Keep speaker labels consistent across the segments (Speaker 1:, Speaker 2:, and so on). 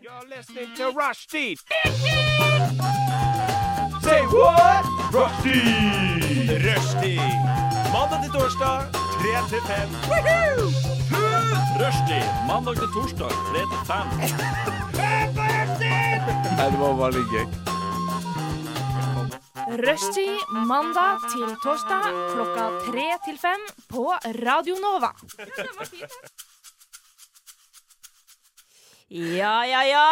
Speaker 1: You're listening to Rushdie. Say what? Rushdie. Rushdie. Mandag til torsdag, 3 til 5. Rushdie. Mandag til torsdag, 3 til 5.
Speaker 2: Rushtid mandag til torsdag klokka tre til fem på Radio Nova.
Speaker 3: Ja, ja, ja.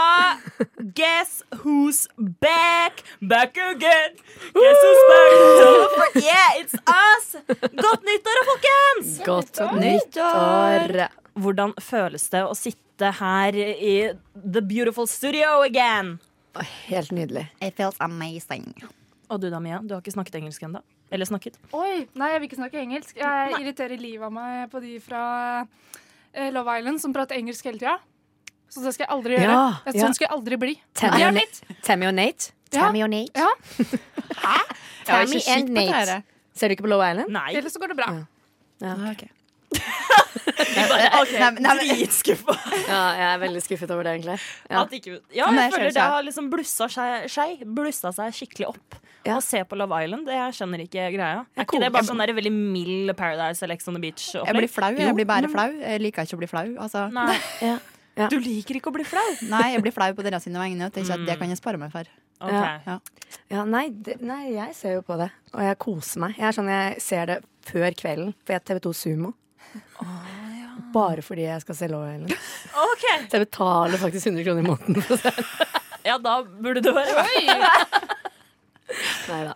Speaker 3: Guess who's back? Back again. Guess who's back? Don't for- Yeah, it's us. Godt nyttår, folkens!
Speaker 4: Godt nyttår!
Speaker 3: Hvordan føles det å sitte her i the beautiful studio again?
Speaker 4: Å, Helt nydelig.
Speaker 5: It feels amazing.
Speaker 3: Og du da, Mia? Du har ikke snakket engelsk ennå? Eller snakket?
Speaker 6: Oi, nei, jeg vil ikke snakke engelsk. Jeg irriterer livet av meg på de fra eh, Love Island som prater engelsk hele tida. Så det skal jeg aldri gjøre.
Speaker 4: Ja,
Speaker 6: Det-
Speaker 4: ja.
Speaker 6: Sånn skal jeg aldri bli.
Speaker 4: Tammy
Speaker 6: Ja,
Speaker 4: og,
Speaker 6: litt.
Speaker 4: Na- Tammy og Nate.
Speaker 6: Ja.
Speaker 5: Tammy og Nate.
Speaker 6: Ja.
Speaker 4: Jeg var
Speaker 5: Tammy
Speaker 4: ikke kikk
Speaker 5: and
Speaker 4: på
Speaker 5: Nate.
Speaker 4: dette her. Ser du ikke på Low Island?
Speaker 3: Nei.
Speaker 6: Ellers så går det bra.
Speaker 4: Ja. Ja, ok.
Speaker 3: Ok,
Speaker 5: Nei, men- nei, men-
Speaker 3: Dritskuffa.
Speaker 4: ja, jeg er veldig skuffet over det, egentlig. Ja.
Speaker 3: Ja, ikke, ja
Speaker 5: Nei,
Speaker 3: jeg
Speaker 5: jeg
Speaker 3: føler
Speaker 5: skjønner
Speaker 3: det har liksom blussa seg, seg, blussa seg skikkelig opp.
Speaker 4: Ja.
Speaker 3: Å se på Love Island, det jeg skjønner ikke greia. Er
Speaker 5: koker.
Speaker 3: ikke det bare sånn der veldig mild Paradise eller Ex on the
Speaker 5: Jeg blir
Speaker 3: Beach-opplegg?
Speaker 5: flau. Jeg blir bare flau. Jeg liker ikke å bli flau. Altså.
Speaker 3: Nei.
Speaker 4: Ja. Ja.
Speaker 3: Du liker ikke å bli flau?
Speaker 5: Nei, jeg blir flau på deres sine vegne. og tenker at
Speaker 6: Mm.
Speaker 5: Det kan jeg spare meg for.
Speaker 3: Ok.
Speaker 4: Ja. Ja, nei, det, nei, jeg ser jo på det, og jeg koser meg. Jeg er sånn, jeg ser det før kvelden, for jeg er TV2 Sumo. Bare fordi jeg skal se Low Island.
Speaker 3: Ok,
Speaker 4: Så jeg betaler faktisk 100 kroner i måneden. for å se den.
Speaker 3: Ja, da burde du være
Speaker 4: Neida.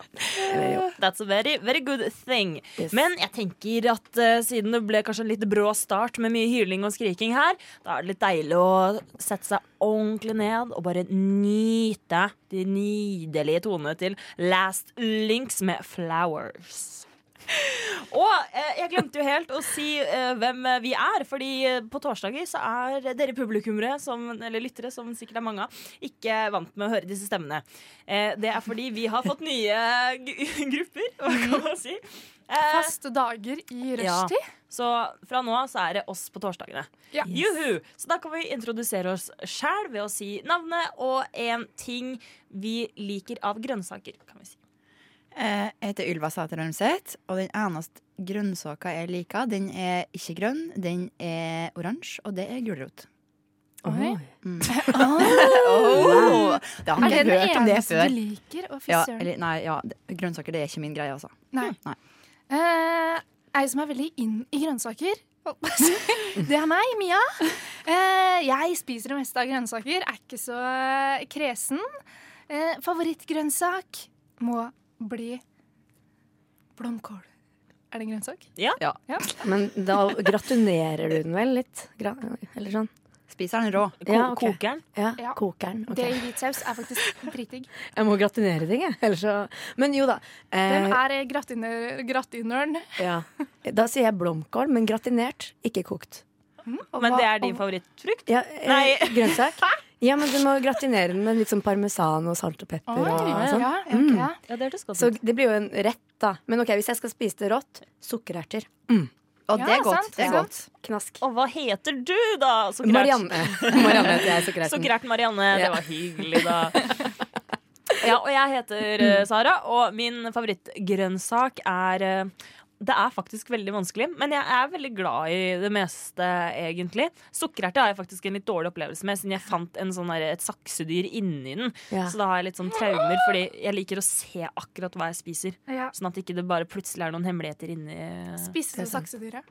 Speaker 4: Eller jo.
Speaker 3: That's a very, very good thing.
Speaker 4: Yes.
Speaker 3: Men jeg tenker at eh, siden det ble kanskje en litt brå start med mye hyling og skriking her, da er det litt deilig å sette seg ordentlig ned og bare nyte de nydelige tonene til Last Links med Flowers. Og eh, jeg glemte jo helt å si eh, hvem eh, vi er, fordi eh, på torsdager så er dere publikummere, som, eller lyttere, som sikkert er mange av, ikke vant med å høre disse stemmene. Eh, det er fordi vi har fått nye g grupper, hva kan man si. Eh,
Speaker 6: Faste dager i
Speaker 3: Ja.
Speaker 6: rushtid.
Speaker 3: så fra nå av så er det oss på torsdagene.
Speaker 6: Ja.
Speaker 3: Juhu! Så da kan vi introdusere oss sjæl ved å si navnet og en ting vi liker av grønnsaker, kan vi si.
Speaker 5: Eh, Jeg heter Ylva Sæter Ormseth, og den eneste grønnsaka jeg liker, den er ikke grønn, den er oransje, og det er gulrot.
Speaker 6: Oi.
Speaker 5: Mm. oh, det har
Speaker 6: Er
Speaker 5: ikke
Speaker 6: det den
Speaker 5: hørt om det
Speaker 6: eneste
Speaker 5: før.
Speaker 6: du liker? Å, fy
Speaker 5: Ja,
Speaker 6: søren.
Speaker 5: eller, nei, ja, det- grønnsaker det er ikke min greie, altså.
Speaker 6: Nei.
Speaker 5: Nei.
Speaker 6: Eh, ei som er veldig inn i grønnsaker. Det er meg, Mia. Eh, jeg spiser det meste av grønnsaker. Er ikke så eh, kresen. Eh, favorittgrønnsak må bli blomkål. Er det en grønnsak?
Speaker 4: Men da gratunerer du den vel litt? Gra eller sånn?
Speaker 5: Spiser den rå.
Speaker 3: Ko
Speaker 4: Ja, ok.
Speaker 3: Kokeren.
Speaker 4: Ja,
Speaker 6: Ja.
Speaker 4: koker den. ok.
Speaker 6: Det i hvit saus er faktisk dritdigg.
Speaker 4: Jeg må gratinere ting, jeg. Ellers så Men jo da.
Speaker 6: Den
Speaker 4: Eh,
Speaker 6: er eh, gratiner- gratinøren.
Speaker 4: ja. Da sier jeg blomkål, men gratinert, ikke kokt.
Speaker 6: Og
Speaker 3: Men
Speaker 6: hva-
Speaker 3: det er din
Speaker 6: og-
Speaker 3: favorittfrukt?
Speaker 4: Ja, eh,
Speaker 3: Nei.
Speaker 4: Grønnsak? Ja, men du må gratinere den med litt sånn parmesan og salt og pepper.
Speaker 6: Oi,
Speaker 4: og
Speaker 6: ja,
Speaker 4: sånn.
Speaker 6: ja, ok.
Speaker 3: Ja, det hørtes godt
Speaker 4: Så det blir jo en rett, da. Men ok, hvis jeg skal spise det rått, sukkererter. Mm.
Speaker 5: Og
Speaker 6: Ja,
Speaker 5: det er godt.
Speaker 6: sant,
Speaker 5: det er
Speaker 6: sant.
Speaker 5: godt.
Speaker 4: Knask.
Speaker 3: Og hva heter du, da? Sukkerert?
Speaker 4: Marianne. Marianne heter jeg, sukkererten.
Speaker 3: Sukkerert Marianne. Det
Speaker 4: Ja.
Speaker 3: var hyggelig, da. Ja, og jeg heter eh, Sara, og min favorittgrønnsak er eh, Det er faktisk veldig vanskelig, men jeg er veldig glad i det meste, egentlig. Sukkererte har jeg faktisk en litt dårlig opplevelse med, siden jeg fant en sånn der, et saksedyr inni den.
Speaker 4: Ja.
Speaker 3: Så da har jeg litt sånn traumer, fordi jeg liker å se akkurat hva jeg spiser.
Speaker 6: Ja.
Speaker 3: Sånn at ikke det bare plutselig er noen hemmeligheter inni
Speaker 6: Spiste du saksedyret?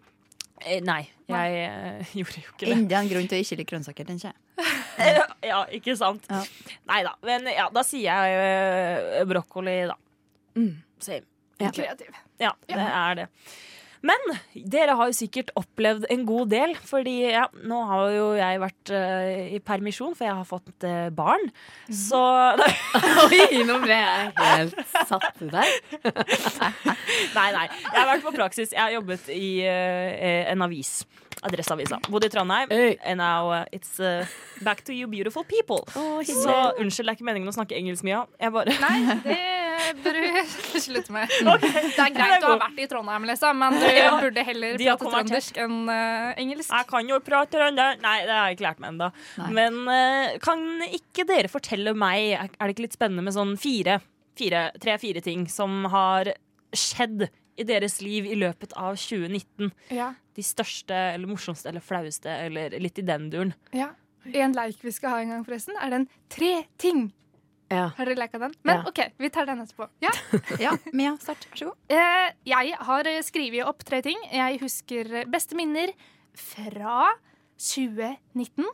Speaker 3: Eh, Nei, jeg eh, gjorde jo ikke det.
Speaker 5: Enda en grunn til å ikke like grønnsaker, tenker jeg.
Speaker 3: Ja, ikke sant?
Speaker 5: Ja.
Speaker 3: Nei da. Men ja, da sier jeg eh, brokkoli, da.
Speaker 4: Mm.
Speaker 3: Same.
Speaker 4: Ja.
Speaker 6: Kreativ.
Speaker 3: Ja, det er det. Men dere har jo sikkert opplevd en god del, fordi ja, nå har jo jeg vært eh, i permisjon, for jeg har fått eh, barn. Så nei,
Speaker 4: Oi, nå ble jeg helt satt ut der.
Speaker 3: nei, nei. Jeg har vært på praksis. Jeg har jobbet i eh, en avis. Adresseavisa. Bodde i Trondheim.
Speaker 4: Hey.
Speaker 3: And now eh, it's eh, back to you beautiful people.
Speaker 4: Å,
Speaker 3: Så unnskyld, det er ikke meningen å snakke engelsk mye. Jeg bare
Speaker 6: Nei, det eh, bør du slutte med. Det er greit du har vært i Trondheim, liksom, men du
Speaker 3: Ja.
Speaker 6: burde heller
Speaker 3: De har
Speaker 6: prate
Speaker 3: konvertert.
Speaker 6: trøndersk enn eh, engelsk.
Speaker 3: Jeg kan jo prate trønder. Nei, det har jeg ikke lært meg ennå.
Speaker 5: Nei.
Speaker 3: Men eh, kan ikke dere fortelle meg, er er det ikke litt spennende med sånn fire, fire tre-fire ting som har skjedd i deres liv i løpet av 2019?
Speaker 6: Ja.
Speaker 3: De største eller morsomste eller flaueste eller litt i den duren.
Speaker 6: ja. En leik vi skal ha en gang, forresten, er den tre ting.
Speaker 4: Ja.
Speaker 6: Har dere leka den? Men
Speaker 4: Ja.
Speaker 6: OK, vi tar den etterpå. Ja.
Speaker 5: Ja, Mia, start. Vær så god.
Speaker 6: Eh, jeg har eh, skrevet opp tre ting. Jeg husker eh, beste minner fra 2019.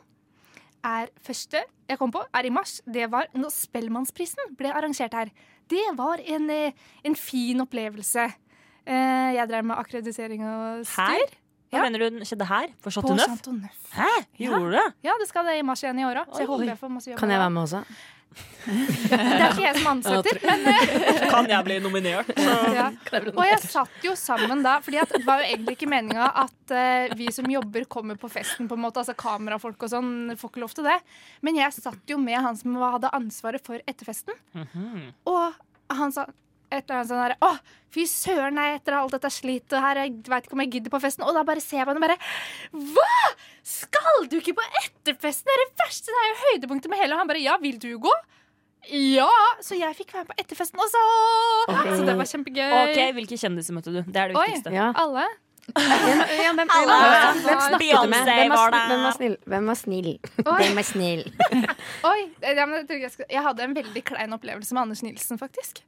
Speaker 6: Er første jeg kom på, er i mars. Det var når Spellemannsprisen ble arrangert her. Det var en, eh, en fin opplevelse. Eh, jeg drev med akkreditering og
Speaker 3: Her?
Speaker 6: styr.
Speaker 3: Hva
Speaker 6: Ja.
Speaker 3: mener du den skjedde her? På
Speaker 6: På
Speaker 3: Chateau Neuf?
Speaker 6: Chateau Neuf.
Speaker 3: Hæ? Gjorde du det?
Speaker 6: Ja, det skal det i mars igjen i åra. Så
Speaker 3: Oi.
Speaker 6: jeg håper jeg får masse jobb.
Speaker 4: Kan jeg være med også?
Speaker 6: Det er ikke jeg som ansetter, men eh,
Speaker 3: Kan jeg bli nominert?
Speaker 6: ja. Og jeg satt jo sammen da, Fordi at det var jo egentlig ikke meninga at eh, vi som jobber, kommer på festen, på en måte. Altså kamerafolk og sånn får ikke lov til det. Men jeg satt jo med han som hadde ansvaret for etterfesten, og han sa et eller annet sånn der, Å, fy søren, nei, etter alt dette slitet her, jeg veit ikke om jeg gidder på festen. Og da bare ser jeg på han og bare Hva?! Skal du ikke på etterfesten? Det er det verste! Det er jo høydepunktet med hele. Og han bare Ja, vil du gå? Ja! Så jeg fikk være med på etterfesten også! Så det var kjempegøy.
Speaker 3: OK, hvilke kjendiser møtte du? Det er det
Speaker 6: Oi.
Speaker 3: viktigste.
Speaker 4: Ja.
Speaker 6: Alle?
Speaker 4: Ja, hvem,
Speaker 6: Alle.
Speaker 4: hvem snakket du med?
Speaker 3: Beyoncé
Speaker 4: Hvem var,
Speaker 3: var
Speaker 4: snill,
Speaker 3: der.
Speaker 4: hvem var snill? Hvem var snill?
Speaker 6: Oi.
Speaker 4: Hvem er snill?
Speaker 6: Oi, ja, men jeg, tror ikke jeg, skal, jeg hadde en veldig klein opplevelse med Anders Nilsen, faktisk.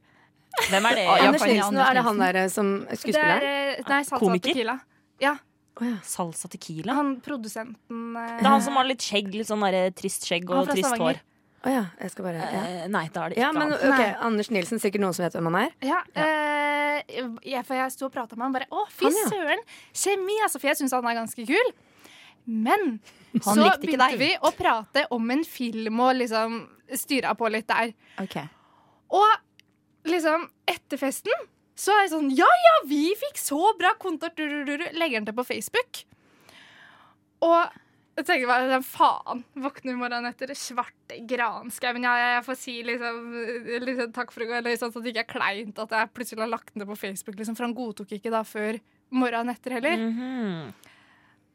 Speaker 3: Hvem er det?
Speaker 5: Å, ja.
Speaker 4: Anders
Speaker 5: kan jeg
Speaker 4: Nilsen,
Speaker 5: Anders
Speaker 4: er det han der eh, som skuespilleren?
Speaker 6: Det er, eh, nei, Salsa
Speaker 3: Komiker?
Speaker 6: Tequila. Ja,
Speaker 3: Salsa Tequila?
Speaker 6: han produsenten eh,
Speaker 3: Det er han som har litt skjegg, litt sånn der, trist skjegg
Speaker 6: Han
Speaker 3: og
Speaker 6: fra
Speaker 3: trist
Speaker 6: Stavanger.
Speaker 3: hår.
Speaker 4: Å ja, jeg skal bare ja.
Speaker 3: Eh, nei, da er det ikke
Speaker 4: ja, men
Speaker 3: han.
Speaker 4: ok, Anders Nilsen, sikkert noen som vet hvem han er?
Speaker 6: Ja, eh, jeg, for jeg sto og prata med han bare Å, fy
Speaker 4: Han, ja.
Speaker 6: søren! Kjemi, altså. For jeg syns han er ganske kul. Men
Speaker 5: Han
Speaker 6: så
Speaker 5: likte ikke
Speaker 6: begynte
Speaker 5: deg.
Speaker 6: vi å prate om en film og liksom styra på litt der.
Speaker 5: Ok.
Speaker 6: Og liksom etter festen så er jeg sånn Ja, ja, vi fikk så bra kontakt! Du, du, du, du. Legger den til på Facebook. Og jeg tenkte bare den faen. Våkner morgenen etter svarte granskauen. Ja, ja, jeg får si liksom, liksom takk for i går, eller sånn at det ikke er kleint at jeg plutselig har lagt den til på Facebook, liksom, for han godtok ikke da før morgenen etter heller.
Speaker 3: Mhm.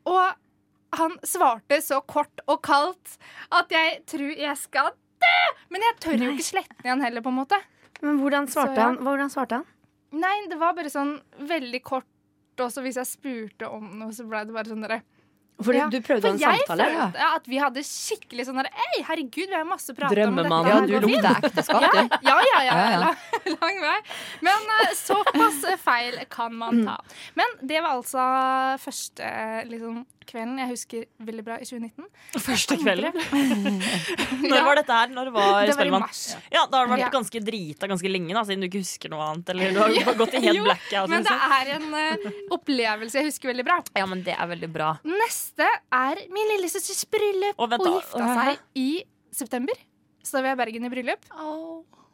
Speaker 6: Og han svarte så kort og kaldt at jeg tror jeg skal dø! Men jeg tør jo ikke slette den igjen heller, på en måte.
Speaker 4: Men hvordan svarte
Speaker 6: Så, ja.
Speaker 4: han? Hvordan svarte han?
Speaker 6: Nei, det var bare sånn veldig kort. Og så hvis jeg spurte om noe, så ble det bare sånn derre
Speaker 4: For
Speaker 6: Ja,
Speaker 4: du prøvde å ha en
Speaker 6: jeg
Speaker 4: samtale?
Speaker 6: følte at vi hadde skikkelig sånn derre Ei, herregud, vi har masse å prate om.
Speaker 3: Drømmemann.
Speaker 6: dette
Speaker 5: Ja,
Speaker 6: her
Speaker 5: du
Speaker 6: går fint».
Speaker 5: lukter ekteskap, du.
Speaker 6: Ja, ja, ja.
Speaker 5: Ja, ja.
Speaker 6: Lang, lang vei. Men eh, såpass feil kan man ta. Men det var altså første eh, liksom, kvelden jeg husker veldig bra i 2019.
Speaker 3: Første kvelden.
Speaker 6: Ja.
Speaker 3: Når var dette her? Når var
Speaker 6: Det var i
Speaker 3: Spellemann?
Speaker 6: mars.
Speaker 3: Ja, da har du vært
Speaker 6: Ja.
Speaker 3: ganske drita ganske lenge, da, siden du ikke husker noe annet. Eller du har gått i helt
Speaker 6: Jo,
Speaker 3: blackout.
Speaker 6: Men det
Speaker 3: liksom.
Speaker 6: er en eh, opplevelse jeg husker veldig bra.
Speaker 3: Ja, men det er veldig bra.
Speaker 6: Neste er min lillesøsters bryllup.
Speaker 3: Å, vent
Speaker 6: Hun
Speaker 3: da.
Speaker 6: gifta seg i september. Så da var jeg i Bergen i bryllup.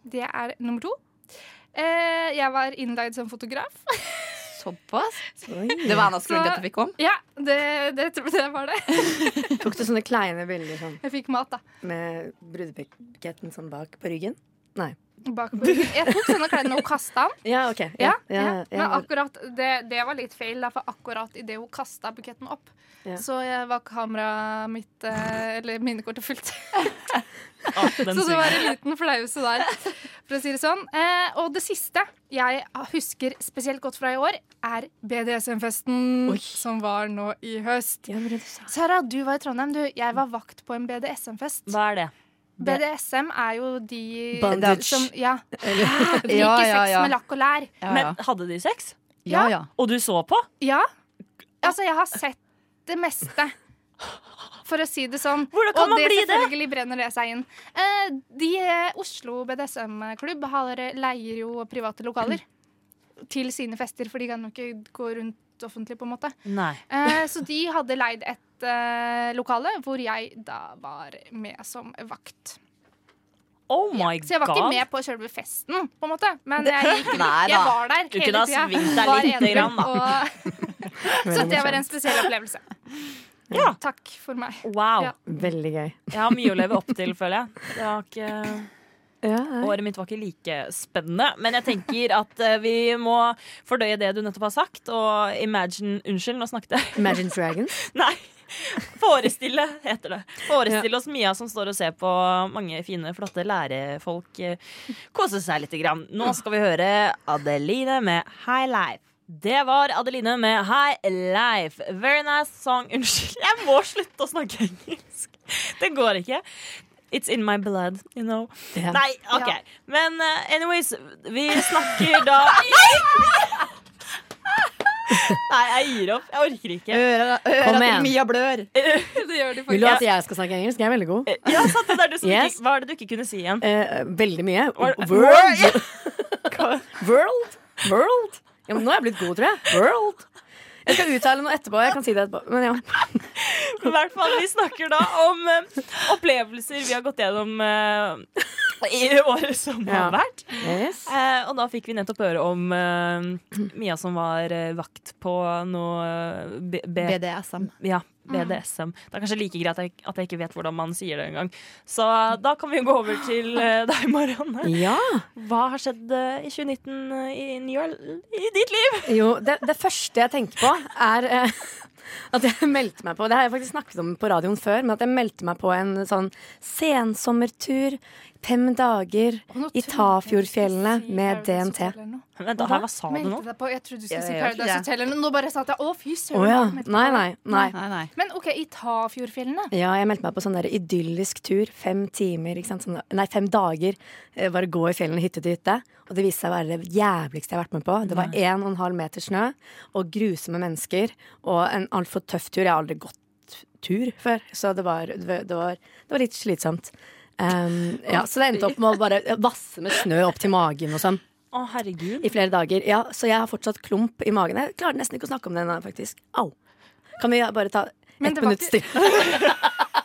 Speaker 6: Det er nummer to. Eh, jeg var innleid som fotograf.
Speaker 5: Såpass? Det var hennes grunn til at du fikk komme?
Speaker 6: Ja, det, det, tror jeg det var det.
Speaker 4: Tok du sånne kleine bilder sånn,
Speaker 6: Jeg fikk mat, da.
Speaker 4: med brudebuketten sånn bak på ryggen?
Speaker 6: Bak på ryggen. Jeg tok sånne klærne og kasta den.
Speaker 4: Ja, OK.
Speaker 6: Ja,
Speaker 4: Ja, ja,
Speaker 6: ja. Men
Speaker 4: ja.
Speaker 6: akkurat det, det var litt feil, da, for akkurat idet hun kasta buketten opp,
Speaker 4: Ja.
Speaker 6: så eh, var kameraet mitt, eh, eller minnekortet, fullt.
Speaker 3: Ah, den
Speaker 6: Så det
Speaker 3: suger.
Speaker 6: var en liten flause der, for å si det sånn. Eh, og det siste jeg husker spesielt godt fra i år, er BDSM-festen som var nå i høst.
Speaker 4: Ja, men det du sa.
Speaker 6: Sara, du var i Trondheim. Du, jeg var vakt på en BDSM-fest.
Speaker 3: Hva er det?
Speaker 6: BDSM er jo de
Speaker 4: Bondage.
Speaker 6: som Ja. Ah, Liker
Speaker 5: Ja,
Speaker 6: sex
Speaker 5: ja, ja.
Speaker 6: med lakk og lær.
Speaker 5: Ja,
Speaker 3: Men hadde de sex?
Speaker 5: ja. ja.
Speaker 3: Og du så på?
Speaker 6: Ja. Altså, jeg har sett det meste. For å si det sånn.
Speaker 3: Hvordan kan
Speaker 6: og
Speaker 3: man
Speaker 6: det
Speaker 3: bli det?
Speaker 6: selvfølgelig brenner det seg inn. Eh, de eh, Oslo BDSM-klubb har, eh, leier jo private lokaler til sine fester, for de kan jo ikke gå rundt offentlig, på en måte.
Speaker 3: Nei.
Speaker 6: Eh, så de hadde leid et eh, lokale hvor jeg da var med som vakt.
Speaker 3: Oh my god.
Speaker 6: Så jeg var ikke med på selve festen, på en måte. Men jeg, gikk,
Speaker 5: Nei
Speaker 6: jeg
Speaker 5: da.
Speaker 6: var der
Speaker 3: Du
Speaker 6: hele
Speaker 3: kunne ha
Speaker 6: tida.
Speaker 3: svingt deg
Speaker 6: Var
Speaker 3: lite
Speaker 6: edru,
Speaker 3: grann, da.
Speaker 6: og-
Speaker 4: Veldig
Speaker 6: så det var en
Speaker 4: morsomt.
Speaker 6: spesiell opplevelse.
Speaker 3: Ja.
Speaker 6: Takk for meg.
Speaker 3: Wow.
Speaker 6: Ja.
Speaker 4: Veldig gøy.
Speaker 3: Jeg har mye å leve opp til, føler jeg. Jeg har ikke
Speaker 4: Ja, nei.
Speaker 3: Året mitt var ikke like spennende, men jeg tenker at eh, vi må fordøye det du nettopp har sagt, og imagine Unnskyld, nå snakket jeg.
Speaker 4: Imagine Dragons.
Speaker 3: Nei. Forestille, heter det. Forestille oss Mia som står og ser på mange fine, flotte lærefolk eh, kose seg lite grann. Nå skal vi høre Adeline med High Life. Det var Adeline med High Life. Very nice song. Unnskyld, jeg må slutte å snakke engelsk. Det går ikke. It's in my blood, you know.
Speaker 4: Ja.
Speaker 3: Nei, OK.
Speaker 6: Ja.
Speaker 3: Men eh, anyways, vi snakker da Nei, jeg gir opp. Jeg orker ikke.
Speaker 5: Øra, øra
Speaker 4: Kom
Speaker 5: til
Speaker 4: igjen.
Speaker 5: Mia blør.
Speaker 6: Det gjør de
Speaker 4: Vil du
Speaker 6: faktisk.
Speaker 4: at jeg skal snakke engelsk? Jeg er veldig god.
Speaker 3: Ja, sant, det er du som
Speaker 4: Yes.
Speaker 3: ikke, Hva er det du ikke kunne si igjen?
Speaker 4: Eh, veldig mye.
Speaker 3: Or-
Speaker 4: World. World. World. Ja, men nå er jeg blitt god, tror jeg. World. Jeg skal uttale noe etterpå. Jeg kan si det etterpå. Men ja.
Speaker 3: I hvert fall, Vi snakker da om eh, opplevelser vi har gått gjennom eh, i året som
Speaker 4: Ja.
Speaker 3: har vært.
Speaker 4: Yes.
Speaker 3: Eh, og da fikk vi nettopp høre om eh, Mia som var eh, vakt på noe eh, B B
Speaker 5: BDSM.
Speaker 3: ja,
Speaker 4: Mm.
Speaker 3: BDSM. Det er kanskje like greit at jeg, at jeg ikke vet hvordan man sier det engang. Så eh, da kan vi gå over til eh, deg, Marianne.
Speaker 4: Ja.
Speaker 3: Hva har skjedd eh, i 2019 i, your, i ditt liv?
Speaker 4: Jo, det, det første jeg tenker på, er eh, at jeg meldte meg på Det har jeg faktisk snakket om på radioen før, men at jeg meldte meg på en sånn sensommertur. Fem dager
Speaker 6: Og nå trodde
Speaker 4: i
Speaker 6: jeg
Speaker 4: Tafjordfjellene
Speaker 6: du skulle si
Speaker 4: med
Speaker 6: Paradise
Speaker 4: DNT.
Speaker 6: Hotel eller noe.
Speaker 3: Vent, da, hva sa du nå?
Speaker 6: Meldte deg på, jeg trodde du skulle si
Speaker 5: Jeg gjør ikke
Speaker 6: Paradise
Speaker 5: det.
Speaker 6: Hotel eller noe. Nå bare satt jeg Å, fy
Speaker 4: Å
Speaker 6: søren.
Speaker 4: ja.
Speaker 6: jeg meldte
Speaker 4: Nei,
Speaker 6: meg på.
Speaker 4: nei. nei.
Speaker 5: Nei, nei.
Speaker 6: Men OK, i Tafjordfjellene.
Speaker 4: Ja, jeg meldte meg på sånn der idyllisk tur. Fem timer, ikke sant? Sånn, nei, fem dager. eh, Bare gå i fjellene hytte til hytte. Og det viste seg å være det jævligste jeg har vært med på. Det var en og en halv meter snø og grusomme mennesker og en altfor tøff tur. Jeg har aldri gått tur før, så det var, det var, det var litt slitsomt. Um, ja, så det endte opp med å bare vasse med snø opp til magen og sånn
Speaker 3: Å, herregud.
Speaker 4: i flere dager. Ja, så jeg har fortsatt klump i magen. Jeg klarer nesten ikke å snakke om det nå, faktisk. Au. Kan vi bare ta
Speaker 6: Men
Speaker 4: ett
Speaker 6: det var
Speaker 4: minutt
Speaker 6: ikke-
Speaker 4: stille?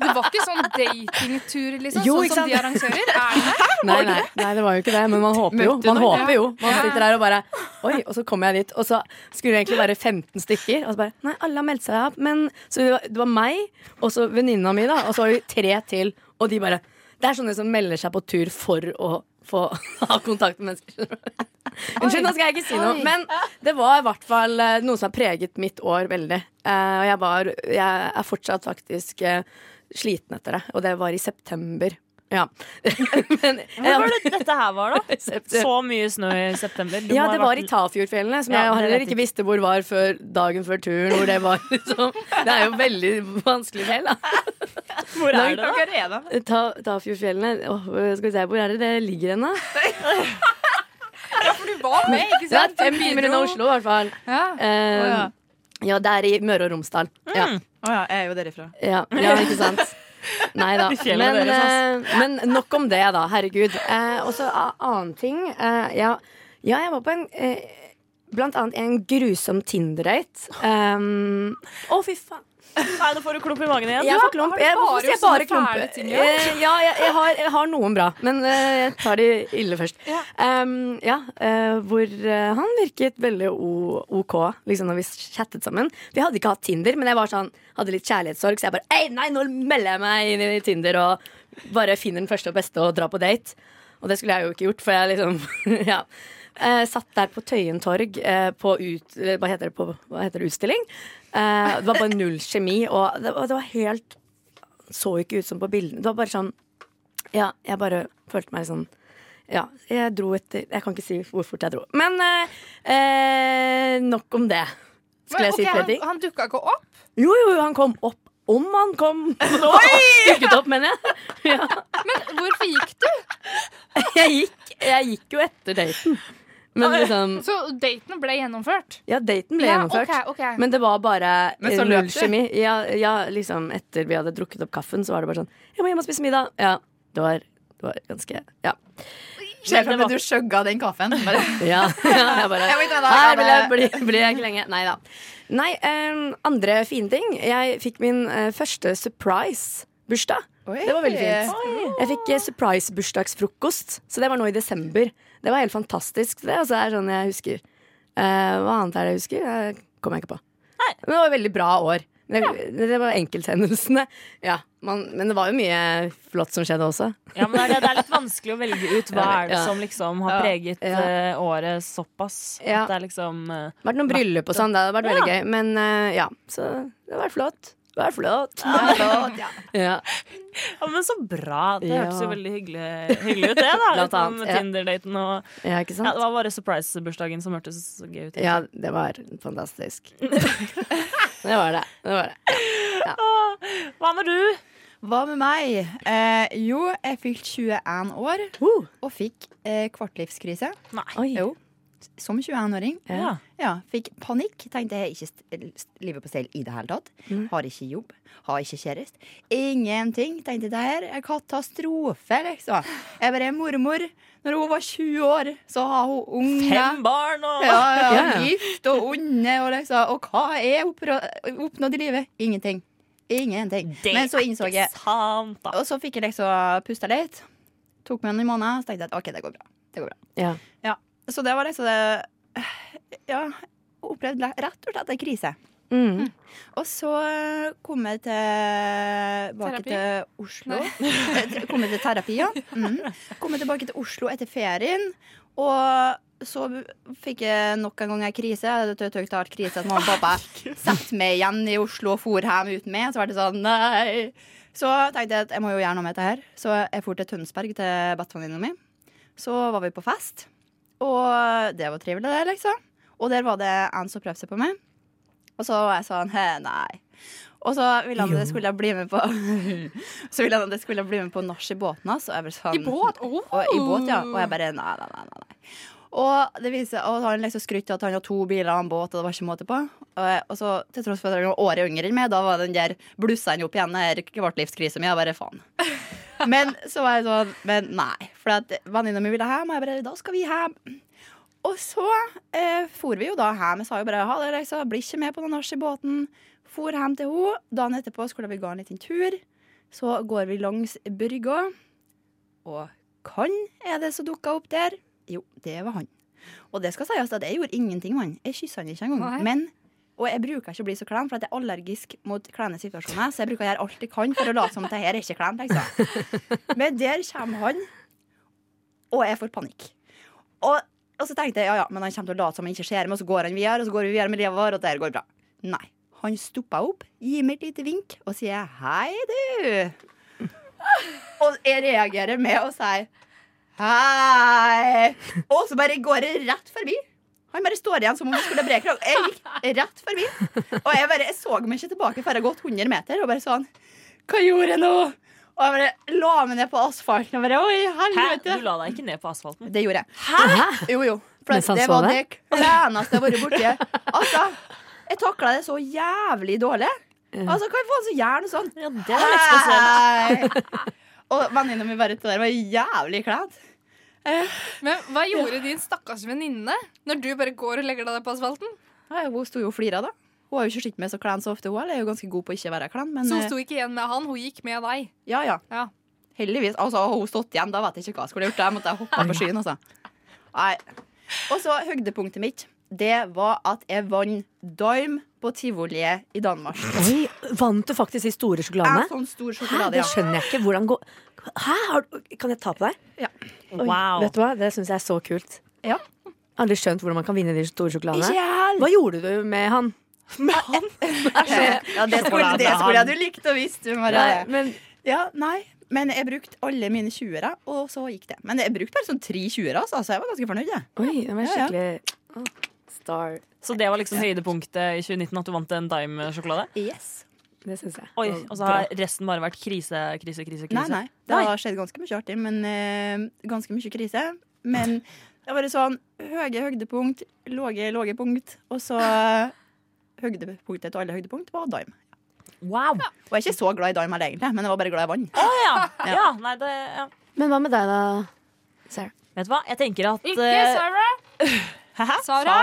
Speaker 6: Det var ikke sånn datingtur, liksom?
Speaker 4: Jo, ikke
Speaker 6: sånn som de
Speaker 4: sant?
Speaker 6: arrangører? Er det det?
Speaker 4: Nei, nei, nei, det var jo ikke det, men man håper jo. Man håper jo. Man sitter der og bare Oi, og så kommer jeg dit. Og så skulle det egentlig være 15 stykker. Og så bare Nei, alle har meldt seg opp. Men så det var, det var meg, og så venninna mi, da. Og så var vi tre til. Og de bare Det er sånne som melder seg på tur for å få ha kontakt med mennesker. Unnskyld, nå skal jeg ikke si noe. Men det var i hvert fall eh, noe som har preget mitt år veldig. Eh, Og jeg var Jeg er fortsatt faktisk eh, sliten etter det. Og det var i september. Ja. Men
Speaker 3: Hvor var det dette her var, da?
Speaker 4: September.
Speaker 3: Så mye snø i september. Du
Speaker 4: ja,
Speaker 3: må ha
Speaker 4: det var
Speaker 3: vært-
Speaker 4: i Tafjordfjellene, som
Speaker 3: Ja,
Speaker 4: jeg
Speaker 3: det
Speaker 4: heller
Speaker 3: vet
Speaker 4: ikke
Speaker 3: jeg
Speaker 4: visste hvor var før dagen før turen. Hvor det var liksom Det er jo veldig vanskelig fjell, da.
Speaker 3: Hvor er det, da?
Speaker 5: Hva
Speaker 4: Ta, Tafjordfjellene Åh, Skal vi se, hvor er det det ligger hen, da?
Speaker 6: For du var med, ikke
Speaker 4: Det er
Speaker 6: sant?
Speaker 4: fem timer unna Oslo, i hvert fall.
Speaker 6: Ja.
Speaker 4: Eh,
Speaker 5: ja.
Speaker 4: ja, det er i Møre og Romsdal. Ja,
Speaker 5: Å ja, jeg er jo derifra.
Speaker 4: ja, ja ikke sant? Nei da.
Speaker 3: fjellene
Speaker 4: Men,
Speaker 3: deres,
Speaker 4: eh, men nok om det, da. Herregud. Eh, Og så a- annen ting. eh, ja, ja, jeg var på en eh, Blant annet en grusom Tinder-date. Um, Å, fy faen.
Speaker 3: Nei, nå får du klump i magen igjen.
Speaker 4: Jeg får klump.
Speaker 6: du
Speaker 4: Jeg,
Speaker 6: bare
Speaker 4: hvorfor sier jeg
Speaker 6: sånne
Speaker 4: bare klump?
Speaker 6: fæle ting, ja?
Speaker 4: Eh, ja, jeg, jeg, har, jeg har noen bra, men eh, jeg tar de ille først. Em, ja, eh, hvor eh, han virket veldig o OK liksom når vi chattet sammen. Vi hadde ikke hatt Tinder, men jeg var sånn, hadde litt kjærlighetssorg, så jeg bare Ei, nei, nå melder jeg meg inn i Tinder og bare finner den første og beste og drar på date. Og det skulle jeg jo ikke gjort, for jeg liksom ja. Eh, satt der på Tøyen torg eh, på ut... eller Hva heter det? På, hva heter det utstilling? Eh, det var bare null kjemi, og det, og det var helt Så ikke ut som på bildene. Det var bare sånn Ja, jeg bare følte meg sånn ja, jeg dro etter Jeg kan ikke si hvor fort jeg dro. Men eh, eh, nok om det. Skulle
Speaker 6: Men,
Speaker 4: jeg si
Speaker 6: ok,
Speaker 4: flere ting?
Speaker 6: Han, han dukka ikke opp?
Speaker 4: Jo, jo, han kom opp. Om han kom! Dukket opp, mener jeg.
Speaker 6: Hvorfor gikk du?
Speaker 4: Jeg gikk, jeg gikk jo etter daten. Men liksom
Speaker 6: Så daten ble gjennomført?
Speaker 4: Ja, daten ble gjennomført.
Speaker 6: Ja, ok, ok.
Speaker 4: Men det var bare
Speaker 5: Men så
Speaker 4: eh,
Speaker 5: løp
Speaker 4: null
Speaker 5: du.
Speaker 4: kjemi. Ja, ja, liksom etter vi hadde drukket opp kaffen, så var det bare sånn Jeg må hjem og spise middag. Ja, det var, det var ganske Ja.
Speaker 5: Ser for meg du skjøgga den kaffen. Bare.
Speaker 4: ja. Jeg bare
Speaker 5: Jeg må ikke ha det.
Speaker 4: Her vil jeg bli, blir jeg ikke lenge. Nei da. Nei, eh, andre fine ting. Jeg fikk min eh, første surprise-bursdag.
Speaker 5: Oi.
Speaker 4: Det var veldig fint. Jeg fikk eh, surprise-bursdagsfrokost, så det var nå i desember. Det var helt fantastisk. Det altså, er sånn jeg husker. Eh, hva annet er det jeg husker? Det kommer jeg ikke på. Men det var et veldig bra år. Det, det var enkelthendelsene. Ja, man, men det var jo mye flott som skjedde også.
Speaker 3: Ja, men det er, det er litt vanskelig å velge ut hva er det
Speaker 4: Ja.
Speaker 3: som liksom har
Speaker 4: Ja.
Speaker 3: preget
Speaker 4: Ja.
Speaker 3: eh, året såpass.
Speaker 4: Ja.
Speaker 3: At det er liksom eh,
Speaker 4: Det har vært noen bryllup og sånn, det hadde vært veldig gøy. Men eh, ja, så det har vært flott. Det har vært flott. Ja.
Speaker 3: Ja, men så bra! Det
Speaker 4: Ja.
Speaker 3: hørtes jo veldig hyggelig, hyggelig ut, det. da
Speaker 4: Blant
Speaker 3: Litt sånn
Speaker 4: annet,
Speaker 3: med
Speaker 4: ja.
Speaker 3: Tinder-daten og
Speaker 4: ja, ikke
Speaker 3: Ja, det
Speaker 4: sant?
Speaker 3: var bare surprise-bursdagen som hørtes så gøy ut.
Speaker 4: Ja, det var fantastisk. Det var det. det, var det.
Speaker 3: Hva med du?
Speaker 5: Hva med meg? Eh, jo, jeg fylte 21 år og fikk eh, kvartlivskrise.
Speaker 3: Nei.
Speaker 4: Oi.
Speaker 5: Jo, som 21-åring.
Speaker 3: Ja.
Speaker 5: Ja, fikk panikk. Tenkte jeg er ikke st- st- livet på stell i det hele tatt.
Speaker 3: Mm.
Speaker 5: Har ikke jobb. Har ikke kjæreste. Ingenting. Tenkte det her er katastrofe, liksom. Jeg bare er mormor. Når hun var 20 år, så har hun unge.
Speaker 3: Fem barn og
Speaker 5: Ja, ja,
Speaker 4: Ja, ja.
Speaker 5: Gift og onde. Og, liksom. og hva er oppra- oppnådd i livet? Ingenting. Ingenting.
Speaker 3: Det
Speaker 5: Men så innså
Speaker 3: er
Speaker 5: jeg
Speaker 3: ikke sant, da.
Speaker 5: og så fikk jeg liksom pusta litt. Tok meg en måned, så tenkte jeg at OK, det går bra. Det går bra.
Speaker 4: Ja.
Speaker 5: Så det var liksom det Ja. Opplevde le- rett og slett en krise.
Speaker 4: Mm.
Speaker 5: Og så eh, kom jeg tilbake
Speaker 6: Terapi?
Speaker 5: til Oslo. Eh, tre- kom jeg til terapi, ja. Mm. Kom jeg tilbake til Oslo etter ferien. Og så fikk jeg nok en gang en krise. Jeg hadde tøkt hardt krise at mamma og pappa satte meg igjen i Oslo og for hjem uten meg. Så var det sånn, nei. Så tenkte jeg at jeg må jo gjøre noe med dette her. Så jeg for til Tønsberg til bestevenninna mi. Så var vi på fest, og det var trivelig, det, liksom. Og der var det en som prøvde seg på meg. Og så var jeg sånn Hæ, nei. Og så ville han at jeg skulle bli med på Så ville han at jeg skulle bli med på nach i båten hans. Og jeg ble sånn,
Speaker 6: I båt? Oh.
Speaker 5: og, I båt, ja. Og jeg bare nei, nei, nei. nei, nei. Og det viser, og han liksom skrytte at han har to biler og en båt, og det var ikke måte på. Og, eh, og så, til tross for at han var året yngre enn meg, da var den der blussa han opp igjen, den her kvartlivskrisa mi. Jeg bare faen. Men så var jeg sånn Men nei. For at venninna mi ville hjem, og jeg bare Da skal vi hjem. Og så eh, for vi jo da hjem. Jeg sa jo bare ha det, liksom. Blir ikke med på noen nach i båten. For hjem til henne. Dagen etterpå skulle vi gå en liten tur. Så går vi langs brygga, og hvem er det som dukka opp der? Jo, det var han. Og det skal sies at jeg gjorde ingenting med han. Jeg kyssa han ikke
Speaker 6: Nei.
Speaker 5: engang. Men og jeg bruker ikke å bli så klem, for at jeg er allergisk mot klemme situasjoner. Så jeg bruker å gjøre alt jeg kan for å late som at det her er ikke klem. Liksom. Men der kommer han, og jeg får panikk. Og, og så tenkte jeg ja, ja, men han kommer til å late som han ikke ser meg, og så går han videre, og så går vi videre med livet vårt, og det her går bra. Nei. Han stopper opp, gir meg et lite vink og sier 'hei, du'. Og jeg reagerer med å si 'hei', og så bare går jeg rett forbi. Han bare står igjen som om han skulle brekke lag. Jeg gikk rett forbi. Og jeg bare jeg så meg ikke tilbake før jeg hadde gått 100 meter, og bare sånn Hva gjorde jeg nå? Og jeg bare la meg ned på asfalten og bare Oi,
Speaker 3: Hæ?
Speaker 5: helvete.
Speaker 3: Du la deg ikke ned på asfalten?
Speaker 5: Det gjorde jeg.
Speaker 4: Hæ?
Speaker 5: Jo, jo. For
Speaker 4: Mens han
Speaker 5: det
Speaker 4: så
Speaker 5: var det
Speaker 4: det?
Speaker 5: kleineste jeg har vært borti. Altså, jeg takla det så jævlig dårlig. Altså, Hva faen så sånn. gjør noe sånt?
Speaker 3: Ja, det var litt spesielt.
Speaker 5: Nei. Og venninna mi bare Det der var jævlig kleint.
Speaker 6: Men hva gjorde din stakkars venninne når du bare går og legger deg på asfalten?
Speaker 5: Nei, Hun sto jo og flira, da. Hun har jo ikke sett meg så klein så ofte, hun heller. Jeg er jo ganske god på å ikke være klein, men
Speaker 6: Så hun
Speaker 5: eh,
Speaker 6: sto ikke igjen med han, hun gikk med deg.
Speaker 5: ja, ja.
Speaker 6: Ja.
Speaker 5: Heldigvis. Altså, hadde hun stått igjen, da vet jeg ikke hva jeg skulle gjort. Da måtte jeg hoppa på skyen, altså. Nei. Og så høydepunktet mitt, det var at jeg vant Dime på tivoliet i Danmark.
Speaker 4: Oi, vant du faktisk de store sjokoladene?
Speaker 5: En sånn stor
Speaker 4: Hæ,
Speaker 5: sjokolade,
Speaker 4: det
Speaker 5: ja.
Speaker 4: skjønner jeg ikke. Hvordan går Hæ, har du Kan jeg ta på deg? Oi,
Speaker 3: Wow.
Speaker 4: Vet du hva, det syns jeg er så kult.
Speaker 5: Ja.
Speaker 4: Aldri skjønt hvordan man kan vinne de store
Speaker 5: Ikke
Speaker 4: sjokoladene.
Speaker 5: jeg heller.
Speaker 4: Hva gjorde du med han?
Speaker 5: Ja, det skulle, det skulle jeg du likt å visst, du, Maria.
Speaker 4: men
Speaker 5: Ja, nei. Men jeg brukte alle mine 20-ere, og så gikk det. Men jeg brukte bare sånn tre 20-ere, altså, så jeg var ganske fornøyd. jeg.
Speaker 4: Oi, den var
Speaker 5: Ja, ja.
Speaker 4: skikkelig Å, Star.
Speaker 3: Så det var liksom høydepunktet i 2019, at du vant en Dime-sjokolade?
Speaker 4: Det syns jeg.
Speaker 3: Oi, Og så har resten bare vært krise, krise, krise. krise
Speaker 5: Nei, nei. Det
Speaker 3: Nei.
Speaker 5: har skjedd ganske mye artig, men eh, ganske mye krise. Men det var sånn høye høydepunkt, lave lave punkt, og så eh, Høydepunktet til alle høydepunkt var Dime.
Speaker 3: Wow!
Speaker 5: Og jeg er ikke så glad i Dime heller, egentlig, men jeg var bare glad i vann.
Speaker 3: Å ja. ja! Nei, det ja.
Speaker 4: Men hva med deg, da? Sarah?
Speaker 3: Vet du hva, jeg tenker at
Speaker 6: Ikke
Speaker 3: eh,
Speaker 6: Sara.
Speaker 3: Hæ?
Speaker 6: Sara.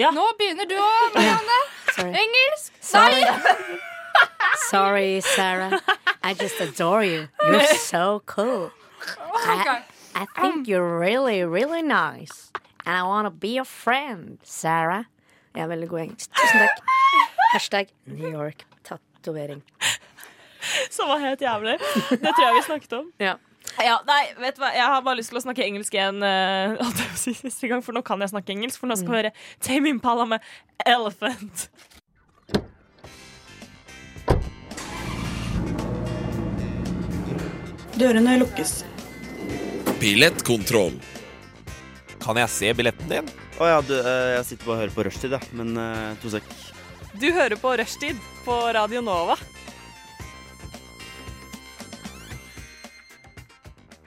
Speaker 3: Ja.
Speaker 6: Nå begynner du òg, Marianne.
Speaker 4: Sorry.
Speaker 6: Engelsk.
Speaker 4: Sorry. Sorry, Sarah. I just adore you. You're so cool.
Speaker 6: Ok.
Speaker 4: I think you're really, really nice. And I wanna be your friend, Sarah. Jeg er veldig god i engelsk. Tusen takk. Hashtag New York. Tatt Tatovering.
Speaker 3: Som var helt jævlig. Det tror jeg vi snakket om.
Speaker 4: Ja.
Speaker 3: Ja, nei, vet du hva? Jeg har bare lyst til å snakke engelsk igjen, eh, holdt jeg på å si siste gang, for nå kan jeg snakke engelsk. For nå skal vi høre Tame Impala med 'Elephant'.
Speaker 7: Dørene lukkes.
Speaker 8: Billettkontroll.
Speaker 1: Kan jeg se billetten din?
Speaker 9: Å ja, du, eh, jeg sitter bare og hører på rushtid, jeg. Men eh, to sek.
Speaker 3: Du hører på Rushtid på Radio Nova.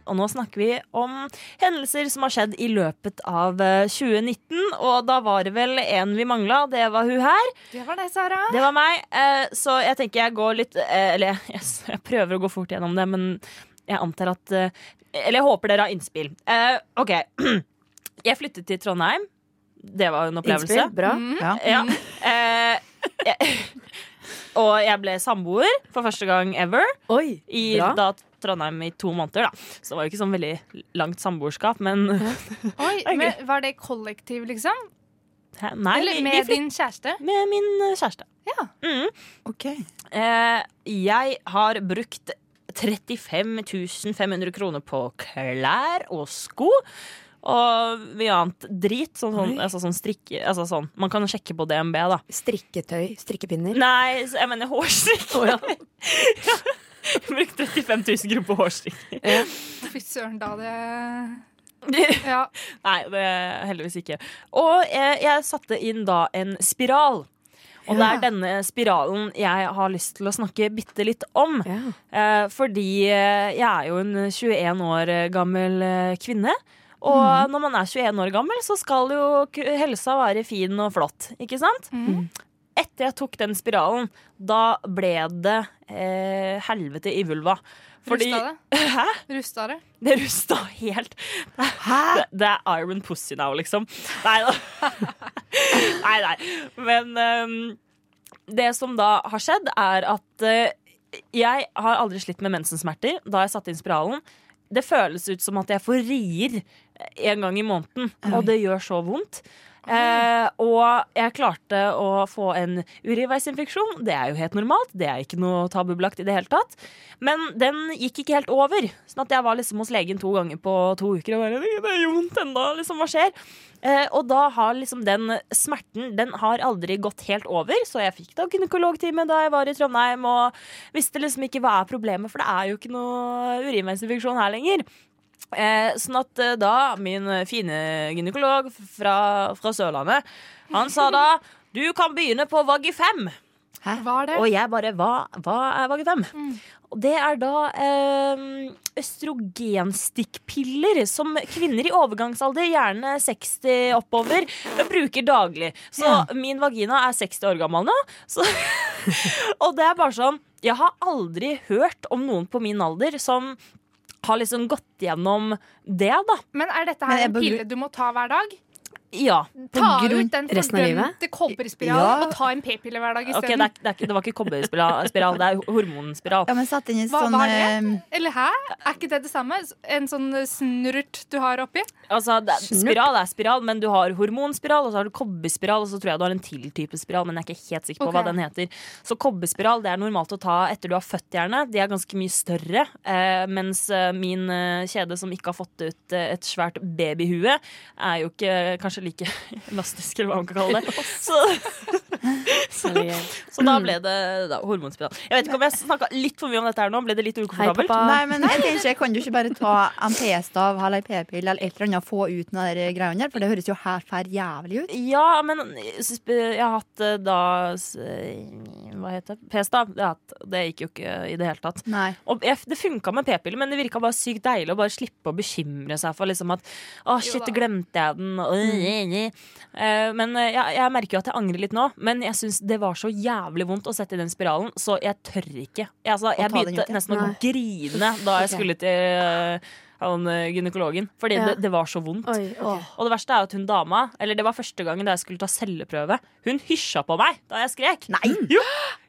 Speaker 3: Og nå snakker vi om hendelser som har skjedd i løpet av eh, 2019. Og da var det vel en vi mangla. Det var hun her.
Speaker 6: Det var deg, Sara.
Speaker 3: Det var meg. eh, Så jeg tenker jeg går litt eh, Eller jeg, jeg prøver å gå fort gjennom det, men jeg antar at eh, Eller jeg håper dere har innspill. Eh, OK. Jeg flyttet til Trondheim. Det var en opplevelse.
Speaker 4: Innspill, bra.
Speaker 3: Ja.
Speaker 6: Mm.
Speaker 3: Eh, jeg, og jeg ble samboer for første gang ever
Speaker 4: Oi,
Speaker 3: i
Speaker 4: bra.
Speaker 3: da Trondheim i to måneder. Da. Så det var jo ikke sånn veldig langt samboerskap, men
Speaker 6: Oi,
Speaker 3: er
Speaker 6: men Var det kollektiv, liksom?
Speaker 3: Hæ? Nei,
Speaker 6: Eller
Speaker 3: vi, vi
Speaker 6: med
Speaker 3: flyttet
Speaker 6: din kjæreste?
Speaker 3: med min eh, kjæreste.
Speaker 6: Ja.
Speaker 3: Mm. Eh, jeg har brukt 35 500 kroner på klær og sko. Og mye annet drit. Sånn, sånn, altså, sånn strikke altså, sånn. Man kan jo sjekke på DNB, da.
Speaker 4: Strikketøy, strikkepinner.
Speaker 3: Nei, så- jeg mener hårstrikk. Jeg brukte 35 000 kroner på hårstrikk.
Speaker 6: Fy søren, da det Ja.
Speaker 3: Nei, det er heldigvis ikke. Og jeg, jeg satte inn da en spiral. Og det er denne spiralen jeg har lyst til å snakke bitte litt om.
Speaker 4: Ja.
Speaker 3: Eh, fordi eh, jeg er jo en 21 år eh, gammel eh, kvinne. Og når man er 21 år gammel, så skal jo k- helsa være fin og flott, ikke sant?
Speaker 6: Mm.
Speaker 3: Etter jeg tok den spiralen, da ble det eh, helvete i vulva. Fordi
Speaker 6: Rusta det?
Speaker 3: Hæ?
Speaker 6: Rusta det?
Speaker 3: Det rusta helt. Det, det er Iron Pussy now, liksom. Nei da. nei, nei. Men ehm, det som da har skjedd, er at eh, jeg har aldri slitt med mensensmerter da jeg satte inn spiralen. Det føles ut som at jeg får rier en gang i måneden, og det gjør så vondt. Eh, og jeg klarte å få en urinveisinfeksjon. Det er jo helt normalt. Det er ikke noe tabubelagt i det hele tatt. Men den gikk ikke helt over. Sånn at jeg var liksom hos legen to ganger på to uker og bare Det det gjør vondt ennå. Liksom, hva skjer? Eh, og da har liksom den smerten Den har aldri gått helt over, så jeg fikk da gynekologtime da jeg var i Trondheim, og visste liksom ikke hva er problemet, for det er jo ikke noe urinveisinfeksjon her lenger. Eh, sånn at eh, da min fine gynekolog fra, fra Sørlandet, han sa da du kan begynne på Vagifem.
Speaker 6: Var det?
Speaker 3: Og jeg bare Hva, hva er Vagifem? Og det er da eh, østrogenstikkpiller som kvinner i overgangsalder, gjerne 60 oppover, bruker daglig. Så min vagina er 60 år gammel nå. Så, og det er bare sånn Jeg har aldri hørt om noen på min alder som har liksom gått gjennom det, da.
Speaker 6: Men er dette
Speaker 5: Men
Speaker 6: her
Speaker 5: jeg
Speaker 6: en
Speaker 5: begru-
Speaker 6: pille du må ta hver dag?
Speaker 3: Ja.
Speaker 6: Ta
Speaker 4: grunn-
Speaker 6: ut den
Speaker 4: resten av livet?
Speaker 6: fordømte kobberspiralen og ta en p-pille hver dag
Speaker 3: Ok, det,
Speaker 6: isteden.
Speaker 3: er, det, er, ikke- det var ikke kobberspiral, spiral, det er hormonspiral.
Speaker 5: Ja, men satt inn i
Speaker 6: Hva-
Speaker 5: sånn
Speaker 6: hva er
Speaker 5: eh,
Speaker 6: Eller hæ? Er ikke det det samme? En sånn snurt du har oppi?
Speaker 3: Altså, det, er- spiral er spiral, men du har hormonspiral, og så har du kobberspiral, og så tror jeg du har en til type spiral, men jeg er ikke helt sikker på hva
Speaker 6: Ok.
Speaker 3: den heter. Så kobberspiral det er normalt å ta etter du har født, gjerne. De er ganske mye større. Eh, mens eh, min eh, kjede, som ikke har fått ut eh, et svært babyhue, er jo ikke eh, kanskje like elastisk, eller hva man kan kalle det. Så, så, så da ble det da, hormonspiral. Jeg vet ikke om jeg snakka litt for mye om dette her nå, ble det litt
Speaker 4: Hei,
Speaker 3: ukomfortabelt?
Speaker 4: pappa.
Speaker 5: Nei, men jeg tenker, kan du ikke bare ta en p-stav eller en p-pille eller et eller annet og få ut den der greia der? For det høres jo helt fær jævlig ut.
Speaker 3: Ja, men eh, sp- jeg har hatt eh, da s- eh, Hva heter det? P-stav. Det, har jeg hatt. det gikk jo ikke i det hele tatt.
Speaker 5: Nei.
Speaker 3: Og jeg, det funka med p-piller, men det virka bare sykt deilig å bare slippe å bekymre seg for liksom at Å, shit,
Speaker 6: da.
Speaker 3: glemte jeg den? Og, Eh, Men eh, jeg, jeg merker jo at jeg angrer litt nå, men jeg syns det var så jævlig vondt å sette i den spiralen, så jeg tør ikke. Jeg, altså, jeg
Speaker 5: ta den ut,
Speaker 3: begynte
Speaker 5: ja.
Speaker 3: nesten å
Speaker 4: Nei.
Speaker 3: grine da jeg
Speaker 5: Ok.
Speaker 3: skulle til eh, han eh, gynekologen, fordi
Speaker 4: Ja.
Speaker 3: det, det var så vondt.
Speaker 4: Oi, ok.
Speaker 3: Og det verste er jo at hun dama, eller det var første gangen da jeg skulle ta celleprøve, hun hysja på meg da jeg skrek.
Speaker 5: Nei.
Speaker 3: Jo!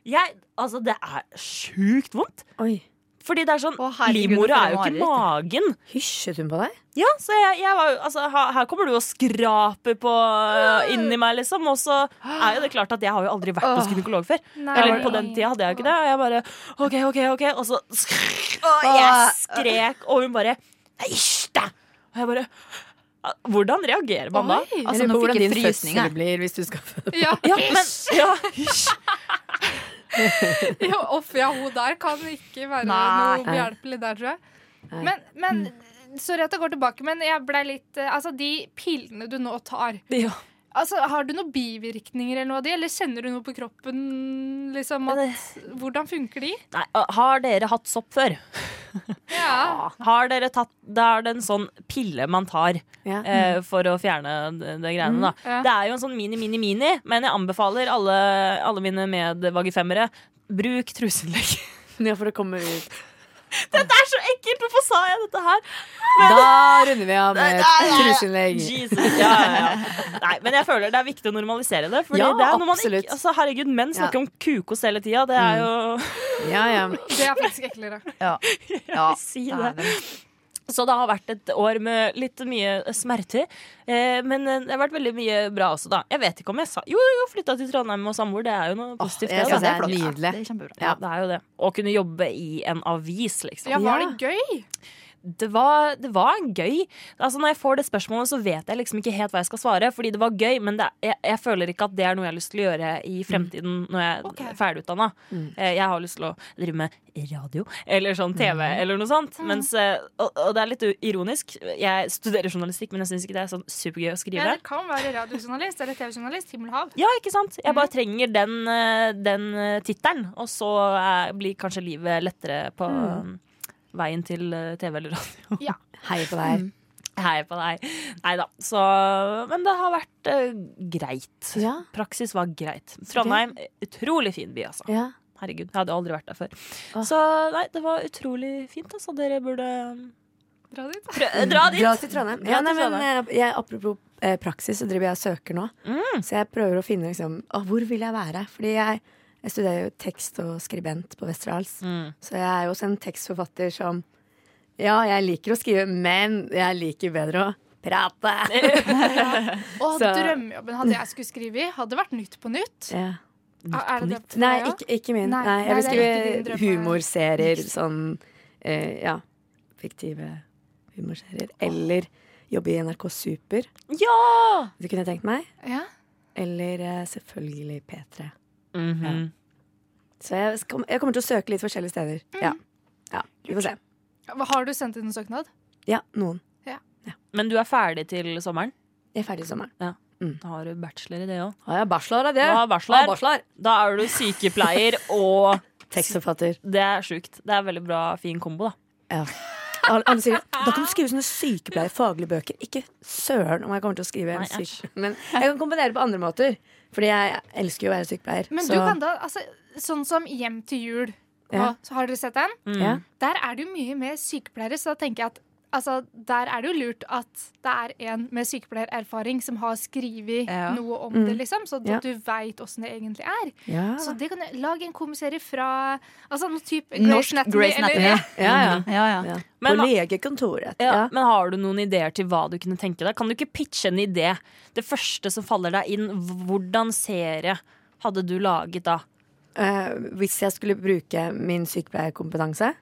Speaker 3: Jeg, altså, det er sjukt vondt.
Speaker 4: Oi.
Speaker 3: Fordi det er sånn,
Speaker 5: Å, herregud,
Speaker 3: livmora
Speaker 5: for
Speaker 3: er jo
Speaker 5: et
Speaker 3: ikke magen.
Speaker 4: Hysjet hun på deg?
Speaker 3: Ja, så jeg, jeg var jo Altså, her, her kommer du og skraper på inni meg, liksom. Og så er jo det klart at jeg har jo aldri vært hos gynekolog før. Eller på den tida hadde jeg jo ikke det. Og jeg bare OK, OK, OK. Og så sk- og jeg skrek, og hun bare Æsj, da! Og jeg bare Hvordan reagerer man da?
Speaker 6: Oi.
Speaker 5: Altså,
Speaker 4: Eller
Speaker 5: nå fikk
Speaker 4: på hvordan
Speaker 5: jeg
Speaker 4: din
Speaker 5: frysning,
Speaker 4: fødsel
Speaker 5: jeg.
Speaker 4: blir hvis du skal føde.
Speaker 6: Ja,
Speaker 3: Ja, men ja,
Speaker 6: ja, off, ja, hun der kan ikke være
Speaker 5: Nei.
Speaker 6: noe behjelpelig der, tror jeg.
Speaker 4: Nei.
Speaker 6: Men, men sorry at jeg går tilbake, men jeg ble litt eh, Altså, de pillene du nå tar
Speaker 3: ja.
Speaker 6: Altså, Har du noen bivirkninger eller noe av de, eller kjenner du noe på kroppen? liksom at, Hvordan funker de?
Speaker 3: Nei, har dere hatt sopp før?
Speaker 6: Ja.
Speaker 3: Har dere tatt Det er det en sånn pille man tar
Speaker 4: Ja.
Speaker 3: eh, for å fjerne det, det greiene, da.
Speaker 4: Mm,
Speaker 6: Ja.
Speaker 3: Det er jo en sånn mini-mini-mini, men jeg anbefaler alle, alle mine medvagifemmere Bruk truselegg.
Speaker 4: Ja, for å komme ut.
Speaker 3: Det er så ekkelt! Hvorfor sa jeg dette her?
Speaker 4: Da runder vi av med truseinnlegg.
Speaker 3: Jesus, ja, ja, ja. Nei, men jeg føler det er viktig å normalisere det. Fordi
Speaker 4: Ja,
Speaker 3: det er når man
Speaker 4: absolutt. Mm.
Speaker 3: ikke, altså, herregud, menn snakker om kukos hele tida. Det er jo
Speaker 4: Ja, ja.
Speaker 6: Det er faktisk eklere.
Speaker 5: Ja.
Speaker 3: Si det.
Speaker 5: Dæven.
Speaker 3: Så det har vært et år med litt mye smerter. Eh, men det har vært veldig mye bra også, da. Jeg vet ikke om jeg sa Jo, jo, flytta til Trondheim og samboer. Det er jo noe positivt,
Speaker 4: jeg
Speaker 3: det.
Speaker 4: synes
Speaker 3: Da.
Speaker 4: det er
Speaker 5: flott.
Speaker 4: nydelig.
Speaker 5: det er kjempebra.
Speaker 3: Ja, det er jo det. Å kunne jobbe i en avis, liksom.
Speaker 6: Ja, Var det gøy?
Speaker 3: Det, var, det var gøy. Altså, når jeg får det spørsmålet, så vet jeg liksom ikke helt hva jeg skal svare. Fordi det var gøy, men det, jeg, jeg føler ikke at det er noe jeg har lyst til å gjøre i fremtiden når jeg
Speaker 6: Mm. Ok. Mm.
Speaker 3: er ferdigutdanna. Eh, Jeg har lyst til å drive med radio eller sånn TV
Speaker 6: Mm.
Speaker 3: eller noe sånt. Mens, eh, og, og det er litt u- ironisk. Jeg studerer journalistikk, men jeg syns ikke det er sånn supergøy å skrive.
Speaker 6: Ja, det kan være radiojournalist eller TV-journalist. Himmel og hav.
Speaker 3: Ja, ikke sant? Jeg
Speaker 6: Mm.
Speaker 3: bare trenger den, eh, den eh, tittelen, og så eh, blir kanskje livet lettere på
Speaker 6: Mm.
Speaker 3: eh, veien til eh, TV eller radio.
Speaker 4: Hei på
Speaker 3: Mm.
Speaker 4: deg.
Speaker 3: Hei på deg. Nei da. Så Men det har vært eh, greit.
Speaker 4: Ja.
Speaker 3: Praksis var greit. Trondheim, utrolig fin by, altså.
Speaker 4: Ja.
Speaker 3: Herregud, jeg hadde aldri vært der før.
Speaker 4: Åh.
Speaker 3: Så nei, det var utrolig fint, altså. Dere burde
Speaker 6: Dra dit.
Speaker 3: prø- Mm. dra dit.
Speaker 4: Dra til Trondheim.
Speaker 3: Dra
Speaker 4: Ja,
Speaker 3: til
Speaker 4: nei, men,
Speaker 3: Trondheim. Mm.
Speaker 4: eh, jeg, apropos eh, praksis, så driver jeg og søker nå. Så jeg prøver å finne liksom, å, hvor vil jeg være. Fordi jeg, jeg studerer jo tekst og skribent på Westerdals.
Speaker 3: Mm.
Speaker 4: Så jeg er jo også en tekstforfatter som Ja, jeg liker å skrive, men jeg liker bedre å prate.
Speaker 6: Og
Speaker 4: Så-
Speaker 6: drømmejobben hadde jeg skulle skrive i, hadde vært Nytt på nytt.
Speaker 4: ja.
Speaker 6: Er- er det det for
Speaker 4: Nei,
Speaker 6: deg også?
Speaker 4: ikke, ikke min.
Speaker 6: Nei,
Speaker 4: Nei,
Speaker 6: nei,
Speaker 4: jeg vil
Speaker 6: det er ikke din
Speaker 4: skrive
Speaker 6: drøm, ja.
Speaker 4: humorserier. Sånn eh, ja, fiktive humorserier. Eller jobbe i NRK Super.
Speaker 3: Ja!
Speaker 4: Det kunne jeg tenkt meg.
Speaker 6: Ja.
Speaker 4: Eller eh, selvfølgelig P3.
Speaker 3: Mhm.
Speaker 4: Så jeg, skal, jeg kommer til å søke litt forskjellige steder.
Speaker 6: Mm.
Speaker 4: Ja. ja. Vi får se.
Speaker 6: Har du sendt inn en søknad?
Speaker 4: Ja, noen.
Speaker 3: Men du er ferdig til sommeren?
Speaker 4: Jeg er ferdig i sommeren.
Speaker 3: Da har du bachelor i det òg.
Speaker 4: Har jeg bachelor av det?
Speaker 3: Du har bachelor.
Speaker 4: Har bachelor.
Speaker 3: Da er du sykepleier og
Speaker 4: Tekstforfatter.
Speaker 3: Det er sjukt. Det er veldig bra, fin kombo, da.
Speaker 4: Ja. Alle, alle sier da kan du skrive sånne sykepleierfaglige bøker. Ikke søren om jeg kommer til å skrive en
Speaker 3: Nei, æsj.
Speaker 4: syk... Men jeg kan kombinere det på andre måter. Fordi jeg elsker jo å være sykepleier.
Speaker 6: Men
Speaker 4: så-
Speaker 6: du kan da, altså, sånn som Hjem til jul. Nå,
Speaker 4: Ja.
Speaker 6: så har dere sett den?
Speaker 4: ja.
Speaker 6: Der er det jo mye med sykepleiere, så da tenker jeg at altså, der er det jo lurt at det er en med sykepleiererfaring som har skrevet
Speaker 5: Ja.
Speaker 6: noe om
Speaker 4: Mm.
Speaker 6: det, liksom, så
Speaker 4: Ja.
Speaker 6: at du veit åssen det egentlig er.
Speaker 4: ja.
Speaker 6: Så det kan jeg, Lag en komiserie fra altså, noe type
Speaker 5: Norsk Grey's Anatomy.
Speaker 6: eller-
Speaker 4: ja, ja.
Speaker 5: Ja, ja.
Speaker 4: ja.
Speaker 3: Mm. Men-
Speaker 4: på legekontoret.
Speaker 3: Ja,
Speaker 4: Ja.
Speaker 3: Men har du noen ideer til hva du kunne tenke deg? Kan du ikke pitche en idé? Det første som faller deg inn, h- hvordan serie hadde du laget da?
Speaker 4: Eh, hvis jeg skulle bruke min sykepleierkompetanse.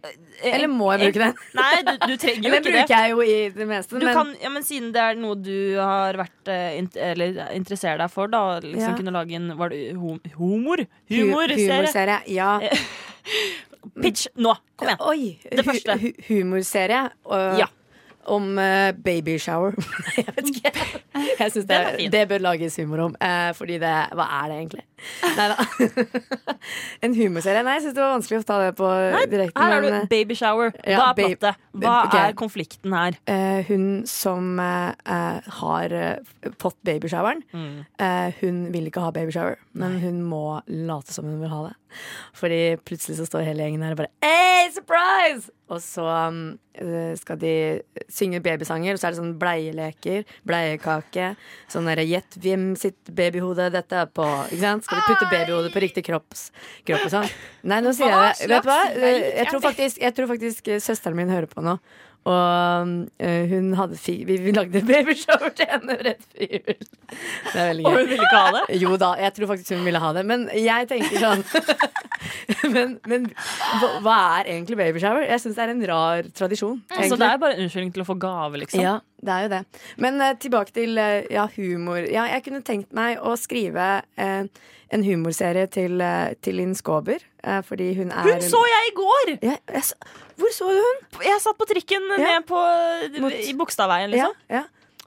Speaker 4: Eller må jeg bruke den?
Speaker 3: Nei, du, du trenger jo
Speaker 4: Den
Speaker 3: Eh, ikke det.
Speaker 4: bruker jeg jo i det meste.
Speaker 3: Du
Speaker 4: men
Speaker 3: kan, ja, men siden det er noe du har vært eh, int eller interesserer deg for, da, liksom
Speaker 4: Ja.
Speaker 3: kunne lage en Var det hum humor?
Speaker 4: hu-
Speaker 3: Humorserie?
Speaker 4: humorserie. Ja.
Speaker 3: Pitch nå! Kom igjen.
Speaker 4: Oi!
Speaker 3: Det første.
Speaker 4: Hu hu humorserie øh,
Speaker 3: Ja.
Speaker 4: om eh, baby shower. Nei, jeg vet ikke. Jeg synes det,
Speaker 3: Den er fin.
Speaker 4: det bør lages humor om. eh, fordi det Hva er det egentlig? Nei da. en humorserie? Nei, jeg syns det var vanskelig å ta det på direkten.
Speaker 3: Her har
Speaker 4: men, eh,
Speaker 3: du babyshower.
Speaker 4: Ja,
Speaker 3: Hva er
Speaker 4: babe-
Speaker 3: plottet? Hva
Speaker 4: ok.
Speaker 3: er konflikten her?
Speaker 4: eh, hun som eh, eh, har eh, fått babyshoweren, eh, hun vil ikke ha babyshower, men hun må late som hun vil ha det. Fordi plutselig så står hele gjengen her og bare Hey, surprise! Og så um, eh, skal de synge babysanger, og så er det sånn bleieleker, bleiekake. Sånn derre gjett hvem sitt babyhode dette er på. Ikke sant? Skal de putte babyhodet på riktig kropps, kropp og sånn? Nei, nå sier jeg det. Vet du hva? Eh, Jeg tror faktisk, jeg tror faktisk eh, søsteren min hører på nå. Og eh, hun hadde fi, vi, vi lagde babyshow til henne rett før jul. Det er veldig gøy.
Speaker 3: Og hun ville ikke ha det?
Speaker 4: Jo da, jeg tror faktisk hun ville ha det. Men jeg tenker sånn Men, men hva- hva er egentlig babyshower? Jeg syns det er en rar tradisjon.
Speaker 3: Så
Speaker 4: egentlig.
Speaker 3: det er bare en unnskyldning til å få gave, liksom.
Speaker 4: Ja, det er jo det. Men eh, tilbake til eh, ja, humor. Ja, jeg kunne tenkt meg å skrive eh, en humorserie til, uh, til Linn Skåber. eh, fordi hun er
Speaker 3: Hun så jeg i går!
Speaker 4: Ja, jeg s- Hvor så du hun?
Speaker 3: Jeg satt på trikken
Speaker 4: Ja.
Speaker 3: ned på,
Speaker 4: Mot-
Speaker 3: i Bogstadveien,
Speaker 4: Ja,
Speaker 3: liksom.
Speaker 4: ja.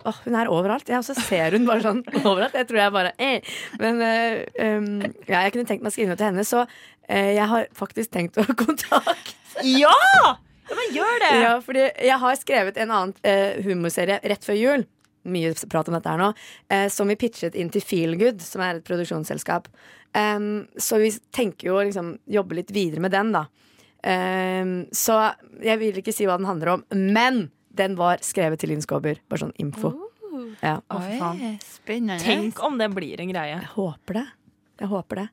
Speaker 4: Åh, hun er overalt. Jeg også ser hun bare sånn overalt. Jeg tror jeg bare eh. Men eh, um, ja, jeg kunne tenkt meg å skrive noe til henne, så eh, jeg har faktisk tenkt å kontakte
Speaker 3: Ja! ja men gjør det!
Speaker 4: Ja, fordi jeg har skrevet en annen eh, humorserie rett før jul. Mye prat om dette her nå. eh, som vi pitchet inn til Feelgood, som er et produksjonsselskap. Em, så vi tenker jo å liksom, jobbe litt videre med den, da. Em, så jeg vil ikke si hva den handler om, men den var skrevet til Linn Skåber. Bare sånn info. Ja.
Speaker 5: Oi, spennende.
Speaker 3: Tenk om det blir en greie.
Speaker 4: Jeg håper det. Jeg håper det.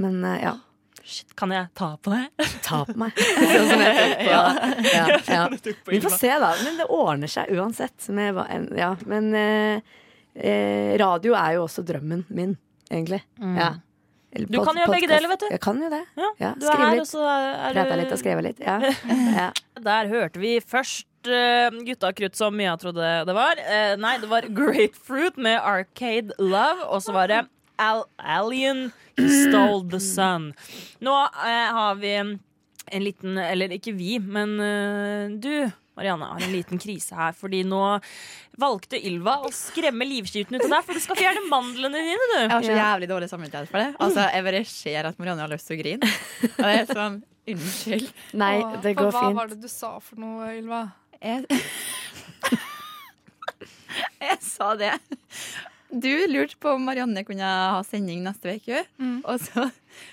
Speaker 4: Men eh, ja,
Speaker 3: Shit, kan jeg ta på det?
Speaker 4: ta på meg. Sånn som jeg tok på. Ja, ja. Vi får
Speaker 3: Ylva.
Speaker 4: se, da. Men det ordner seg uansett. Med hva enn- ja. Men eh, eh, radio er jo også drømmen min, egentlig. Ja. Eller
Speaker 3: Du kan
Speaker 4: pod-
Speaker 3: gjøre begge
Speaker 4: podcast.
Speaker 3: deler, vet du.
Speaker 4: Jeg kan jo det.
Speaker 3: Ja,
Speaker 4: Ja,
Speaker 3: du er
Speaker 4: skrive
Speaker 3: her,
Speaker 4: litt.
Speaker 3: og så er
Speaker 4: Prata litt og
Speaker 3: du
Speaker 4: skrive litt. Ja. ja.
Speaker 3: Der hørte vi først eh, Gutta krutt som Mia trodde det var. Eh, nei, det var Grapefruit med Arcade Love, og så var det Al Alien He Stole The Sun. Nå eh, har vi en liten Eller ikke vi, men eh, du. Marianne har en liten krise her, fordi nå valgte Ylva å skremme livskiten ut av deg, for du skal fjerne mandlene dine, du.
Speaker 5: Jeg har så jævlig dårlig samvittighet for det. Altså, Jeg bare ser at Marianne har lyst til å grine. Og det er sånn, unnskyld.
Speaker 4: Nei,
Speaker 6: Åh,
Speaker 4: det
Speaker 6: for
Speaker 4: går
Speaker 6: Hva var
Speaker 4: fint.
Speaker 6: det du sa for noe, Ylva?
Speaker 5: Jeg, jeg sa det. Du lurte på om Marianne kunne ha sending neste uke. Og så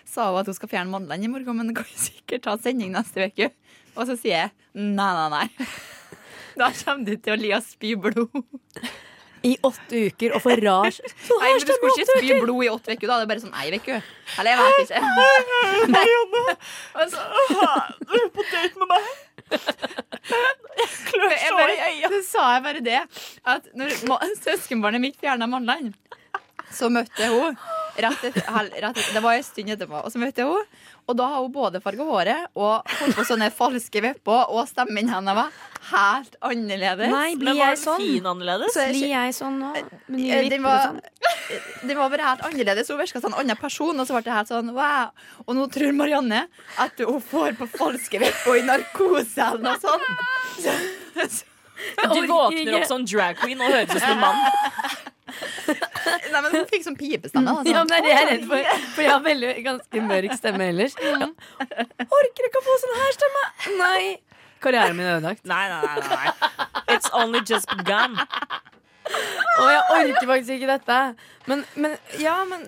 Speaker 5: sa hun at hun skal fjerne mandlene i morgen, men hun kan sikkert ha sending neste uke. Og så sier jeg nei, nei, nei. Da kommer du til å li og spy blod.
Speaker 4: I åtte uker og for rar
Speaker 5: Nei, men Du skulle ikke spy blod i åtte uker, da. Det er bare sånn ei uke. Eller jeg vet ikke. jeg bare, så sa jeg bare det At når ma- søskenbarnet mitt fjernet mandlene Så møtte jeg henne rett etter, hel- rett etter, Det var en stund etterpå Og så møtte jeg henne Og da har hun både farget håret Og holdt på sånne falske vepper Og stemmen henne var helt annerledes
Speaker 4: Nei,
Speaker 3: Men
Speaker 4: blir
Speaker 3: var
Speaker 4: jeg
Speaker 3: den
Speaker 4: sånn?
Speaker 3: fin annerledes?
Speaker 5: Så jeg-
Speaker 4: Blir jeg sånn nå? Med nye
Speaker 5: Eh,
Speaker 4: vipper
Speaker 5: Den
Speaker 4: og
Speaker 5: var,
Speaker 4: sånn?
Speaker 5: den var bare helt annerledes. Hun virka som en annen person. Og så ble det helt sånn wow. Og nå tror Marianne at hun får på falske vepper og i sånn. narkose eller noe sånt.
Speaker 3: Du våkner opp som drag queen og høres ut som en mann.
Speaker 5: Nei, men hun fikk sånn pipestemme. da, sånn.
Speaker 4: Ja, men det er jeg redd for, for jeg har veldig, ganske mørk stemme ellers. Jeg orker ikke å få sånn her stemme! Nei. Karrieren min er ødelagt.
Speaker 3: Nei, nei, nei, nei. It's only just begun.
Speaker 4: Og jeg orker faktisk ikke dette. Men, men ja, men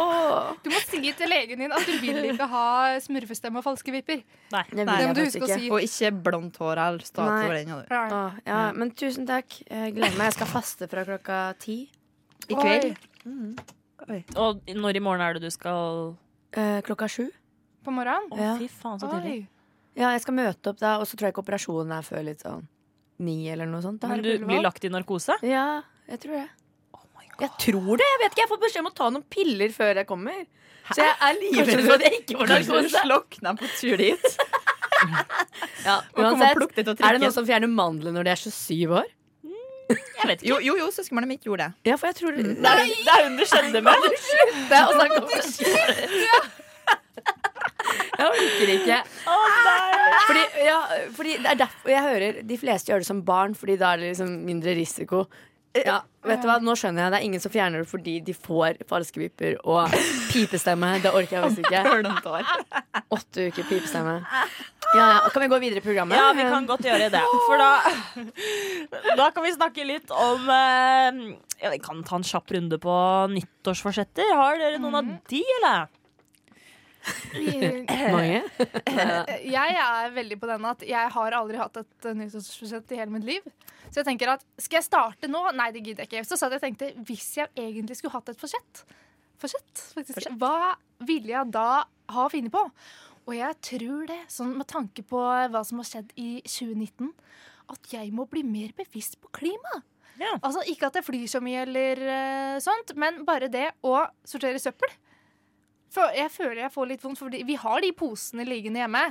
Speaker 4: åh.
Speaker 6: Du må si til legen din at du vil ikke ha smurfestemme og falske vipper.
Speaker 4: Det
Speaker 5: Nei,
Speaker 4: vil
Speaker 6: det må
Speaker 4: jeg
Speaker 6: du
Speaker 4: faktisk
Speaker 6: huske å
Speaker 4: ikke.
Speaker 6: si.
Speaker 5: Og ikke blondt hår eller
Speaker 4: Nei.
Speaker 5: statue. I
Speaker 4: Åh, ja, men tusen takk. Jeg gleder meg. Jeg skal faste fra klokka ti.
Speaker 5: kveld.
Speaker 3: Og når i morgen er det du skal
Speaker 4: Eh, klokka sju.
Speaker 6: På morgenen?
Speaker 3: Å,
Speaker 4: Ja.
Speaker 3: fy faen, så tidlig.
Speaker 6: Oi.
Speaker 4: Ja, jeg skal møte opp da, og så tror jeg ikke operasjonen er før litt sånn ni eller noe sånt. Da er
Speaker 3: Men du
Speaker 4: det
Speaker 3: blir
Speaker 4: Ullevål.
Speaker 3: lagt i narkose?
Speaker 4: Ja, jeg tror det.
Speaker 5: Oh
Speaker 4: Jeg tror det! Jeg vet ikke, jeg har fått beskjed om å ta noen piller før jeg kommer. Så jeg er livredd for at jeg ikke får
Speaker 5: Hun
Speaker 4: narkose.
Speaker 5: slokna på tur dit.
Speaker 4: Ja,
Speaker 5: Og kom og plukket ut og
Speaker 4: Er det noen
Speaker 5: trykket.
Speaker 4: som fjerner mandler når de er 27 år?
Speaker 3: Jeg vet ikke.
Speaker 5: Jo, jo, jo søskenbarnet mitt gjorde det.
Speaker 4: Ja, for jeg tror
Speaker 3: Det er, det er hun det skjedde med.
Speaker 4: Det er å snakke om Jeg orker ikke. Fordi, ja, fordi det er derfor jeg hører de fleste gjør det som barn, fordi da er det liksom mindre risiko.
Speaker 3: Eh,
Speaker 4: Ja, vet du hva, Nå skjønner jeg det er ingen som fjerner det fordi de får falske vipper og pipestemme. Det orker jeg visst ikke.
Speaker 5: Blondt hår.
Speaker 4: Åtte uker pipestemme. Ja, ja. Kan vi gå videre i programmet?
Speaker 3: Ja, vi kan godt gjøre det. For da Da kan vi snakke litt om eh, ja, Vi
Speaker 4: Mhm.
Speaker 3: kan ta en kjapp runde på nyttårsforsetter. Har dere noen av de, eller?
Speaker 4: Mange.
Speaker 6: Jeg er veldig på den at jeg har aldri hatt et eh, nyttårsforsett i hele mitt liv. Så jeg tenker at skal jeg starte nå? Nei, det gidder jeg ikke. Så satt jeg og tenkte, hvis jeg egentlig skulle hatt et forsett, forsett, faktisk, hva ville jeg da ha funnet på? Og jeg tror det, sånn med tanke på hva som har skjedd i 2019, at jeg må bli mer bevisst på klima.
Speaker 3: Ja.
Speaker 6: Altså, ikke at jeg flyr så mye eller eh, sånt, men bare det å sortere søppel. For jeg føler jeg får litt vondt, for vi har de posene liggende hjemme.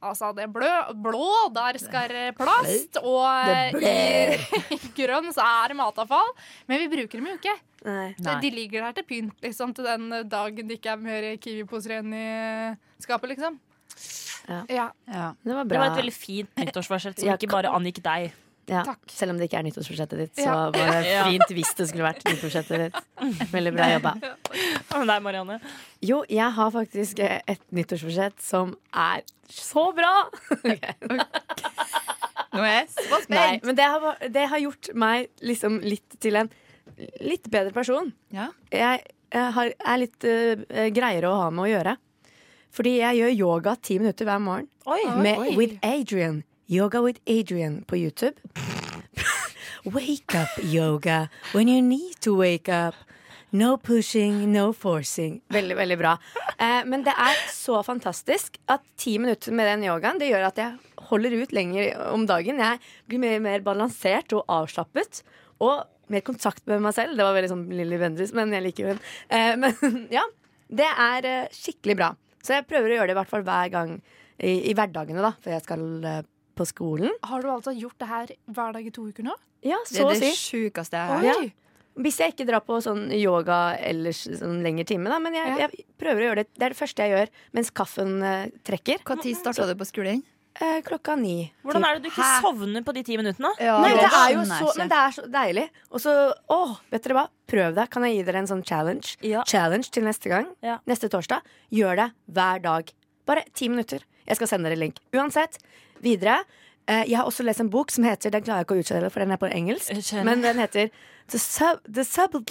Speaker 6: Altså, det er blø, blå, der skal det plast, og eh, i grønn så er det matavfall. Men vi bruker dem jo ikke.
Speaker 4: Nei.
Speaker 6: Det- De ligger der til pynt, liksom, til den dagen det ikke er mer kiwiposer igjen i skapet, liksom.
Speaker 4: Ja.
Speaker 5: Ja.
Speaker 4: Det var
Speaker 3: Det
Speaker 4: bra.
Speaker 3: var et veldig fint nyttårsvarsel som
Speaker 4: Ja,
Speaker 3: ikke bare angikk deg.
Speaker 4: ja.
Speaker 6: Takk.
Speaker 4: Selv om det ikke er nyttårsforsettet ditt, så
Speaker 6: Ja.
Speaker 4: var det
Speaker 3: Ja.
Speaker 4: fint hvis det skulle vært nyttårsforsettet ditt. Veldig bra jobba.
Speaker 3: Å, Nei, Marianne.
Speaker 4: Jo, jeg har faktisk et nyttårsforsett som er så bra!
Speaker 5: Nå er jeg så
Speaker 4: Nei,
Speaker 5: spent.
Speaker 4: men det har, det har gjort meg liksom litt til en litt bedre person.
Speaker 5: Ja.
Speaker 4: Jeg, jeg har, er litt eh, greiere å ha med å gjøre. Fordi jeg gjør yoga ti minutter hver morgen med
Speaker 5: Oi.
Speaker 4: With Adrian. Yoga with Adrian på YouTube. wake up yoga when you need to wake up. No pushing, no forcing. Veldig, veldig bra. Eh, men det er så fantastisk at ti minutter med den yogaen Det gjør at jeg holder ut lenger om dagen. Jeg blir mer, mer balansert og avslappet. Og mer kontakt med meg selv. Det var veldig sånn Lilly Bendriss, men jeg liker henne. Eh, men ja, det er eh, skikkelig bra. Så jeg prøver å gjøre det i hvert fall hver gang i, i hverdagene, da, før jeg skal eh, på skolen.
Speaker 6: Har du altså gjort det her hver dag i to uker nå?
Speaker 4: Ja,
Speaker 5: Det
Speaker 4: så
Speaker 5: er
Speaker 4: å
Speaker 5: det
Speaker 4: si.
Speaker 5: sjukeste jeg
Speaker 6: Oi!
Speaker 5: har
Speaker 4: Ja. Hvis jeg ikke drar på sånn yoga eller s- sånn lengre time, da, men jeg,
Speaker 6: Ja.
Speaker 4: jeg prøver å gjøre det. Det er det første jeg gjør mens kaffen eh, trekker.
Speaker 5: Når starta du på skolen?
Speaker 4: Eh, klokka ni.
Speaker 3: Hvordan er det du ikke
Speaker 5: Hæ?
Speaker 3: sovner på de ti minuttene?
Speaker 4: Nei, det er
Speaker 5: skjønner
Speaker 4: jo
Speaker 5: jeg
Speaker 4: så, men
Speaker 5: ikke.
Speaker 4: det er så deilig. Og så, åh, vet dere hva? Prøv det. Kan jeg gi dere en sånn challenge?
Speaker 3: Ja.
Speaker 4: Challenge til neste gang.
Speaker 3: Ja.
Speaker 4: Neste torsdag. Gjør det hver dag. Bare ti minutter. Jeg skal sende dere link. Uansett, videre. eh, Jeg har også lest en bok som heter Den klarer jeg ikke å uttale, for den er på engelsk.
Speaker 3: Jeg skjønner.
Speaker 4: Men den heter The, sub, the Subtle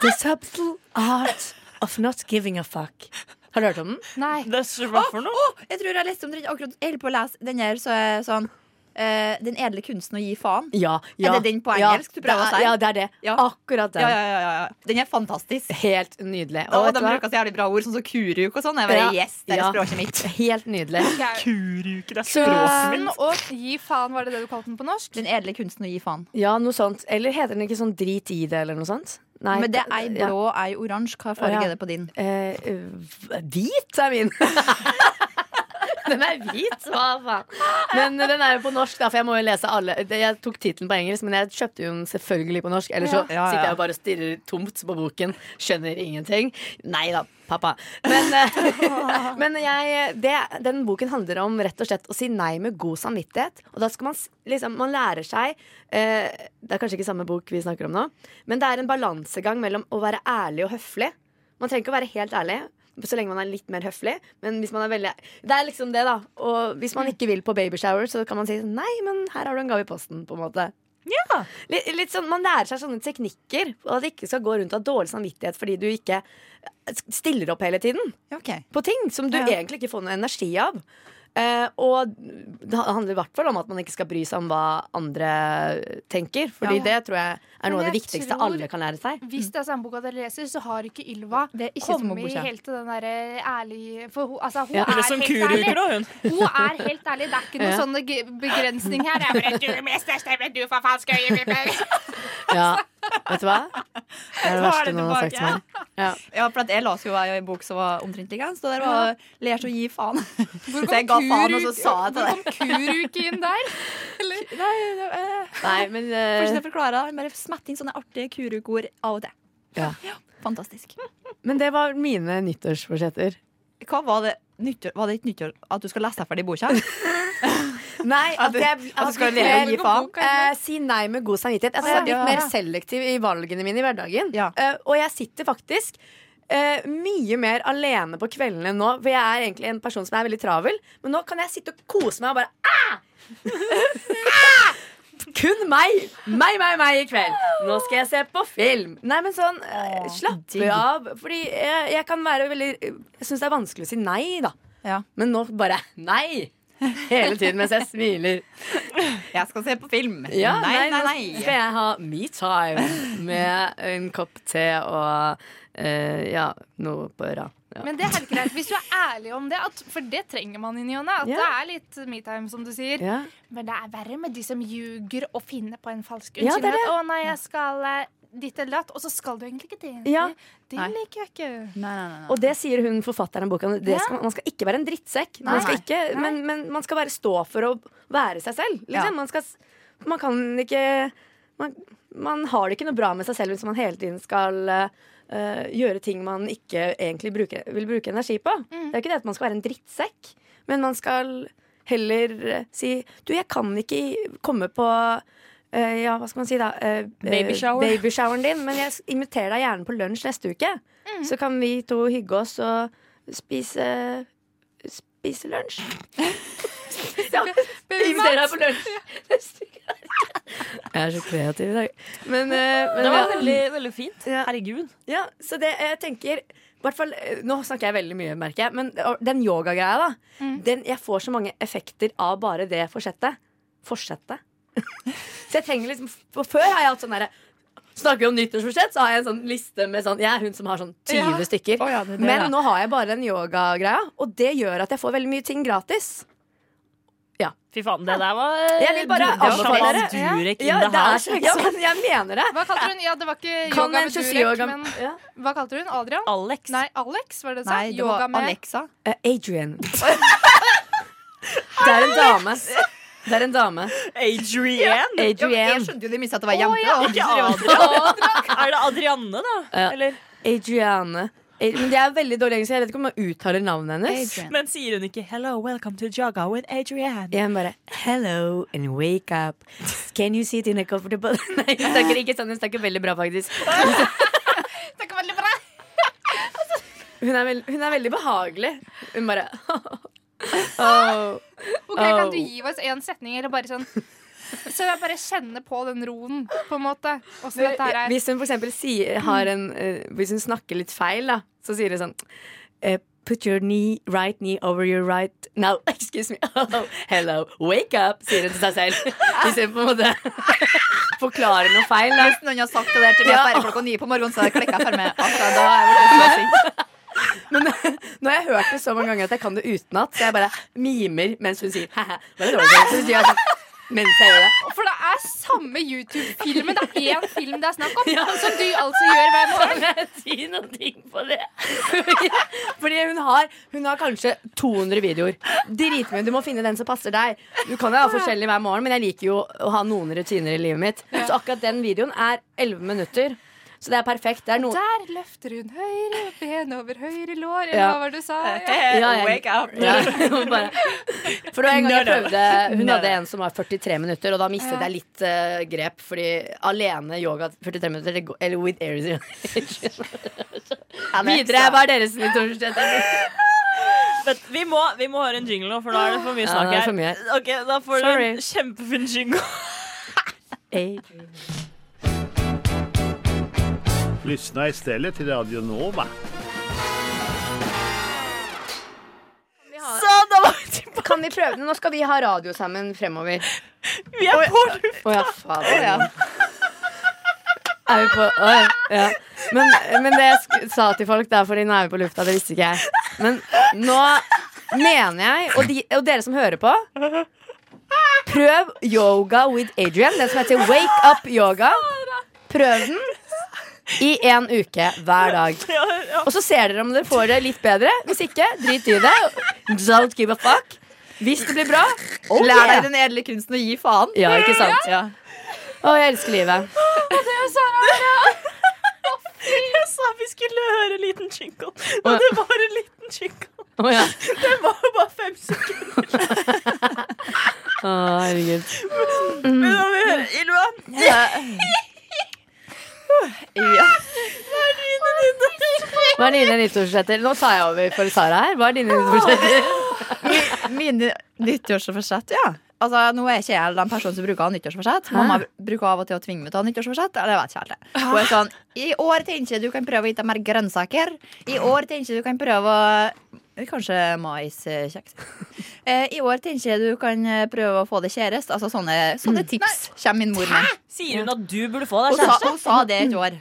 Speaker 4: The Subtle Art of Not Giving a Fuck. Har du hørt om den?
Speaker 6: Nei.
Speaker 3: Det er hva for noe?
Speaker 5: Jeg tror jeg har lest om det akkurat Jeg holder på å lese den her, så er jeg sånn eh, Den edle kunsten å gi faen.
Speaker 4: Ja, ja,
Speaker 5: det den på
Speaker 4: ja.
Speaker 5: engelsk du prøver å
Speaker 4: Det er-
Speaker 5: si?
Speaker 4: Ja, det er det.
Speaker 5: Ja.
Speaker 4: Akkurat den.
Speaker 5: Ja, ja, ja, ja, ja. Den er fantastisk.
Speaker 4: Helt nydelig.
Speaker 5: Og
Speaker 4: vet
Speaker 5: de
Speaker 4: du hva?
Speaker 5: bruker så jævlig bra ord, sånn som kuruk og sånn. Jeg bare,
Speaker 4: Ja.
Speaker 5: yes, det er
Speaker 4: Ja.
Speaker 5: språket mitt
Speaker 4: Helt nydelig.
Speaker 6: Okay.
Speaker 3: Kuruke, det er
Speaker 4: Så-
Speaker 3: språket
Speaker 6: Men
Speaker 3: mitt.
Speaker 6: å gi faen, var det det du kalte den på norsk?
Speaker 5: Den edle kunsten å gi faen.
Speaker 4: Ja, noe sånt. Eller heter den ikke sånn drit i det, eller noe sånt? Nei,
Speaker 5: Men det er ei
Speaker 4: ja.
Speaker 5: blå, ei oransje. Hva
Speaker 4: Å,
Speaker 5: farge
Speaker 4: ja.
Speaker 5: er det på din?
Speaker 4: Eh, v- hvit er min. den er hvit, hva faen. Men den er jo på norsk, da, for jeg må jo lese alle. det- Jeg tok tittelen på engelsk, men jeg kjøpte jo den selvfølgelig på norsk. Eller så
Speaker 5: Ja, ja.
Speaker 4: sitter jeg bare og stirrer tomt på boken, skjønner ingenting. Nei da, pappa. Men, eh, men jeg, det, den boken handler om rett og slett å si nei med god samvittighet. Og da skal man s- liksom Man lærer seg eh, Det er kanskje ikke samme bok vi snakker om nå, men det er en balansegang mellom å være ærlig og høflig. Man trenger ikke å være helt ærlig så lenge man er litt mer høflig. Men hvis man er veldig Det er liksom det, da. Og
Speaker 6: Mm.
Speaker 4: hvis man ikke vil på babyshower, så kan man si sånn, nei, men her har du en gave i posten, på en måte. Litt, litt sånn, Man lærer seg sånne teknikker, og at det ikke skal gå rundt av dårlig samvittighet fordi du ikke eh, stiller opp hele tiden
Speaker 5: Ja, ok.
Speaker 4: på ting som du
Speaker 5: Ja.
Speaker 4: egentlig ikke får noe energi av. Eh, og det handler i hvert fall om at man ikke skal bry seg om hva andre tenker. Fordi
Speaker 6: Ja.
Speaker 4: det tror jeg er noe av det
Speaker 6: jeg
Speaker 4: viktigste
Speaker 6: tror-
Speaker 4: alle kan lære seg.
Speaker 6: Hvis det er samme boka dere leser, så har ikke Ylva
Speaker 5: Det er ikke som å
Speaker 6: kommet
Speaker 5: bortse.
Speaker 6: helt til den derre ærlige For hun, altså, hun
Speaker 4: Ja,
Speaker 6: er
Speaker 3: Eller som
Speaker 6: helt
Speaker 3: kuruker,
Speaker 6: ærlig.
Speaker 3: da, hun.
Speaker 6: Hun er helt ærlig. Det er ikke noen
Speaker 4: Ja.
Speaker 6: sånn g- begrensning her. Det er bare, du er mest største, men du forfalsker øyeblikket.
Speaker 4: Ja, Vet du hva? Det er det verste noen har sagt til meg.
Speaker 5: Ja, for at jeg leste jo ei bok som var omtrent likens. Så der var lærte å gi faen.
Speaker 6: Hvor
Speaker 5: Så jeg ga faen, og så sa jeg til deg.
Speaker 6: kuruke inn der?
Speaker 4: eh. Nei, men
Speaker 5: Får ikke
Speaker 4: eh,
Speaker 5: det forklara. Han bare smetter inn sånne artige kurukord av og til.
Speaker 4: Ja.
Speaker 5: Fantastisk.
Speaker 4: Men det var mine nyttårsforsetter.
Speaker 5: Hva var det nyttår, Var det ikke nyttår at du skal lese deg ferdig boka?
Speaker 4: Nei,
Speaker 5: At
Speaker 4: at
Speaker 5: du-
Speaker 4: jeg
Speaker 5: at du
Speaker 4: at
Speaker 5: skal
Speaker 4: jeg-
Speaker 5: leve i faen?
Speaker 4: Eh, si nei med god samvittighet. Altså, jeg har blitt mer selektiv i valgene mine i hverdagen.
Speaker 5: Ja.
Speaker 4: Eh, og jeg sitter faktisk eh, mye mer alene på kveldene nå, for jeg er egentlig en person som er veldig travel. Men nå kan jeg sitte og kose meg og bare ah! Ah! Kun meg! Meg, meg, meg i kveld. Nå skal jeg se på film. Nei, men sånn, eh, slapp av. Fordi jeg, jeg kan være veldig Jeg syns det er vanskelig å si nei, da.
Speaker 5: Ja.
Speaker 4: Men nå bare nei! Hele tiden mens jeg smiler.
Speaker 5: Jeg skal se på film.
Speaker 4: Ja,
Speaker 5: nei, nei, nei.
Speaker 4: nå Skal jeg ha metime med en kopp te og eh, ja, noe på øra. Ja.
Speaker 6: Men det er helt greit hvis du er ærlig om det, at, for det trenger man i ny og ne. At
Speaker 4: Ja.
Speaker 6: det er litt metime, som du sier.
Speaker 4: Ja.
Speaker 6: Men det er verre med de som ljuger og finner på en falsk
Speaker 4: Ja, det er
Speaker 6: unnskyldning. at, å nei, jeg skal eh, ditt eller datt, og så skal du egentlig ikke det.
Speaker 4: Ja.
Speaker 6: Det
Speaker 5: Nei.
Speaker 6: liker jeg ikke.
Speaker 5: Nei, nei, nei, nei.
Speaker 4: Og det sier hun forfatteren av boka. Det
Speaker 6: Ja.
Speaker 4: skal, man skal ikke være en drittsekk. Man
Speaker 5: Nei.
Speaker 4: skal ikke, men, men man skal bare stå for å være seg selv.
Speaker 5: Ja.
Speaker 4: Liksom. Man, skal, s- man kan ikke man, man har det ikke noe bra med seg selv hvis man hele tiden skal eh, eh, gjøre ting man ikke egentlig bruke, vil bruke energi på.
Speaker 3: Mm.
Speaker 4: Det er jo ikke det at man skal være en drittsekk, men man skal heller eh, si Du, jeg kan ikke komme på eh, ja, hva skal man si da? Eh,
Speaker 3: Baby
Speaker 4: eh,
Speaker 3: shower.
Speaker 4: Babyshoweren din. Men jeg s- inviterer deg gjerne på lunsj neste uke.
Speaker 3: Mm.
Speaker 4: Så kan vi to hygge oss og spise Spise lunsj. ja, inviterer deg på lunsj neste uke. Jeg er så kreativ i dag. Men, eh, men
Speaker 3: Det var
Speaker 4: ja.
Speaker 3: veldig, veldig fint.
Speaker 4: Ja.
Speaker 3: Herregud.
Speaker 4: Ja, så det jeg tenker i hvert fall, eh, Nå snakker jeg veldig mye, merker jeg, men eh, den yogagreia, da. Den, jeg får så mange effekter av bare det forsettet. Forsettet. så jeg trenger liksom For før har jeg hatt sånn derre Snakker vi om nyttårsforsett, så har jeg en sånn liste med sånn Jeg er hun som har sånn 20 stykker.
Speaker 5: Å ja, det er det,
Speaker 4: men
Speaker 5: ja.
Speaker 4: nå har jeg bare den yogagreia, og det gjør at jeg får veldig mye ting gratis.
Speaker 3: Fy faen, det der var eh,
Speaker 4: Jeg vil bare
Speaker 3: det var
Speaker 4: anbefale
Speaker 3: Shaman
Speaker 4: dere.
Speaker 3: Durek in
Speaker 4: Ja,
Speaker 3: the
Speaker 4: det er
Speaker 3: house. liksom.
Speaker 4: så, ja, men jeg mener det.
Speaker 6: Hva kalte hun? Ja, det var ikke yoga
Speaker 4: Kan en
Speaker 6: med Durek,
Speaker 4: 27-yoga
Speaker 6: men
Speaker 4: ja.
Speaker 6: hva kalte hun? Adrian?
Speaker 3: Alex.
Speaker 6: Nei, Alex, var det du sa?
Speaker 5: Nei, det var
Speaker 6: Yoga med-
Speaker 5: Alexa.
Speaker 4: Eh, Adrian. det er en dame. ass. Det er en dame.
Speaker 3: Adrian.
Speaker 5: Ja, men jeg
Speaker 4: Adrian.
Speaker 5: skjønte jo det minste at det var jente.
Speaker 3: Ikke Adrian. Er det Adrianne, da?
Speaker 4: Ja.
Speaker 3: Eller,
Speaker 4: Adriane. Ad- Men det er veldig dårlig engelsk. Jeg vet ikke om jeg uttaler navnet hennes.
Speaker 5: Adrian.
Speaker 3: men sier hun ikke 'Hello, welcome to Jaga with Adrian'?
Speaker 4: Jeg bare Hello and wake up. Can you sit in a comfortable Nei, hun snakker ikke sånn. Hun snakker veldig bra, faktisk.
Speaker 6: Det kan være litt bra.
Speaker 4: Hun er, veld, hun er veldig behagelig. Hun bare oh.
Speaker 6: Ok, Kan du gi oss en setning, eller bare sånn Så jeg bare kjenner på den roen, på en måte. Åssen dette her er.
Speaker 4: Hvis hun for eksempel sier, har en, eh, hvis hun snakker litt feil, da, så sier hun sånn eh, Put your knee, right knee over your right No, excuse me. Oh, hello. Wake up, sier hun til seg selv. Hvis hun på en måte forklarer noe feil, da.
Speaker 5: Hvis noen har sagt det der til meg
Speaker 4: Ja.
Speaker 5: bare klokka ni på morgenen, så klikker jeg for meg. Altså, da er jeg veldig sint.
Speaker 4: Men nå har jeg hørt det så mange ganger at jeg kan det utenat, så jeg bare mimer mens hun sier hæ-hæ. Bare dårlig, så sier jeg sånn, mens jeg gjør det.
Speaker 6: For det er samme YouTube-filmen. Det er én film det er snakk om, som du altså gjør hver morgen.
Speaker 4: Kan jeg si noen ting på det? Fordi hun har, hun har kanskje 200 videoer. Dritmye. Du må finne den som passer deg. Du kan jo ha forskjellig hver morgen, men jeg liker jo å ha noen rutiner i livet mitt. Så akkurat den videoen er 11 minutter. Så det er perfekt. Det er noen
Speaker 6: Der løfter hun høyre ben over høyre lår. Eller
Speaker 4: Ja.
Speaker 6: hva var det du sa?
Speaker 3: Eh,
Speaker 6: Ja.
Speaker 4: Ja, jeg-
Speaker 3: Wake up.
Speaker 4: ja, bare. For det var en gang jeg
Speaker 3: No, no.
Speaker 4: prøvde Hun
Speaker 3: No, no.
Speaker 4: hadde en som var 43 minutter, og da mistet jeg litt eh, grep. Fordi alene yoga 43 minutter det går- Eller with air Videre. Hva er deres nyttårsforsett?
Speaker 3: Vent, vi, må, vi må høre en jingle nå, for nå er det for mye
Speaker 4: Ja,
Speaker 3: snakk
Speaker 4: det er
Speaker 3: her.
Speaker 4: for mye.
Speaker 3: Ok, Da får du
Speaker 4: Sorry.
Speaker 3: en kjempefin jingle.
Speaker 7: Lyssna istället till Radio Nova.
Speaker 3: Så da var vi tilbake.
Speaker 4: Kan vi prøve det? Nå skal vi ha radio sammen fremover.
Speaker 3: Vi er på luft.
Speaker 4: Å ja, fader. Er vi på Å ja, ja. Men, men det jeg sk sa til folk der, fordi nå er vi på lufta, det visste ikke jeg. Men nå mener jeg, og, de, og dere som hører på Prøv yoga with Adrian, den som heter Wake Up Yoga. Prøv den i en uke hver dag.
Speaker 3: Ja, ja.
Speaker 4: Og så ser dere om dere får det litt bedre. Hvis ikke, drit i det. Don't give a fuck. Hvis det blir bra,
Speaker 3: Oh,
Speaker 5: Lær deg
Speaker 4: lær deg det.
Speaker 5: den edle kunsten å gi faen.
Speaker 4: Ja, ikke sant?
Speaker 5: Ja.
Speaker 4: Å, jeg elsker livet.
Speaker 3: Jeg sa vi skulle høre en liten jingle, og det var en liten jingle.
Speaker 4: Å ja.
Speaker 3: Det var jo bare fem sekunder.
Speaker 4: Å, herregud.
Speaker 3: Men da må vi høre Ylva.
Speaker 4: Hva er dine nyttårsforsetter? Nå tar jeg over for Sara her. Hva er dine nyttårsforsetter?
Speaker 5: Mine nyttårsforsett, ja. Altså, nå er ikke jeg den personen som bruker å ha nyttårsforsett. Mamma bruker av og til å tvinge meg til å ha nyttårsforsett. Eller jeg vet ikke helt det. Hun er sånn I år tenker jeg du kan prøve å gi deg mer grønnsaker. I år tenker jeg du kan prøve å Kanskje maiskjeks. Eh, I år tenker jeg du kan eh, prøve å få deg kjæreste. Altså sånne, sånne tips kommer min mor med.
Speaker 3: Sier hun at du burde få deg
Speaker 5: Hun sa,
Speaker 3: kjæreste?
Speaker 5: hun sa det et år.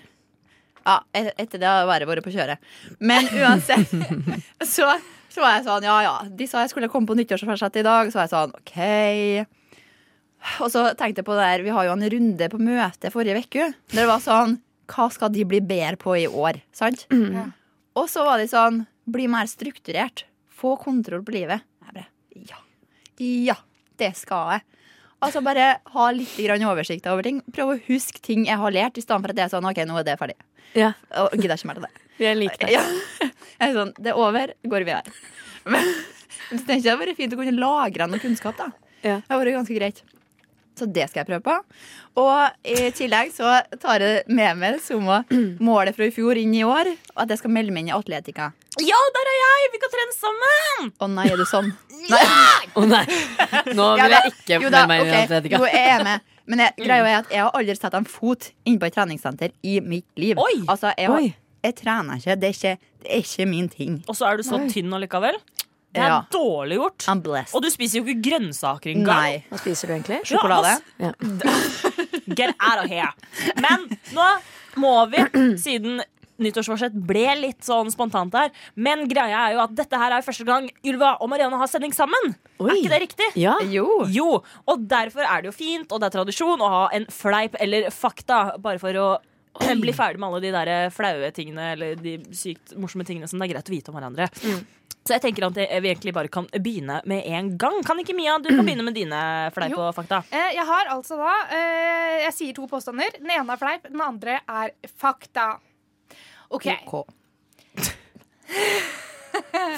Speaker 5: Ja, et- etter det har jeg bare vært på kjøret. Men uansett, så, så var jeg sånn, ja ja. De sa jeg skulle komme på nyttårsforsett i dag, så var jeg sånn, OK. Og så tenkte jeg på det der, vi har jo en runde på møte forrige uke. Der det var sånn, hva skal de bli bedre på i år? Sant?
Speaker 6: Ja.
Speaker 5: Og så var de sånn, bli mer strukturert. Få kontroll på livet. Jeg bare, ja. Ja, det skal jeg. Altså Bare ha litt grann oversikt over ting. Prøv å huske ting jeg har lært, i stedet for at det er sånn OK, nå er det ferdig.
Speaker 4: Ja.
Speaker 5: Og gidder ikke mer til det.
Speaker 4: Vi er like
Speaker 5: Ja. Jeg er sånn, det er over, går vi her. Men så tenker jeg det hadde vært fint å kunne lagre noe kunnskap, da.
Speaker 4: Ja.
Speaker 5: Det hadde vært ganske greit. Så det skal jeg prøve på. Og i tillegg så tar jeg med meg som å målet fra i fjor inn i år, og at jeg skal melde meg inn i atletika.
Speaker 3: Ja, der er jeg! Vi kan trene sammen!
Speaker 5: Å nei, er du sånn?
Speaker 8: Å nei, nå vil jeg ikke
Speaker 5: Jo
Speaker 8: få
Speaker 5: da,
Speaker 8: meg
Speaker 5: ok.
Speaker 8: mer atletika.
Speaker 5: Jo, jeg er med. Men jeg, greia er at jeg har aldri satt en fot inne på et treningssenter i mitt liv.
Speaker 3: Oi!
Speaker 5: Altså, jeg, har,
Speaker 8: Oi.
Speaker 5: jeg trener ikke. Det er ikke, det er ikke min ting.
Speaker 3: Og så er du så tynn allikevel. Det er
Speaker 5: Ja.
Speaker 3: dårlig gjort.
Speaker 5: I'm blessed.
Speaker 3: Og du spiser jo ikke grønnsaker engang.
Speaker 5: Nei.
Speaker 4: Hva spiser du egentlig?
Speaker 5: Sjokolade.
Speaker 3: Ja,
Speaker 4: Ja.
Speaker 3: ass. Get out of here. Men nå må vi, siden nyttårsforsett ble litt sånn spontant her, men greia er jo at dette her er første gang Ylva og Marianne har sending sammen. Er
Speaker 4: Oi.
Speaker 3: ikke det riktig?
Speaker 4: Ja.
Speaker 5: Jo.
Speaker 3: Jo, og derfor er det jo fint, og det er tradisjon å ha en fleip eller fakta, bare for å bli ferdig med alle de der flaue tingene eller de sykt morsomme tingene som det er greit å vite om hverandre.
Speaker 6: Mm.
Speaker 3: Så jeg tenker at vi egentlig bare kan begynne med en gang. Kan ikke Mia, du kan begynne med dine fleip
Speaker 6: Jo.
Speaker 3: og fakta.
Speaker 6: Eh, Jeg har altså da eh, Jeg sier to påstander. Den ene er fleip, den andre er fakta. OK.
Speaker 5: Ok.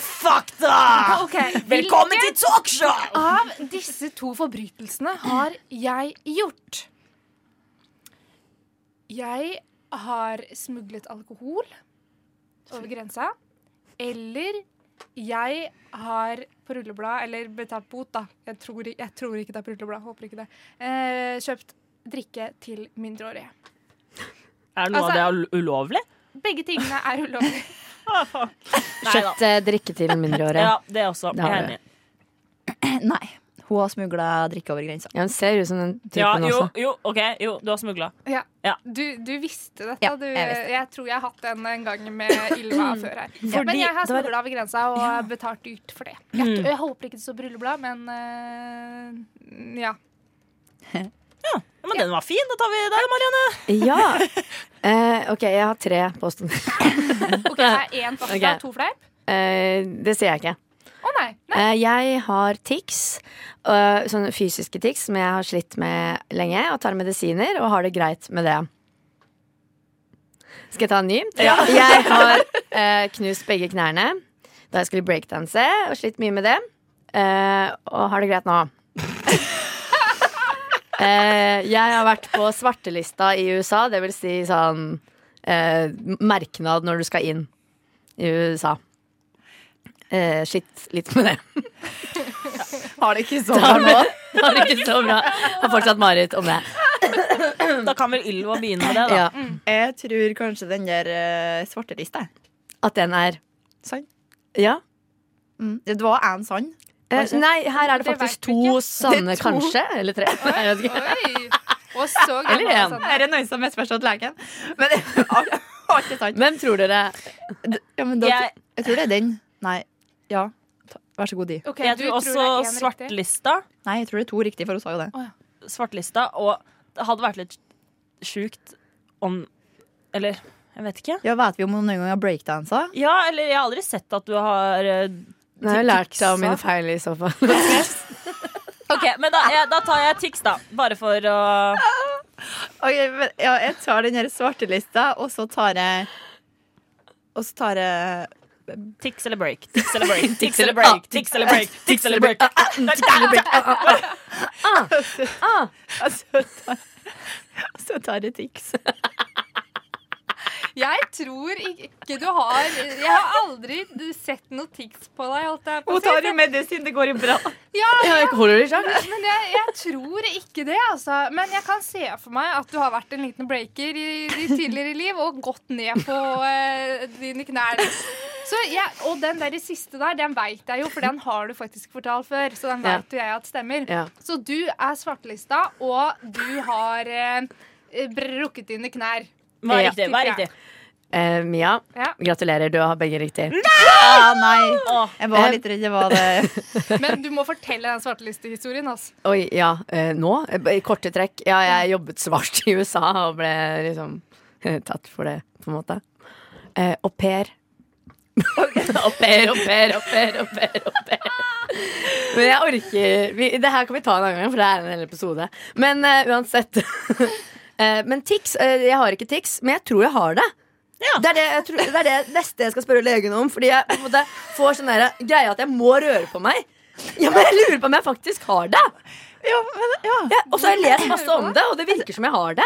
Speaker 3: Fakta!
Speaker 6: Ah, Ok,
Speaker 3: Velkommen til talkshow!
Speaker 6: Av disse to forbrytelsene har jeg gjort. Jeg har smuglet alkohol over grensa. Eller jeg har på rulleblad, eller betalt bot, da. Jeg tror, jeg tror ikke det er på rulleblad. Håper ikke det. Eh, kjøpt drikke til mindreårige.
Speaker 3: Er noe
Speaker 6: Altså-
Speaker 3: av det ulovlig?
Speaker 6: Begge tingene er ulovlig.
Speaker 3: Neida.
Speaker 4: Kjøpt eh, drikke til mindreårige.
Speaker 3: Ja, det også.
Speaker 4: Det
Speaker 3: Jeg
Speaker 4: har
Speaker 3: er
Speaker 4: du.
Speaker 3: enig.
Speaker 5: Nei. Hun har smugla drikke over grensa.
Speaker 4: Ja, hun ser ut som den typen
Speaker 3: Ja, jo,
Speaker 4: også.
Speaker 3: jo, OK. Jo, du har smugla.
Speaker 6: Ja.
Speaker 3: Ja.
Speaker 6: Du, du visste dette.
Speaker 5: Ja,
Speaker 6: du,
Speaker 5: jeg
Speaker 6: jeg,
Speaker 5: visste det.
Speaker 6: tror jeg har hatt den en gang med Ylva før her. Ja, men jeg har
Speaker 3: det var-
Speaker 6: smugla over grensa og betalt dyrt for det. Jeg, tror- jeg håper ikke det står på rulleblad, men øh, ja.
Speaker 3: Ja, men den var fin. Da tar vi deg, Marianne.
Speaker 4: Ja. Eh, OK, jeg har tre påstander.
Speaker 6: OK, det er én fakta
Speaker 4: Ok.
Speaker 6: to fleip.
Speaker 4: Eh, det sier jeg ikke.
Speaker 6: Å nei. nei.
Speaker 4: Eh, jeg har tics, øh, sånne fysiske tics som jeg har slitt med lenge, og tar medisiner og har det greit med det. Skal jeg ta en ny? Jeg har eh, knust begge knærne da jeg skulle breakdanse, og slitt mye med det. eh, og har det greit nå. Eh, jeg har vært på svartelista i USA, det vil si sånn eh, merknad når du skal inn i USA. Eh, slitt litt med det.
Speaker 5: Har det ikke sånn?
Speaker 4: Da har det- da har det ikke så bra. Har fortsatt mareritt om det.
Speaker 3: Da kan vel Ylva begynne med det, da.
Speaker 4: Ja,
Speaker 5: Jeg tror kanskje den der eh, svartelista. jeg.
Speaker 4: at den er
Speaker 5: Sann.
Speaker 4: Ja.
Speaker 5: Mm. Det var en sann.
Speaker 4: Eh, nei, her er det
Speaker 6: Det
Speaker 4: faktisk
Speaker 6: vet vi ikke.
Speaker 4: to sanne, kanskje. Eller tre. Nei, jeg vet ikke.
Speaker 6: Oi. Og så
Speaker 4: Eller
Speaker 6: gammel
Speaker 4: en.
Speaker 6: sånn.
Speaker 5: Her er noen som misforstått leken. Men har ikke sant.
Speaker 4: Hvem tror dere
Speaker 5: Ja, men da,
Speaker 3: Jeg-
Speaker 5: jeg, tror det er den. Nei. Ja. Ta- Vær så god, de.
Speaker 6: Ok,
Speaker 3: Jeg
Speaker 6: du
Speaker 3: tror også
Speaker 6: det er en riktig.
Speaker 3: svartlista,
Speaker 5: Nei, jeg tror det er to riktige, for hun sa jo det.
Speaker 3: svartlista. Og det hadde vært litt sjukt om Eller jeg vet ikke.
Speaker 5: Ja, Vet vi om hun noen gang har breakdansa?
Speaker 3: Ja, eller jeg har aldri sett at du har eh,
Speaker 4: Nå har jeg lært av mine feil i så fall.
Speaker 3: OK, men da, jeg, da tar jeg Tix, da. Bare for å
Speaker 5: Ok, men, ja, jeg tar den her svartelista, og så tar jeg Og så tar jeg
Speaker 3: Tix eller break. Tix eller break. Tix eller break. Tix eller break. Tix eller break. Ah,
Speaker 5: Og så tar, og så tar jeg Tix.
Speaker 6: Jeg tror ikke du har Jeg har aldri sett noe tics på deg. Holdt jeg på å si.
Speaker 3: jo medisin, det går jo bra.
Speaker 6: Ja,
Speaker 4: Ja, jeg holder det i sjakk.
Speaker 6: men jeg, jeg tror ikke det, altså. Men jeg kan se for meg at du har vært en liten breaker i ditt tidligere liv og gått ned på eh, dine knær. Så jeg, og den der siste der, den veit jeg jo, for den har du faktisk fortalt før. Så den
Speaker 4: Ja.
Speaker 6: veit jo jeg at stemmer.
Speaker 4: Ja.
Speaker 6: Så du er svartelista, og du har eh, brukket dine knær.
Speaker 3: Vær
Speaker 4: Ja.
Speaker 3: riktig. Vær riktig.
Speaker 4: Eh, Mia,
Speaker 6: Ja.
Speaker 4: gratulerer. Du har begge riktig.
Speaker 5: Ah, nei. Jeg var litt redd det var det.
Speaker 6: Men du må fortelle den svartelistehistorien. Altså.
Speaker 4: Oi, ja. Eh, nå? Eh, I korte trekk. Ja, jeg jobbet svart i USA og ble liksom tatt for det, på en måte. Eh, au pair. au pair, au pair, au pair, au pair. au pair. Men jeg orker vi, Det her kan vi ta en annen gang, for det er en hel episode. Men eh, uansett. Eh, men tics eh, Jeg har ikke tics, men jeg tror jeg har det. Det, er det, jeg tror, det er det neste jeg skal spørre legen om. Fordi jeg på en måte får sånn der greie at jeg må røre på meg. Ja, men Jeg lurer på om jeg faktisk har det.
Speaker 5: Ja, men, ja.
Speaker 4: Ja, og så har jeg lest masse om det, og det virker som jeg har det.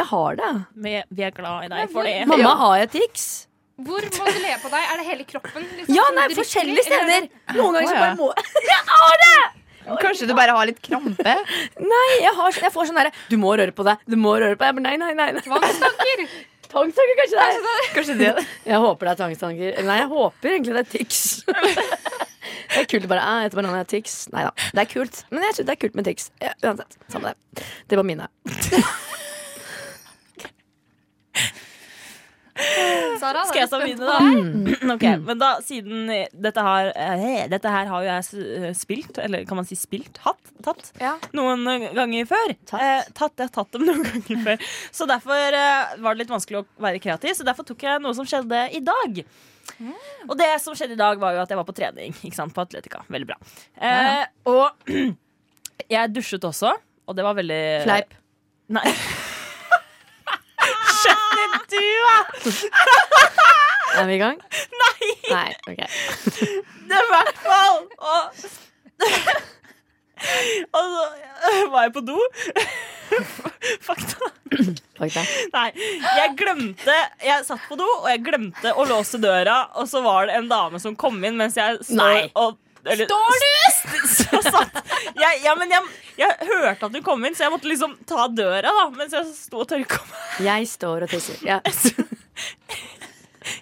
Speaker 4: Jeg har det.
Speaker 3: Vi, vi er glad i deg for det.
Speaker 4: Mamma, har jeg tics?
Speaker 6: Hvor må du le på deg? Er det hele kroppen? liksom,
Speaker 4: Ja,
Speaker 6: som
Speaker 4: nei,
Speaker 6: drikker,
Speaker 4: forskjellige
Speaker 6: eller er det-
Speaker 4: steder. Noen ganger så bare må
Speaker 5: Kanskje du bare har litt krampe?
Speaker 4: Nei, jeg, har, jeg får sånn derre Du må røre på deg. Du må røre på deg. Jeg bare, Nei, nei, nei. nei.
Speaker 6: Tvangstanker!
Speaker 4: Tvangstanker, kanskje det er.
Speaker 5: Kanskje det.
Speaker 4: Jeg håper det er tvangstanker. Eller Nei, jeg håper egentlig det er tics. Det er kult å bare Jeg heter Banana, jeg har tics. Nei da. Det er kult. Men jeg synes det er kult med tics. Ja, uansett. Samme det. Det var mine.
Speaker 6: Sara, da er
Speaker 3: Skal jeg
Speaker 6: vi
Speaker 3: ta
Speaker 6: spent
Speaker 3: mine,
Speaker 6: på
Speaker 3: da?
Speaker 6: deg.
Speaker 3: Ok, men da siden dette her, eh, dette her har jo jeg s- eh, spilt, eller kan man si spilt, hatt, tatt,
Speaker 6: Ja.
Speaker 3: noen ganger før. Tatt. Eh, tatt, jeg har tatt dem noen ganger før. Så derfor eh, var det litt vanskelig å være kreativ, så derfor tok jeg noe som skjedde i dag. Og det som skjedde i dag var jo at jeg var på trening, ikke sant, på Atletica. Veldig bra. Eh, og jeg dusjet også, og det var veldig...
Speaker 4: Fleip.
Speaker 3: Nei. Skjønner du, ja!
Speaker 4: Er vi i gang? Nei. ok
Speaker 3: Det er i hvert fall Og, og så eh, var jeg på do. Fakta.
Speaker 4: Fuck det.
Speaker 3: Nei. Jeg glemte Jeg satt på do, og jeg glemte å låse døra, og så var det en dame som kom inn mens jeg står
Speaker 4: Nei.
Speaker 3: og eller,
Speaker 6: Står du?
Speaker 3: Så satt jeg, ja, men jeg, jeg hørte at hun kom inn, så jeg måtte liksom ta døra da mens jeg sto og tørka meg.
Speaker 4: Jeg står og tisser. Ja.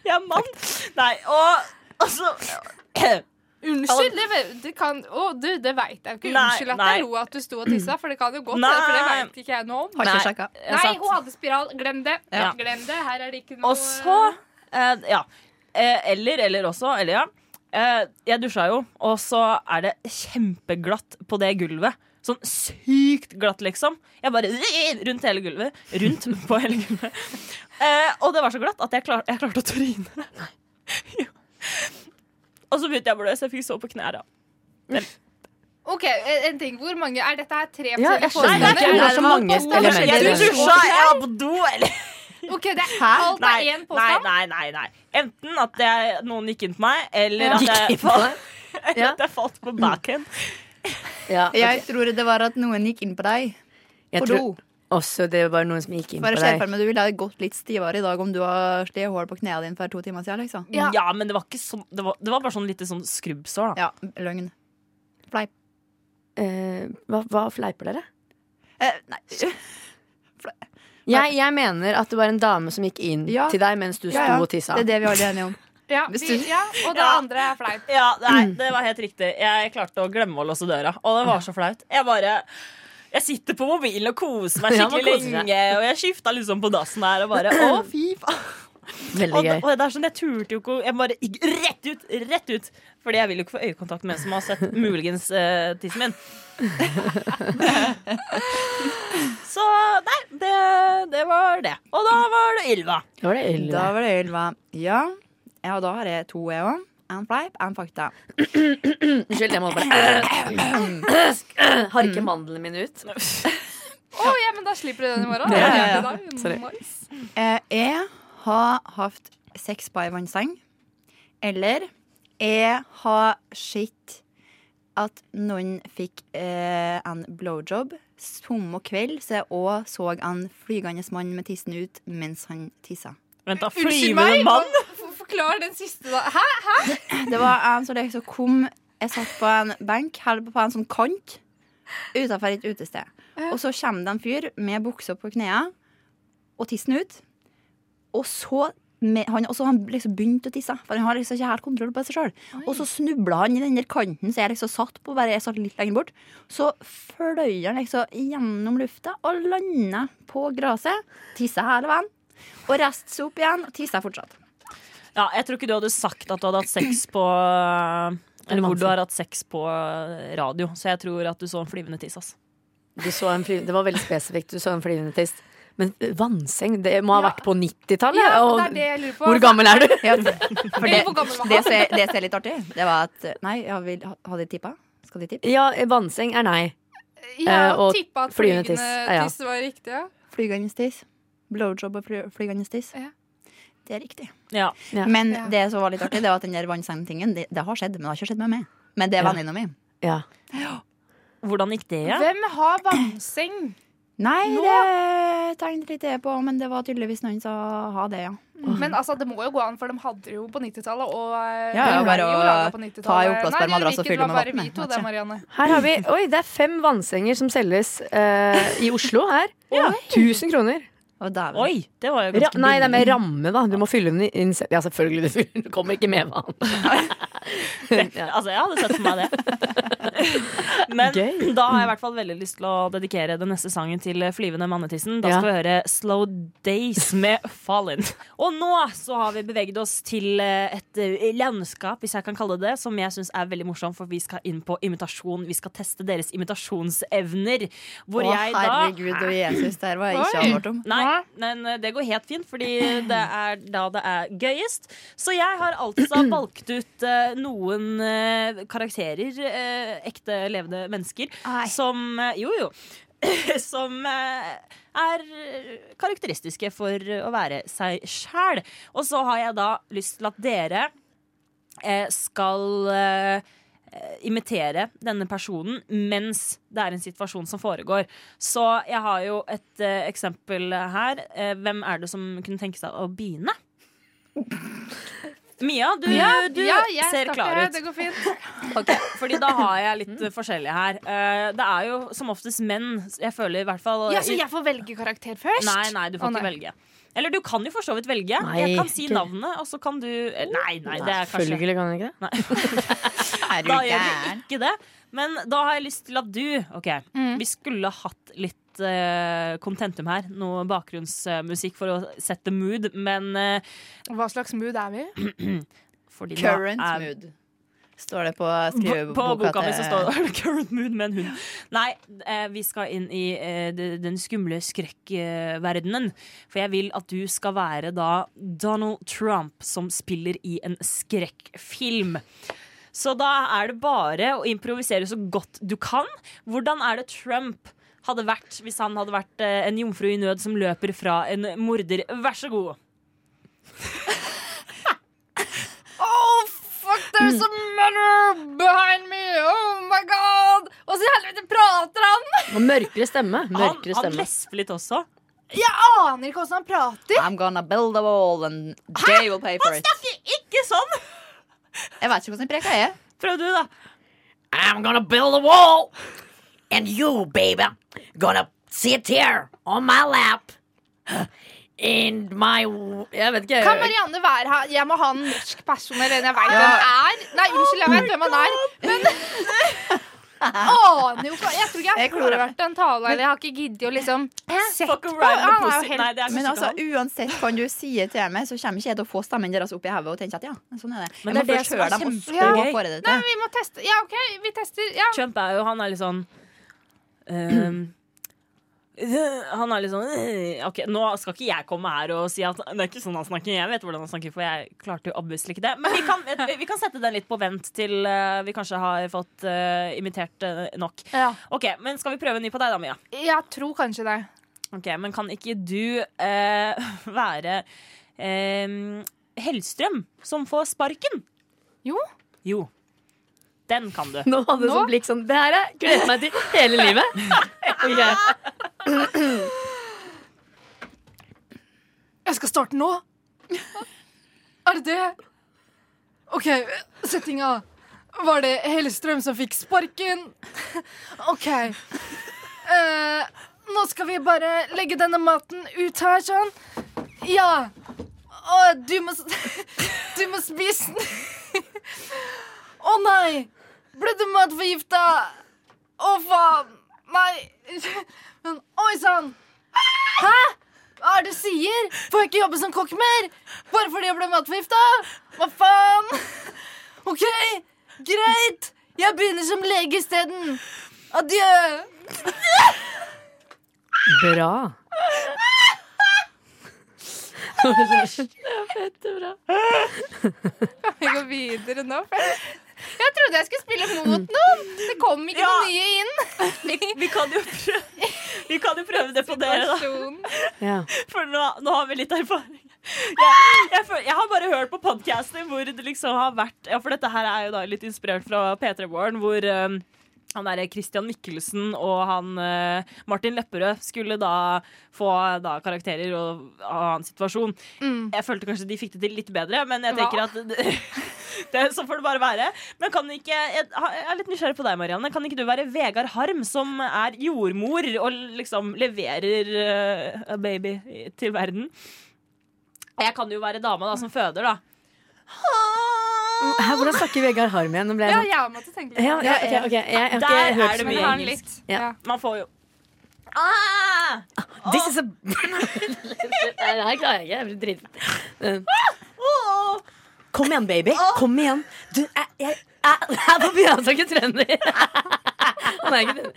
Speaker 3: Jeg er mann. Nei, og, og så
Speaker 6: Unnskyld, det, det kan Å, du, det veit jeg jo ikke.
Speaker 3: Nei,
Speaker 6: Unnskyld at
Speaker 3: nei.
Speaker 6: jeg lo at du sto og tissa, for det kan jo godt
Speaker 3: Nei.
Speaker 6: være, for det veit ikke jeg noe om.
Speaker 5: Har
Speaker 3: Nei.
Speaker 5: ikke sjekka.
Speaker 3: jeg
Speaker 6: Nei,
Speaker 3: satt-
Speaker 6: hun hadde spiral. Glem det.
Speaker 3: Ja.
Speaker 6: Glem det. Her er det ikke noe
Speaker 3: Og så eh, Ja. Eh, eller, eller også. Eller, ja. Eh, jeg dusja jo, og så er det kjempeglatt på det gulvet. Sånn sykt glatt, liksom. Jeg bare Rundt hele gulvet. Rundt på hele gulvet. Eh, og det var så glatt at jeg, klar, jeg klarte å tryne. Jo. og så begynte jeg å blø, så jeg fikk sove på knærne.
Speaker 6: OK, en ting. Hvor mange Er dette her tre
Speaker 4: Ja, jeg
Speaker 6: forskjellige
Speaker 4: skjønner
Speaker 6: påstander?
Speaker 4: ikke. Det er så mange
Speaker 3: Jeg
Speaker 4: elementer. i det.
Speaker 3: dusja, jeg var på do, eller
Speaker 6: OK, det er alt er én
Speaker 3: nei,
Speaker 6: påstand.
Speaker 3: nei, nei, nei. Enten at jeg, noen gikk inn på meg, eller at jeg,
Speaker 4: Ja.
Speaker 3: at jeg falt på baken.
Speaker 4: Ja, ok.
Speaker 5: Jeg tror det var at noen gikk inn på deg
Speaker 4: Jeg
Speaker 5: på do.
Speaker 4: tror også det var noen som gikk inn på
Speaker 5: Bare se
Speaker 4: deg.
Speaker 5: for meg, Du ville ha gått litt stivere i dag om du har slitt hull på knærne dine for to timer siden. Liksom.
Speaker 3: Ja. men det var ikke sånn Det var, det var bare sånn lite sånn skrubbsår, da.
Speaker 5: Ja, løgn. Fleip.
Speaker 4: Eh, hva, hva fleiper dere?
Speaker 5: Eh, nei.
Speaker 4: Jeg, jeg mener at det var en dame som gikk inn
Speaker 5: Ja.
Speaker 4: til deg mens du sto
Speaker 5: Ja, ja.
Speaker 4: og tissa.
Speaker 5: Det er det vi alle er enige om.
Speaker 6: Ja,
Speaker 5: Hvis
Speaker 6: vi,
Speaker 5: du-
Speaker 6: ja, og det
Speaker 3: Ja.
Speaker 6: andre er fleip.
Speaker 3: Ja, nei, det var helt riktig. Jeg klarte å glemme å låse døra, og det var så flaut. Jeg bare jeg sitter på mobilen og koser meg
Speaker 4: Ja, man
Speaker 3: skikkelig
Speaker 4: koser seg.
Speaker 3: lenge. Og jeg skifta liksom på dassen der og bare Å, fy faen.
Speaker 4: Veldig
Speaker 3: Og,
Speaker 4: gøy.
Speaker 3: og det er sånn, jeg turte jo ikke å- Jeg bare gikk rett ut! Rett ut! Fordi jeg vil jo ikke få øyekontakt med en som har sett muligens eh, tissen min. Så nei, det, det var det. Og da var det Ylva.
Speaker 4: Da var det Ylva.
Speaker 5: Da var det Ylva. Ja. ja, da har jeg to, jeg òg. En fleip, en fakta.
Speaker 4: Unnskyld, jeg må bare Harke mandlene mine ut.
Speaker 6: Å ja, men da slipper du den i morgen.
Speaker 5: Ja, ja, ja.
Speaker 6: Da er vi
Speaker 4: Sorry.
Speaker 6: nice.
Speaker 5: Eh, jeg har hatt sex på ei vannseng. Eller jeg har sett at noen fikk eh, en blowjob. Samme kveld så jeg òg så en flygende mann med tissen ut mens han tissa.
Speaker 3: Vent, da.
Speaker 6: Unnskyld
Speaker 3: Flyvende
Speaker 6: meg.
Speaker 3: mann?
Speaker 6: og f- Forklar den siste, da. Hæ?
Speaker 5: Det var en som liksom kom Jeg satt på en benk, eller på en sånn kant, utenfor et utested. Og så kommer det en fyr med buksa på knærne og tissen ut. Og så med, han, og så har han liksom begynt å tisse, for han har liksom ikke helt kontroll på seg sjøl. Og så snubla han i den der kanten som jeg liksom satt på, bare jeg satt litt lenger bort. Så fløy han liksom gjennom lufta og landa på gresset. Tissa hele veien. Og reiste seg opp igjen og tissa fortsatt.
Speaker 3: Ja, jeg tror ikke du hadde sagt at du hadde hatt sex på Eller hvor du har hatt sex på radio. Så jeg tror at du så en flyvende tiss, ass.
Speaker 8: Du så en fly, det var veldig spesifikt. Du så en flyvende tiss. Men
Speaker 4: eh,
Speaker 8: vannseng, det må ha
Speaker 6: Ja.
Speaker 8: vært på 90-tallet?
Speaker 6: Ja,
Speaker 8: og-
Speaker 6: det er det jeg lurer på.
Speaker 8: hvor gammel er du?
Speaker 5: Ja, for
Speaker 6: Eller
Speaker 5: det,
Speaker 6: hvor gammel var
Speaker 5: det
Speaker 6: han?
Speaker 5: som er- det som er litt artig, det var at Nei, jeg vil, har de tippa? Skal de tippe?
Speaker 8: Ja, vannseng er nei.
Speaker 6: Ja,
Speaker 8: Eh, og
Speaker 6: tippa at
Speaker 8: flyvende
Speaker 6: flyvende
Speaker 8: tiss. Ja.
Speaker 6: tiss var riktig, ja.
Speaker 5: Flygende tiss. Blowjob og fly- flygende tiss.
Speaker 6: Ja.
Speaker 5: Det er riktig.
Speaker 3: Ja.
Speaker 8: Ja.
Speaker 5: Men
Speaker 6: Ja.
Speaker 5: det som var litt artig, det var at den der vannsengtingen, det, det har skjedd, men det har ikke skjedd med meg. Men det er
Speaker 8: Ja.
Speaker 5: venninna mi.
Speaker 8: Ja.
Speaker 3: Hvordan gikk det?
Speaker 6: Hvem har vannseng?
Speaker 5: Nei,
Speaker 6: Nå-
Speaker 5: det tegnet litt det på, men det var tydeligvis noen som har det, ja.
Speaker 6: Men altså, det må jo gå an, for de hadde det jo på 90-tallet. Og eh,
Speaker 5: Ja, ja,
Speaker 6: vi
Speaker 5: bare
Speaker 6: ble jo
Speaker 5: å
Speaker 6: laget på
Speaker 5: ta i
Speaker 6: 90-tallet.
Speaker 5: oppblåsbar
Speaker 6: Nei, det
Speaker 5: madrass og
Speaker 6: gjorde vi ikke,
Speaker 5: fylle
Speaker 6: Det var
Speaker 5: med vann,
Speaker 6: bare vi to,
Speaker 5: nei,
Speaker 6: det,
Speaker 5: ikke.
Speaker 6: Marianne.
Speaker 8: Her har vi Oi, det er fem vannsenger som selges eh, i Oslo her. 1000 kroner.
Speaker 5: Og dæven.
Speaker 3: Oi, det var jo
Speaker 8: Ra
Speaker 3: ganske
Speaker 8: nei, det er med
Speaker 3: billig.
Speaker 8: ramme, da. Du må fylle den inn selv. Ja, selvfølgelig. Du, fyller, den. du kommer ikke med vann.
Speaker 3: Altså, jeg hadde sett for meg det. Men
Speaker 8: Gøy.
Speaker 3: da har jeg i hvert fall veldig lyst til å dedikere den neste sangen til eh, flyvende mannetissen. Da
Speaker 8: Ja.
Speaker 3: skal vi høre 'Slow Days' med Fallin. Og nå så har vi beveget oss til eh, et eh, landskap, hvis jeg kan kalle det det, som jeg syns er veldig morsomt, for vi skal inn på imitasjon. Vi skal teste deres imitasjonsevner. Hvor
Speaker 5: Å,
Speaker 3: jeg da
Speaker 5: herregud og Jesus, det her var jeg ikke
Speaker 6: Oi.
Speaker 5: anhørt om.
Speaker 3: Nei, men eh, det går helt fint, fordi det er da det er gøyest. Så jeg har altså valgt ut eh, noen eh, karakterer, eh, ekte levende mennesker, som eh, Jo, jo. Som eh, er eh, karakteristiske for å være seg sjæl. Og så har jeg da lyst til at dere eh, skal eh, eh, imitere denne personen mens det er en situasjon som foregår. Så jeg har jo et eh, eksempel her. Eh, hvem er det som kunne tenke seg å begynne? Mia, du, du
Speaker 6: jeg
Speaker 3: ser
Speaker 6: skal
Speaker 3: klar
Speaker 6: ikke,
Speaker 3: ut.
Speaker 6: Det går fint.
Speaker 3: Ok, Fordi da har jeg litt eh, forskjellig her. Eh, det er jo som oftest menn. Jeg føler i hvert fall
Speaker 6: Ja, Så jeg får velge karakter først?
Speaker 3: Nei, nei, du får
Speaker 6: Å,
Speaker 3: ikke
Speaker 6: nei.
Speaker 3: velge. Eller du kan jo for så vidt velge.
Speaker 8: Nei,
Speaker 3: jeg kan si
Speaker 8: ikke.
Speaker 3: navnet, og så kan du eh, Nei, nei, det er kanskje
Speaker 8: Selvfølgelig kan den ikke det.
Speaker 5: Er du
Speaker 3: da gjør vi
Speaker 5: gæren? Mm.
Speaker 3: ikke det. Men da har jeg lyst til at du Ok, vi skulle hatt litt eh, kontentum her. Noe bakgrunnsmusikk for å sette mood, men eh,
Speaker 6: Hva slags mood er vi?
Speaker 3: fordi nå
Speaker 5: Current
Speaker 3: er-
Speaker 5: mood. Står det på
Speaker 3: På,
Speaker 5: skriveboka
Speaker 3: på boka mi så
Speaker 5: til-
Speaker 3: står det 'current mood' med en hund. Nei, eh, vi skal inn i eh, de- den skumle skrekkverdenen. For jeg vil at du skal være da Donald Trump som spiller i en skrekkfilm. Så da er det bare å improvisere så godt du kan. Hvordan er det Trump hadde vært hvis han hadde vært eh, en jomfru i nød som løper fra en morder? Vær så god.
Speaker 6: Oh, fuck, there's a murder behind me! Oh my god! Åssen i helvete prater han?
Speaker 8: Og mørkere stemme.
Speaker 3: Han,
Speaker 8: Mørkere
Speaker 3: han
Speaker 8: stemme.
Speaker 3: lesper litt også.
Speaker 6: Jeg aner ikke åssen han prater.
Speaker 5: I'm gonna build a wall and they will pay for it.
Speaker 3: Ikke sånn!
Speaker 5: Jeg vet ikke hvordan preka er.
Speaker 3: Prøv du, da.
Speaker 8: I'm gonna build a wall. And you, baby, gonna sit here on my lap. In my Jeg vet ikke.
Speaker 6: Kan Marianne være her? Jeg må ha en norsk person eller en jeg veit hvem er. Nei, unnskyld, jeg vet hvem han er, men Aner jo ikke Jeg tror ikke jeg
Speaker 5: Jeg
Speaker 6: har
Speaker 5: klarer-
Speaker 6: hørt en tale, eller jeg har ikke giddet å liksom sett
Speaker 3: Fuck
Speaker 6: på.
Speaker 3: around the
Speaker 6: Han er jo
Speaker 3: pussy.
Speaker 6: helt
Speaker 3: Nei, det er
Speaker 5: Men
Speaker 3: kanskje
Speaker 5: altså,
Speaker 3: ikke han.
Speaker 5: uansett hva du sier til meg, så kommer ikke jeg til å få stemmen deres opp i hodet og tenke at ja, sånn er det.
Speaker 3: Men det er
Speaker 5: jeg må
Speaker 3: det
Speaker 5: først
Speaker 3: som
Speaker 5: høre
Speaker 3: er
Speaker 5: dem, og så
Speaker 3: kjempegøy.
Speaker 5: får jeg det
Speaker 6: Nei,
Speaker 5: til.
Speaker 6: vi må teste. Ja, OK, vi tester. Ja.
Speaker 3: Trump er jo Han er litt sånn ehm, Han er litt sånn eh, Ok, nå skal ikke jeg komme her og si at det er ikke sånn han snakker. Jeg vet hvordan han snakker, for jeg klarte jo obviously ikke det. Men vi kan, vi- vi kan sette den litt på vent til eh, vi kanskje har fått eh, imitert eh, nok. Ok, Men skal vi prøve en ny på deg, da, Mia?
Speaker 6: Jeg tror kanskje det.
Speaker 3: Ok, Men kan ikke du eh, være ehm, Hellstrøm som får sparken?
Speaker 6: Jo.
Speaker 3: Jo. Den kan du.
Speaker 8: Nå hadde du
Speaker 6: Nå?
Speaker 8: sånn blikk sånn Det her har jeg gledet meg til hele livet. Ok.
Speaker 6: Jeg skal starte nå. Er det det? OK, settinga. Var det Hellstrøm som fikk sparken? OK. Eh, nå skal vi bare legge denne maten ut her, sånn. Ja. Og du må s- Du må spise den. Å nei! Ble du matforgifta? Å faen. Nei. Men oi sann. Hæ? Hva er det du sier? Får jeg ikke jobbe som kokk mer? Bare fordi jeg ble matforgifta? Hva faen? OK, greit. Jeg begynner som lege isteden. Adjø.
Speaker 4: Bra.
Speaker 6: Vi går videre nå. for Jeg trodde jeg skulle spille mot noen. Det kom ikke noe nye inn.
Speaker 3: Vi kan jo prøve, vi kan jo prøve det på dere, da.
Speaker 6: Person.
Speaker 4: Ja.
Speaker 3: For nå, nå har vi litt erfaring. Jeg, jeg, føl- jeg har bare hørt på podcaster hvor det liksom har vært Ja, for dette her er jo da litt inspirert fra P3 Morgen, hvor eh, han derre Christian Mikkelsen og han eh, Martin Lepperød skulle da få da karakterer og, av hans situasjon.
Speaker 4: Mm.
Speaker 3: Jeg følte kanskje de fikk det til litt bedre, men jeg
Speaker 6: Hva?
Speaker 3: tenker at det, det, så får det bare være. Men kan ikke Jeg jeg er litt nysgjerrig på deg, Marianne. Kan ikke du være Vegard Harm, som er jordmor og liksom leverer eh, a baby i- til verden? Jeg kan jo være dama da, som føder, da.
Speaker 4: Her, hvordan snakker Vegard Harm igjen? Nå ble jeg sånn-
Speaker 6: jeg måtte tenke
Speaker 4: ja, ja, ok, ok. Jeg, jeg har
Speaker 3: Der
Speaker 4: ikke
Speaker 3: er
Speaker 4: hørt
Speaker 3: det
Speaker 4: så
Speaker 3: mye.
Speaker 4: mye.
Speaker 3: har den
Speaker 6: litt.
Speaker 4: Ja.
Speaker 3: Man får jo ah!
Speaker 4: This is a Nei, det her klarer jeg ikke. Jeg blir dritfett.
Speaker 3: Åh!
Speaker 4: Kom igjen, baby. Kom igjen. Du, jeg, jeg, jeg, jeg får begynne å ikke trønder. Han er ikke trønder.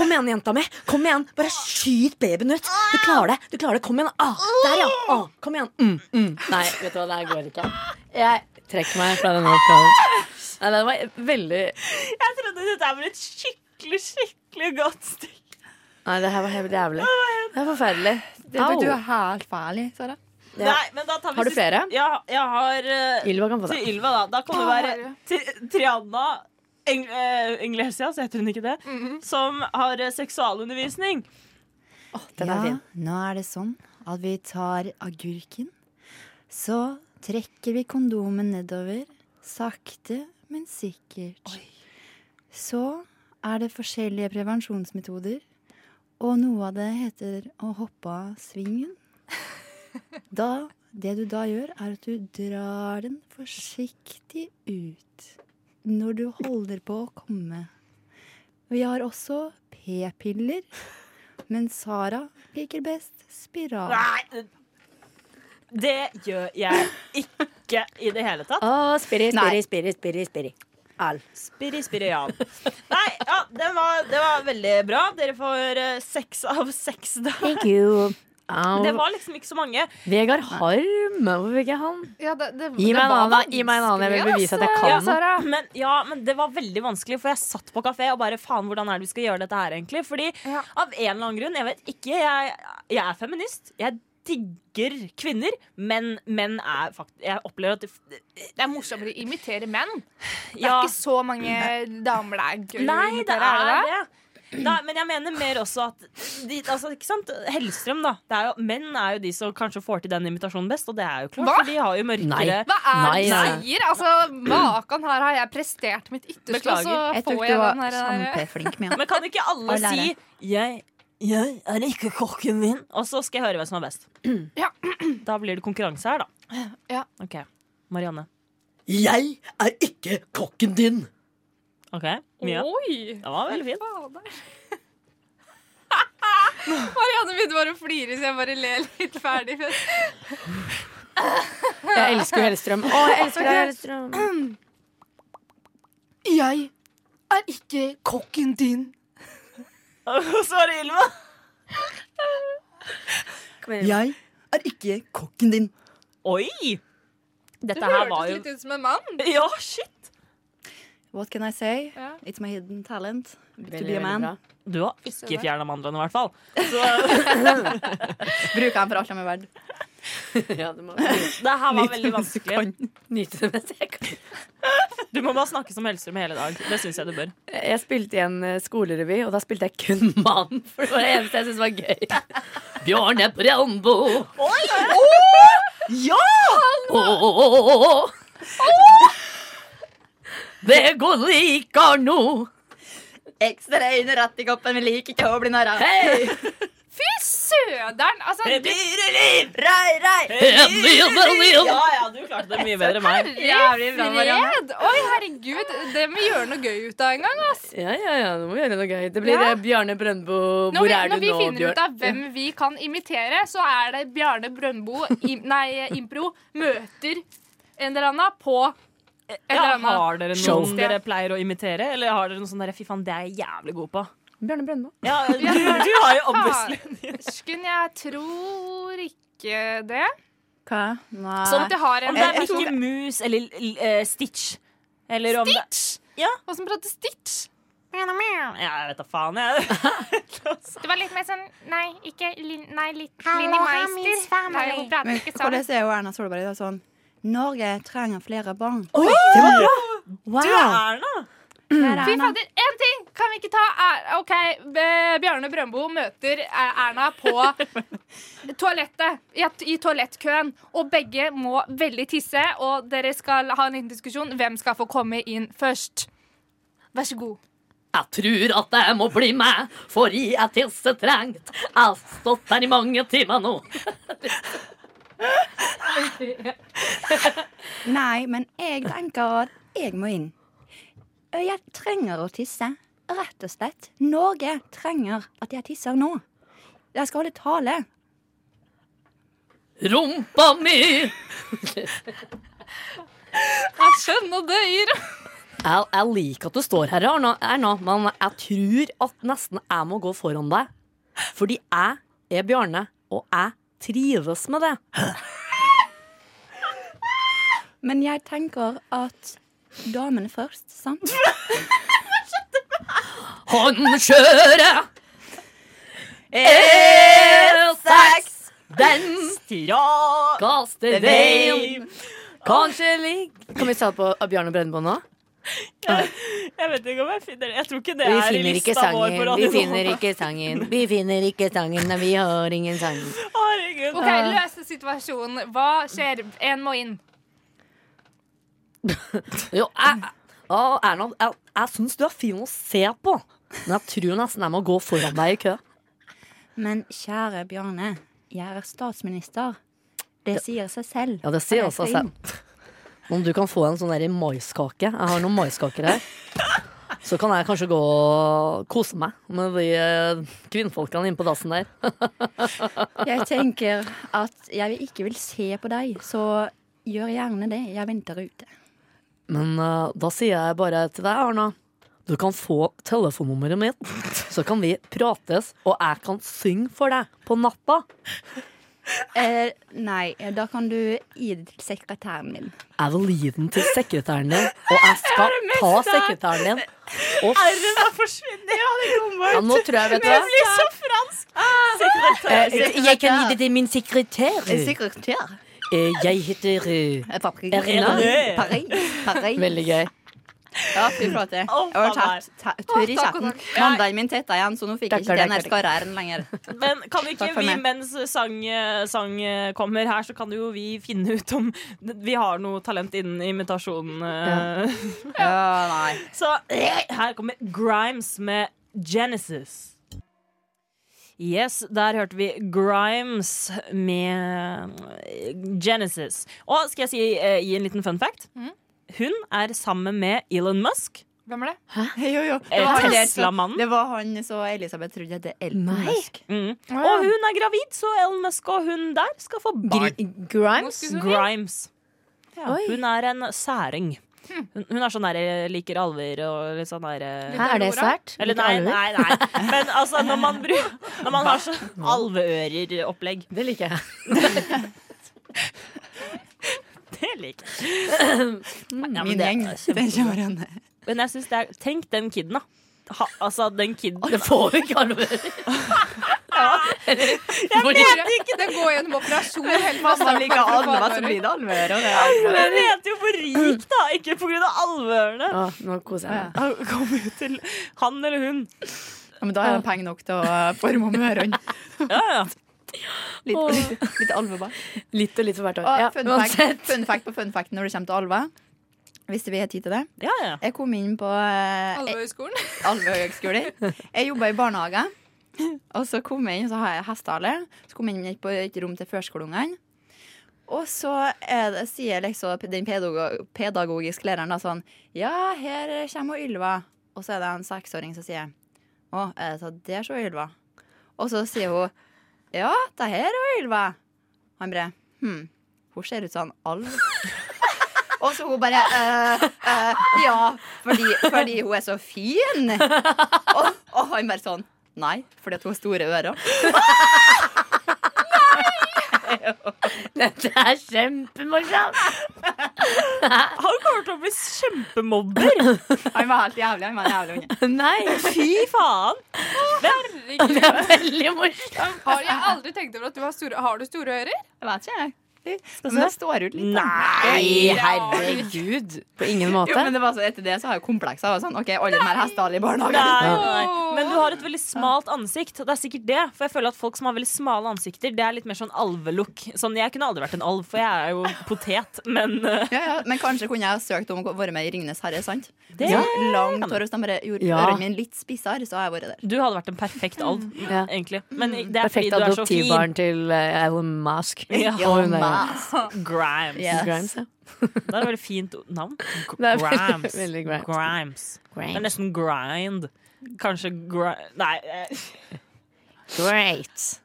Speaker 4: Kom igjen, jenta mi. Kom igjen. Bare skyt babyen ut. Du klarer det. du klarer det, Kom igjen. Ah, der, ja. Ah, kom igjen. Mm, mm. Nei, vet du hva, det her går ikke. Jeg trekker meg fra denne oppgaven. Nei, det var veldig
Speaker 3: Jeg trodde dette her var et skikkelig, skikkelig godt stykke.
Speaker 4: Nei, det her var helt jævlig. Det er forferdelig.
Speaker 5: Du
Speaker 4: Au.
Speaker 5: er helt fæl, Sara.
Speaker 4: Ja.
Speaker 3: Nei, men da tar vi
Speaker 4: Har du
Speaker 3: siste-
Speaker 4: flere?
Speaker 3: Ja, jeg har eh,
Speaker 4: Ylva kan få det.
Speaker 3: Til Ylva, da. Da kan det være Tri- Triana Eng eh, Inglesias, heter hun ikke det? Som har eh, seksualundervisning.
Speaker 4: Den er
Speaker 5: ja,
Speaker 4: fin.
Speaker 5: Nå er det sånn at vi tar agurken, så trekker vi kondomen nedover, sakte, men sikkert. Så er det forskjellige prevensjonsmetoder, og noe av det heter å hoppe av svingen. Da, det du da gjør, er at du drar den forsiktig ut når du holder på å komme. Vi har også p-piller. Men Sara liker best spiral.
Speaker 3: Nei! eh, Det gjør jeg ikke i det hele tatt.
Speaker 4: Å, spiri, spiri, spiri, spiri, spiri. Al.
Speaker 3: Spiri, spiri, ja. Nei, ja, den var, det var veldig bra. Dere får eh, seks av seks, da.
Speaker 4: Thank you. Au.
Speaker 3: Det var liksom ikke så mange.
Speaker 4: Vegard Harm, hvor fikk jeg han?
Speaker 6: Ja, det, det,
Speaker 4: Gi
Speaker 6: det
Speaker 4: meg en
Speaker 6: var
Speaker 4: annen, da. Gi meg en annen. Jeg vil
Speaker 6: vanskelig,
Speaker 4: bevise at jeg
Speaker 6: altså,
Speaker 4: kan
Speaker 6: ja,
Speaker 4: den.
Speaker 6: Sara.
Speaker 3: Men, ja, men det var veldig vanskelig, for jeg satt på kafé og bare faen, hvordan er det vi skal gjøre dette her, egentlig? Fordi
Speaker 6: Ja.
Speaker 3: av en eller annen grunn, jeg vet ikke, jeg, jeg er feminist. Jeg digger kvinner, men menn er faktisk Jeg opplever at det,
Speaker 6: Det er morsommere å imitere menn. Det er
Speaker 3: ja,
Speaker 6: ikke så mange damer det er gøy å
Speaker 3: Nei, det
Speaker 6: imitere,
Speaker 3: er
Speaker 6: det?
Speaker 3: det. Nei, men jeg mener mer også at de, altså, ikke sant? Hellstrøm, da. Det er jo, menn er jo de som kanskje får til den invitasjonen best, og det er jo klart,
Speaker 6: Hva?
Speaker 3: for de har jo
Speaker 4: Nei.
Speaker 3: mørkere
Speaker 6: Hva er det
Speaker 4: Nei,
Speaker 6: du sier? Altså, Makan, her har jeg prestert mitt ytterste,
Speaker 3: Beklager.
Speaker 5: Jeg
Speaker 6: så
Speaker 5: tror
Speaker 6: får
Speaker 5: ikke du
Speaker 6: jeg
Speaker 5: var
Speaker 6: den her. der. eh,
Speaker 5: kjempeflink med den.
Speaker 3: Men kan ikke alle
Speaker 5: Og lære.
Speaker 3: si jeg, 'Jeg er ikke kokken din', og så skal jeg høre hvem som er best?
Speaker 6: Ja.
Speaker 3: Da blir det konkurranse her, da.
Speaker 6: Ja.
Speaker 3: OK. Marianne.
Speaker 10: Jeg er ikke kokken din.
Speaker 3: OK, Mia.
Speaker 6: Oi!
Speaker 3: Den var veldig fin.
Speaker 6: Fader. Marianne begynte bare å flire, så jeg bare ler litt ferdig.
Speaker 4: Jeg elsker jo Hellstrøm. Å, jeg elsker deg, Hellstrøm.
Speaker 6: Jeg er ikke kokken din.
Speaker 3: Og så var det Ylva.
Speaker 10: Jeg er ikke kokken din.
Speaker 3: Oi!
Speaker 6: Det
Speaker 3: Dette her var
Speaker 6: hørtes
Speaker 3: jo
Speaker 6: litt ut som en mann.
Speaker 3: Ja, shit!
Speaker 5: What can I say?
Speaker 6: Ja.
Speaker 5: It's my hidden talent. to
Speaker 4: Veldig,
Speaker 5: be a
Speaker 4: veldig
Speaker 5: man.
Speaker 4: bra.
Speaker 3: Du har ikke
Speaker 6: der.
Speaker 3: fjerna mandlene, i hvert fall.
Speaker 5: Bruker den for alt de er verdt.
Speaker 4: Ja, du må bare
Speaker 3: Det her var veldig vanskelig.
Speaker 4: nyte det mens jeg kan.
Speaker 3: Du må bare snakke som Hellstrøm hele dag. Det syns jeg du bør.
Speaker 4: Jeg spilte i en eh, skolerevy, og da spilte jeg kun mann. For det var det eneste jeg syntes var gøy. Bjørn er på Rambo.
Speaker 3: Oi!
Speaker 4: Åh. Det går likar nå.
Speaker 5: Ekstra øyne rett i koppen, vi liker ikke å bli narra.
Speaker 4: Hei!
Speaker 6: Fy søderen! Altså, du,
Speaker 5: Rei, rei!
Speaker 3: Ja, ja, du klarte det mye bedre enn meg.
Speaker 6: jævlig bra, Marianne. Oi, herregud, det må vi gjøre noe gøy ut av en gang. ass.
Speaker 4: Ja, ja, ja, nå må vi gjøre noe gøy. Det blir
Speaker 6: Ja.
Speaker 4: eh, Bjarne Brøndbo.
Speaker 6: Når
Speaker 4: Hvor
Speaker 6: vi,
Speaker 4: er
Speaker 6: når
Speaker 4: du
Speaker 6: vi
Speaker 4: nå,
Speaker 6: finner ut
Speaker 4: Bjørn?
Speaker 6: av hvem vi kan imitere, så er det Bjarne Brøndbo im, Nei, Impro møter en eller annen på et
Speaker 3: Ja,
Speaker 6: eller annet.
Speaker 3: har dere
Speaker 4: Show.
Speaker 3: noen dere pleier å imitere, eller har dere noe sånn der fy faen, det er jeg jævlig god på?
Speaker 4: Bjarne Brøndbo.
Speaker 3: Ja, du, du har jo obviously
Speaker 6: Farsken, jeg tror ikke det.
Speaker 5: Hva? Nei.
Speaker 6: Sånn at jeg har
Speaker 3: Om
Speaker 6: en
Speaker 3: det er Mickey Mouse eller eh, Stitch. Eller om Stitch?
Speaker 6: Åssen prater Stitch?
Speaker 3: Det, ja, jeg vet da faen, jeg.
Speaker 6: Det var litt mer sånn Nei, ikke Lin- Nei, litt Linni Meister. Nei, hun prater
Speaker 5: Men
Speaker 6: ikke sånn.
Speaker 5: hvordan er jo Erna Solberg i dag sånn Norge trenger flere barn.
Speaker 3: Du Erna!
Speaker 6: Fy fader, én ting kan vi ikke ta er, OK, B- Bjarne Brøndbo møter eh, Erna på toalettet. I, at- I toalettkøen. Og begge må veldig tisse, og dere skal ha en liten diskusjon. Hvem skal få komme inn først? Vær så god.
Speaker 4: Jeg tror at jeg må bli med, for jeg er tissetrengt. Jeg har stått der i mange timer nå.
Speaker 5: Nei, men jeg tenker at jeg må inn. Jeg trenger å tisse. Rett og slett. Norge trenger at jeg tisser nå. Jeg skal holde tale.
Speaker 4: Rumpa mi!
Speaker 6: Jeg skjønner det, Yr.
Speaker 4: Jeg, jeg liker at du står her, Erna, Erna, men jeg tror at nesten jeg må gå foran deg. Fordi jeg er Bjarne, og jeg trives med det.
Speaker 5: Men jeg tenker at damene først, sant?
Speaker 4: Håndkjøre E er sex. Den kaster rein. Kanskje ligg Kan vi ta på Bjarne Brennbo nå?
Speaker 3: Jeg vet ikke om jeg finner Jeg tror ikke det
Speaker 4: Vi
Speaker 3: er i
Speaker 4: finner ikke
Speaker 3: lista vår på
Speaker 4: sangen, vi
Speaker 3: Radio
Speaker 4: finner ikke sangen. Vi finner ikke sangen, nei, vi har ingen sang.
Speaker 3: Herregud.
Speaker 6: OK, løse situasjonen. Hva skjer? Én må inn.
Speaker 4: Jo, jeg, å, Erna, jeg, jeg syns du er fin å se på, men jeg tror nesten jeg må gå foran deg i kø.
Speaker 5: Men kjære Bjarne, jeg er statsminister. Det sier seg selv.
Speaker 4: Ja, det sier altså seg. Om du kan få en sånn der maiskake Jeg har noen maiskaker her. Så kan jeg kanskje gå og kose meg med de eh, kvinnfolkene inne på dassen der.
Speaker 5: Jeg tenker at jeg ikke vil se på deg, så gjør gjerne det. Jeg venter ute.
Speaker 4: Men eh, da sier jeg bare til deg, Arna. Du kan få telefonnummeret mitt, så kan vi prates, og jeg kan synge for deg på natta.
Speaker 5: Eh, nei, da kan du gi det til sekretæren min.
Speaker 4: Jeg vil gi den til sekretæren din, og jeg skal ta sekretæren din. Og
Speaker 3: Herre, da forsvinner jeg. Det kommer
Speaker 4: ja, nå tror jeg, vet du hva
Speaker 3: blir så fransk. Sekretær.
Speaker 4: Eh, Jeg kan gi det til min sekretær.
Speaker 5: Sekretær?
Speaker 4: Eh, Jeg heter eh,
Speaker 5: Paris.
Speaker 4: Erna.
Speaker 5: Paris. Paris.
Speaker 4: Veldig gøy.
Speaker 5: Ja, fy flate.
Speaker 3: Å,
Speaker 5: Jeg var
Speaker 3: faen meg.
Speaker 5: tatt ta- tur i
Speaker 6: takk og
Speaker 5: kjeften.
Speaker 6: takk.
Speaker 5: Mandagen min tetta igjen, så nå fikk jeg
Speaker 4: Takk,
Speaker 5: ikke den
Speaker 4: takk,
Speaker 5: her skarre-r-en lenger.
Speaker 3: Men kan ikke
Speaker 5: Takk for
Speaker 3: vi,
Speaker 5: meg.
Speaker 3: mens sang, sang kommer her, så kan jo vi finne ut om vi har noe talent innen imitasjon. eh.
Speaker 5: Ja, nei.
Speaker 3: Så eh, her kommer Grimes med Genesis. Yes, der hørte vi Grimes med Genesis. Og skal jeg si, eh, gi en liten fun fact?
Speaker 5: Mm.
Speaker 3: Hun er sammen med Elon Musk,
Speaker 6: Hvem er det?
Speaker 5: Jo, jo. Det
Speaker 3: eh,
Speaker 5: var han der som-
Speaker 3: Tesla-mannen.
Speaker 5: Det var han så Elisabeth trodde det er Elton Musk.
Speaker 3: Mm. Og hun er gravid, så Elon Musk og hun der skal få barn.
Speaker 4: Grimes?
Speaker 3: Grimes. Ja,
Speaker 4: Oi. Hm.
Speaker 3: hun er en særing. Hun, hun er sånn der eh, liker alver og litt sånn der eh,
Speaker 4: Hæ, er det svært?
Speaker 3: Eller
Speaker 4: Ikke
Speaker 3: nei,
Speaker 4: alver?
Speaker 3: nei, nei. Men altså, når man, bru- når man har sånn alveører-opplegg
Speaker 4: Det liker jeg.
Speaker 3: Det liker jeg.
Speaker 4: Mm,
Speaker 3: Ja, men,
Speaker 5: Min
Speaker 3: det,
Speaker 5: gjeng. Den kommer han.
Speaker 3: men jeg synes det er Tenk den kiden, da. Ha, altså, den kiden
Speaker 4: Det får vi ikke alver.
Speaker 6: Dere, Den går gjennom operasjon helt
Speaker 5: Altså,
Speaker 6: fra starten.
Speaker 5: det alvor.
Speaker 3: Jeg vet jo hvor rik, da! Ikke på grunn av alveørene.
Speaker 4: Å, nå koser jeg meg.
Speaker 3: Han Kommer jo til han eller hun.
Speaker 5: Men da er det penger nok til å forme om ørene.
Speaker 3: Ja, ja.
Speaker 5: Litt, og litt, litt alveball.
Speaker 4: Litt og litt for hvert år.
Speaker 5: Og
Speaker 4: Ja,
Speaker 5: fun, fact,
Speaker 4: uansett.
Speaker 5: fun fact på fun fact når det kommer til alve. Hvis vi har tid til det.
Speaker 3: Ja, ja.
Speaker 5: Jeg kom inn på eh,
Speaker 6: Alvehøgskolen.
Speaker 5: Alvehøgskolen. Jeg jobba i barnehage. Og så kom jeg inn, så har jeg hestehale. Så kom jeg inn på et rom til førskoleungene. Og så er det, sier liksom den pedago- pedagogiske læreren da sånn Ja, her kommer Ylva. Og så er det en seksåring som sier Å, er det så der så Ylva? Og så sier hun Ja, det her er Ylva. Han bare Hm, hun ser ut som en alv. Og så hun bare «Eh, eh, Ja, fordi, fordi hun er så fin. Og, og han bare sånn Nei, fordi at hun har store ører.
Speaker 4: Dette er kjempemorsomt!
Speaker 3: Han kommer til å bli kjempemobber!
Speaker 5: Han var helt jævlig. Han var en jævlig unge.
Speaker 4: Nei,
Speaker 3: Fy faen!
Speaker 4: det er veldig morsomt.
Speaker 6: Har jeg aldri tenkt over at du har store, har du store ører?
Speaker 5: Jeg vet ikke, jeg. Men det står ut litt. da.
Speaker 4: Nei, herregud. På ingen
Speaker 5: Jo,
Speaker 4: måte.
Speaker 5: men det var så etter det så har jeg komplekser. Og sånn. OK, alle de her hestehale i barnehagen.
Speaker 3: Nei, nei. Men du har et veldig smalt ansikt. Det er sikkert det. For jeg føler at folk som har veldig smale ansikter, det er litt mer sånn alvelook. Sånn, jeg kunne aldri vært en alv, for jeg er jo potet, men eh,
Speaker 5: Ja, ja, men kanskje kunne jeg ha søkt om å være med i Ringenes herre, sant?
Speaker 3: Det-
Speaker 5: ja. Langt hår, hvis de bare gjorde
Speaker 4: Ja.
Speaker 5: ørene mine litt spissere, så hadde jeg vært der.
Speaker 3: du hadde vært en perfekt alv,
Speaker 4: Ja.
Speaker 3: egentlig. Men det er fordi
Speaker 4: Perfekt
Speaker 3: du er så fin.
Speaker 4: adoptivbarn til eh, Elon Musk.
Speaker 3: Ja.
Speaker 4: Og hun der.
Speaker 5: Mas.
Speaker 3: Grimes.
Speaker 5: Yes.
Speaker 4: Grimes, ja.
Speaker 3: Det er et veldig fint navn.
Speaker 4: Det er veldig-
Speaker 3: Grimes.
Speaker 4: veldig Grimes.
Speaker 3: Grimes. Det er nesten grind. Kanskje gri... Nei. eh,
Speaker 4: Great.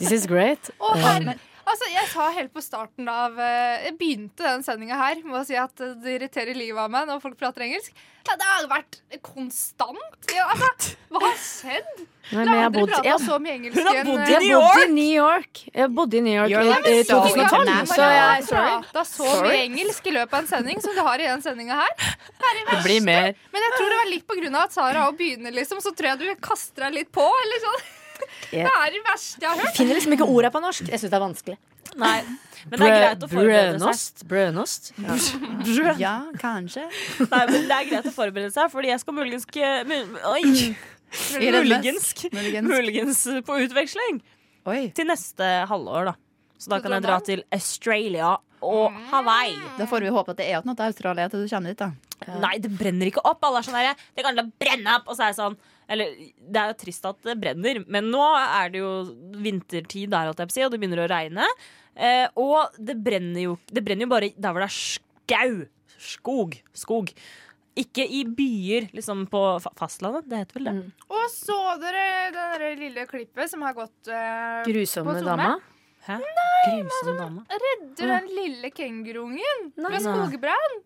Speaker 4: This is great.
Speaker 6: Å, herre. Altså, jeg sa helt på starten av eh, Jeg begynte den sendinga her med å si at eh, det irriterer livet av meg når folk prater engelsk. Ja, det har vært konstant. Ja, altså, hva har skjedd? Dere
Speaker 4: Nei, men jeg har
Speaker 6: aldri
Speaker 4: bodd,
Speaker 6: prata
Speaker 4: jeg,
Speaker 6: så mye engelsk
Speaker 3: Hun har
Speaker 6: igjen,
Speaker 3: bodd i
Speaker 6: eh,
Speaker 4: jeg
Speaker 3: New
Speaker 4: bodde i
Speaker 3: York!
Speaker 4: New York. Jeg bodde i New York
Speaker 5: You're
Speaker 4: i i
Speaker 5: so
Speaker 4: 2012,
Speaker 5: international.
Speaker 4: så jeg sorry.
Speaker 6: har prata så mye engelsk i løpet av en sending som du har i den sendinga her.
Speaker 4: Det blir mer.
Speaker 6: Men jeg tror det var litt på grunn av at Sara òg begynner, liksom. Så tror jeg du kaster deg litt på. Eller sånn.
Speaker 4: Ja.
Speaker 6: Det er det verste jeg har hørt.
Speaker 4: Finner liksom ikke orda på norsk. Jeg syns det er vanskelig.
Speaker 3: Nei. Men det er greit å forberede seg.
Speaker 4: Brødnost. Brødnost.
Speaker 5: Ja, kanskje.
Speaker 3: Nei, men det er greit å forberede seg, fordi jeg skal muligens ikke- mul- Oi! Muligens.
Speaker 5: Muligens.
Speaker 3: Muligens på utveksling
Speaker 5: Oi.
Speaker 3: til neste halvår, da. Så da
Speaker 6: Skal
Speaker 3: kan
Speaker 6: du
Speaker 3: jeg
Speaker 6: dra
Speaker 3: dra
Speaker 6: da?
Speaker 3: til Australia og
Speaker 6: Mm.
Speaker 3: Hawaii.
Speaker 5: Da får vi håpe at det er noe til Australia til du kommer dit, da.
Speaker 3: Nei, det brenner ikke opp. Alle er sånn her, det kan da brenne opp. Og så er jeg sånn Eller det er jo trist at det brenner, men nå er det jo vintertid der, holdt jeg på å si, og det begynner å regne. Eh, og det brenner jo Det brenner jo bare der hvor det er skau. Skog. Skog. Ikke i byer, liksom på fa- fastlandet. Det heter vel det.
Speaker 6: Og så dere det der lille klippet som har gått eh, på
Speaker 4: Grusomme
Speaker 6: Zoom
Speaker 4: dama.
Speaker 3: Hæ?
Speaker 6: altså,
Speaker 3: Grusomme dame.
Speaker 6: Redder den lille kenguruungen fra
Speaker 3: Nei.
Speaker 6: skogbrann?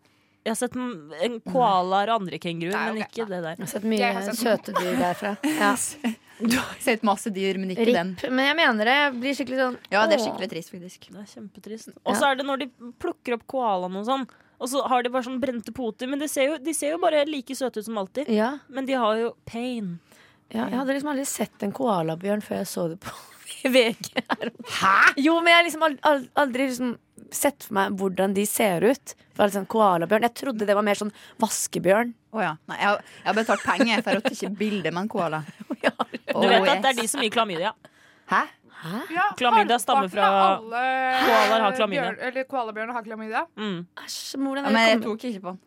Speaker 3: Jeg har sett en en koalaer og andre kenguruer,
Speaker 6: Nei,
Speaker 3: men
Speaker 6: ok,
Speaker 3: ikke det der.
Speaker 4: Jeg har sett
Speaker 6: Jeg har
Speaker 4: mye
Speaker 6: sett-
Speaker 4: søte dyr derfra. Ja.
Speaker 5: Du har sett masse dyr, men ikke den.
Speaker 4: Ripp. Men jeg mener det. Jeg blir skikkelig sånn
Speaker 5: Ja, det er
Speaker 4: åh.
Speaker 5: skikkelig trist, faktisk.
Speaker 3: Det er kjempetrist. Og så er det når de plukker opp koalaen og sånn, og så har de bare sånn brente poter, men de ser jo, de ser jo bare like søte ut som alltid.
Speaker 4: ja.
Speaker 3: Men de har jo pain.
Speaker 4: ja, jeg hadde liksom aldri sett en koalabjørn før jeg så det på VG. her. Jo, men jeg har liksom al- al- aldri liksom sett for meg hvordan de ser ut. For altså, en koalabjørn Jeg trodde det var mer sånn vaskebjørn.
Speaker 5: Å ja. Nei, jeg, har- jeg har betalt penger for å ikke bilde med en koala.
Speaker 3: Du
Speaker 5: Oh,
Speaker 3: vet at det er de som gir klamydia.
Speaker 5: Hæ?
Speaker 6: Ja,
Speaker 3: Klamydia stammer
Speaker 6: halvparten
Speaker 3: fra-
Speaker 6: av alle
Speaker 3: Koalaer har klamydia.
Speaker 6: bjørn- eller koalabjørner har klamydia.
Speaker 3: Mm.
Speaker 4: Æsj, hvordan
Speaker 5: Ja,
Speaker 4: er
Speaker 5: men jeg
Speaker 4: det kommet-
Speaker 5: tok ikke på den.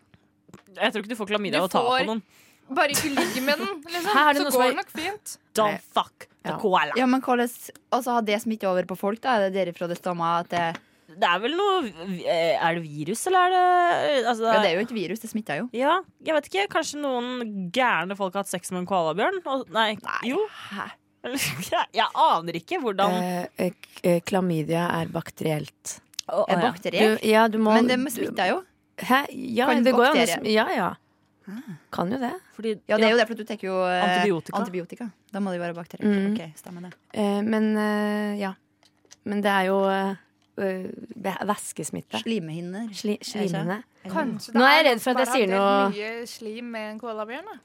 Speaker 3: Jeg tror ikke du får klamydia
Speaker 6: Du
Speaker 3: av å ta på
Speaker 6: får-
Speaker 3: noen.
Speaker 6: Bare ikke ligg med den, liksom.
Speaker 4: Her er det
Speaker 6: Så
Speaker 4: noe som
Speaker 6: går
Speaker 4: er-
Speaker 6: det nok fint.
Speaker 3: Don't fuck the
Speaker 4: Ja.
Speaker 3: koala.
Speaker 5: Ja, men hvordan Altså, har det smittet over på folk, da? Er det derifra det stammer at det
Speaker 3: Det er vel noe eh, Er det virus, eller er det altså,
Speaker 5: Ja, det er jo et virus, det smitter jo.
Speaker 3: Ja, jeg vet ikke. Kanskje noen gærne folk har hatt sex med en koalabjørn? Og- Nei, jo. Eller- Jeg aner ikke hvordan
Speaker 4: Eh, eh, k- eh, Klamydia er bakterielt.
Speaker 3: Å, å,
Speaker 5: Er
Speaker 3: ja.
Speaker 5: bakterier?
Speaker 4: Du- ja, du må
Speaker 5: Men det smitter jo.
Speaker 4: Hæ? Ja,
Speaker 5: Kan
Speaker 4: det går jo an å
Speaker 5: bakterier-
Speaker 4: sm- Ja, ja.
Speaker 5: Ah.
Speaker 4: Kan jo det.
Speaker 3: Fordi-
Speaker 5: Ja, det er jo det, for du tenker jo eh,
Speaker 3: Antibiotika.
Speaker 5: antibiotika. Da må det jo være bakterier.
Speaker 4: Mm.
Speaker 5: OK, stemmer det.
Speaker 4: Eh, men eh, ja. Men det er jo eh, eh, det er væskesmitte.
Speaker 5: Slimhinner.
Speaker 4: Sli, slimene.
Speaker 6: Kanskje
Speaker 4: Nå er jeg
Speaker 6: noen
Speaker 4: redd for
Speaker 6: som
Speaker 4: at jeg
Speaker 6: bare
Speaker 4: sier
Speaker 6: har delt
Speaker 4: noe-
Speaker 6: mye slim med en koalabjørn. da.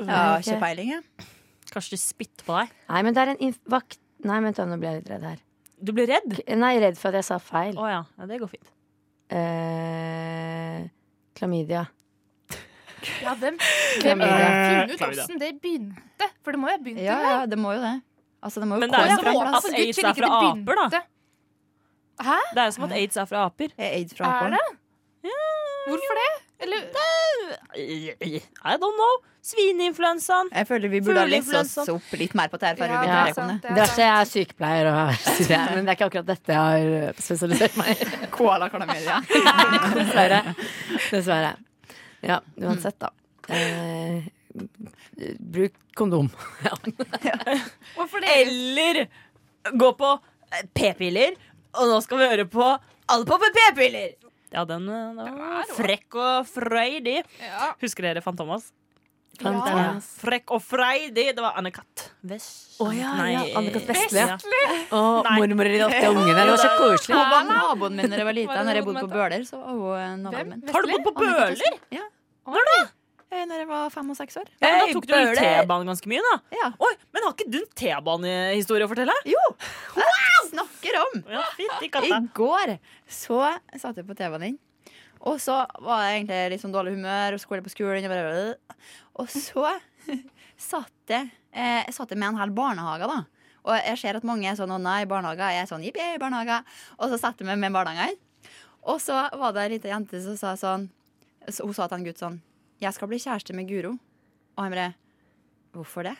Speaker 5: Ja, ikke peiling, jeg.
Speaker 3: Kanskje de spytter på deg.
Speaker 4: Nei, men det er en inf vakt... Nei, vent da, nå ble jeg litt redd her.
Speaker 3: Du blir redd?
Speaker 4: K- Nei, redd for at jeg sa feil.
Speaker 3: Å ja. ja, det går fint.
Speaker 4: Eh, klamydia.
Speaker 6: Ja, hvem
Speaker 4: Klamydia. Eh.
Speaker 3: Eh,
Speaker 6: finne ut åssen det begynte? For det må jo ha begynt
Speaker 5: Ja,
Speaker 6: en gang.
Speaker 5: ja, det må jo det. Altså, det må jo
Speaker 3: Men det er
Speaker 5: komme
Speaker 3: jo
Speaker 5: fra
Speaker 3: som
Speaker 5: en plass.
Speaker 3: at aids er fra aper, da.
Speaker 6: Hæ?
Speaker 3: Det er jo som at aids er fra aper.
Speaker 5: Er aids fra
Speaker 6: Er
Speaker 5: aper?
Speaker 6: det? Hvorfor det? Eller
Speaker 3: I don't know. Svineinfluensaen.
Speaker 5: Jeg føler vi burde ha lest oss
Speaker 3: Fugleinfluensa.
Speaker 5: opp litt mer på det her. før vi
Speaker 6: Ja,
Speaker 5: begynner
Speaker 6: det
Speaker 5: å snakke om det.
Speaker 6: sant, det er
Speaker 4: Det er ikke jeg er sykepleier, og studerer, men det er ikke akkurat dette jeg har eh, spesialisert meg i. Dessverre. Dessverre. Ja, uansett, da. Eh, bruk kondom.
Speaker 6: Hvorfor det?
Speaker 3: Eller gå på eh, p-piller, og nå skal vi høre på Alle på med p-piller! Ja, den eh, den var frekk og freidig.
Speaker 6: Ja.
Speaker 3: Husker dere Fantomas? Ah,
Speaker 6: Ja.
Speaker 3: Frekk og freidig. Det var Anne-Kat. Vest...
Speaker 4: Å ja, ja.
Speaker 3: eh,
Speaker 4: Anne-Kat. Vestli.
Speaker 3: ja.
Speaker 4: Og
Speaker 3: Nei.
Speaker 4: mormorer i de åtte ungene. Det var så koselig.
Speaker 5: Hun var naboen min da jeg var liten.
Speaker 6: Var det
Speaker 5: Når jeg bodde på
Speaker 6: naboen
Speaker 5: Bøler, så var hun eh, naboen
Speaker 6: Hvem?
Speaker 5: min.
Speaker 3: Har du gått på bøler?
Speaker 5: Eh, Når jeg var fem og seks år.
Speaker 3: Ja, men da
Speaker 4: Hey,
Speaker 3: tok du vel
Speaker 4: bøler.
Speaker 3: T-banen ganske mye, da?
Speaker 5: Ja.
Speaker 3: Oi, men har ikke du en T-banehistorie å fortelle?
Speaker 5: Jo! Jeg snakker om!
Speaker 3: Ja, fint, i
Speaker 5: I
Speaker 3: katta.
Speaker 5: går så satt jeg på TV-en din, og så var jeg egentlig litt sånn dårlig humør og skulle på skolen. Og, bare, øh. og så satt jeg, eh, jeg satt jeg med en hel barnehage, da. Og jeg ser at mange er sånn 'Å nei, barnehager'. Jeg er sånn 'Jippi, barnehager'. Og så satt jeg meg med barnehager. Og så var det ei lita jente som sa sånn så Hun sa til en gutt sånn 'Jeg skal bli kjæreste med Guro'. Og han bare 'Hvorfor det?'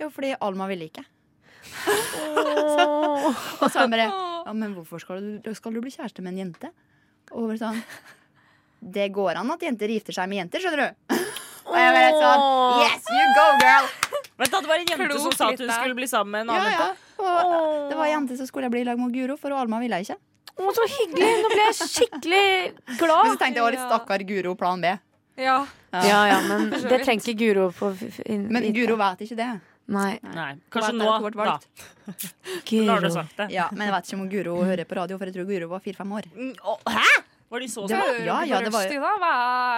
Speaker 5: Jo, fordi Alma ville ikke. Og så han bare Ja, men hvorfor skal du, skal du bli kjæreste med en jente? Og bare sånn Det går an at jenter gifter seg med jenter, skjønner du. Og jeg bare sånn Yes, you go, girl!
Speaker 3: Vent, da, det var en jente
Speaker 6: Klok
Speaker 3: som sa at hun
Speaker 6: lita.
Speaker 3: skulle bli sammen med en
Speaker 5: Ja,
Speaker 3: annen
Speaker 5: ja.
Speaker 3: jente.
Speaker 5: Og det var ei jente som skulle bli i lag med Guro, for Alma ville ikke.
Speaker 4: Å, så hyggelig! Nå ble jeg skikkelig
Speaker 5: Men
Speaker 4: glad.
Speaker 5: så tenkte jeg årets stakkar Guro plan B.
Speaker 6: Ja.
Speaker 4: Ja, ja, men det trenger ikke Guro på f- f- inn-
Speaker 5: Men Guro vet ikke det.
Speaker 4: Nei,
Speaker 3: Nei, kanskje
Speaker 5: Hun
Speaker 3: nå,
Speaker 5: vet at hun ble
Speaker 3: da.
Speaker 5: valgt.
Speaker 3: Nå har du
Speaker 4: Guro.
Speaker 3: sagt det.
Speaker 5: Ja, men jeg vet ikke om Guro hører på radio, for jeg tror Guro var fire-fem år.
Speaker 3: Mm, å, Hæ? Var de så
Speaker 5: Det
Speaker 3: små?
Speaker 5: var- ja, ja, det var-
Speaker 6: Rushdie, da? Hva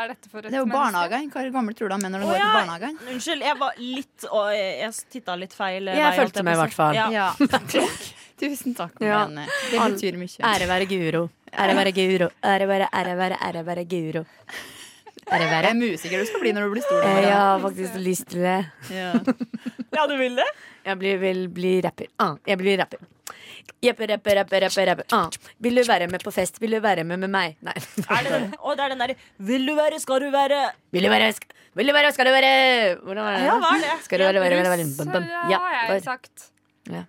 Speaker 6: er dette for et
Speaker 5: Det er jo
Speaker 6: menneske?
Speaker 5: barnehagene. Hvor gamle tror du de er når de
Speaker 3: Å,
Speaker 5: går til
Speaker 3: ja.
Speaker 5: barnehagen?
Speaker 3: Unnskyld, jeg var litt og Jeg titta litt feil. eh,
Speaker 4: Jeg
Speaker 3: vei, holdt
Speaker 4: fulgte med,
Speaker 3: på å
Speaker 4: i hvert fall.
Speaker 3: si. Ja.
Speaker 5: Ja. Tusen takk,
Speaker 4: Ja.
Speaker 5: men eh, det betyr mye.
Speaker 4: Ære være Guro. Ære være Guro. Ære være, ære være, ære være Guro. Ære
Speaker 5: Jeg
Speaker 4: være.
Speaker 5: er musiker du skal bli når du blir stor.
Speaker 4: Eh,
Speaker 5: Mara.
Speaker 4: Jeg har faktisk lyst til det.
Speaker 5: Ja.
Speaker 3: ja, du vil det?
Speaker 4: Jeg blir, vil bli rapper. Ah, jeg blir rapper. Jeppe, rapper, rapper, rapper, rapper. Ah. Vil du være med på fest? Vil du være med med meg? Nei.
Speaker 3: Er det den? Å, det er den derre Vil du være, skal du være
Speaker 4: Vil du være, skal, vil du være, skal du være Hvordan var det?
Speaker 3: Ja, hva er det?
Speaker 4: Skal du være, være, være, være,
Speaker 6: Så
Speaker 4: bum,
Speaker 6: det
Speaker 4: bum. Ja,
Speaker 6: har jeg
Speaker 4: bare-
Speaker 6: sagt.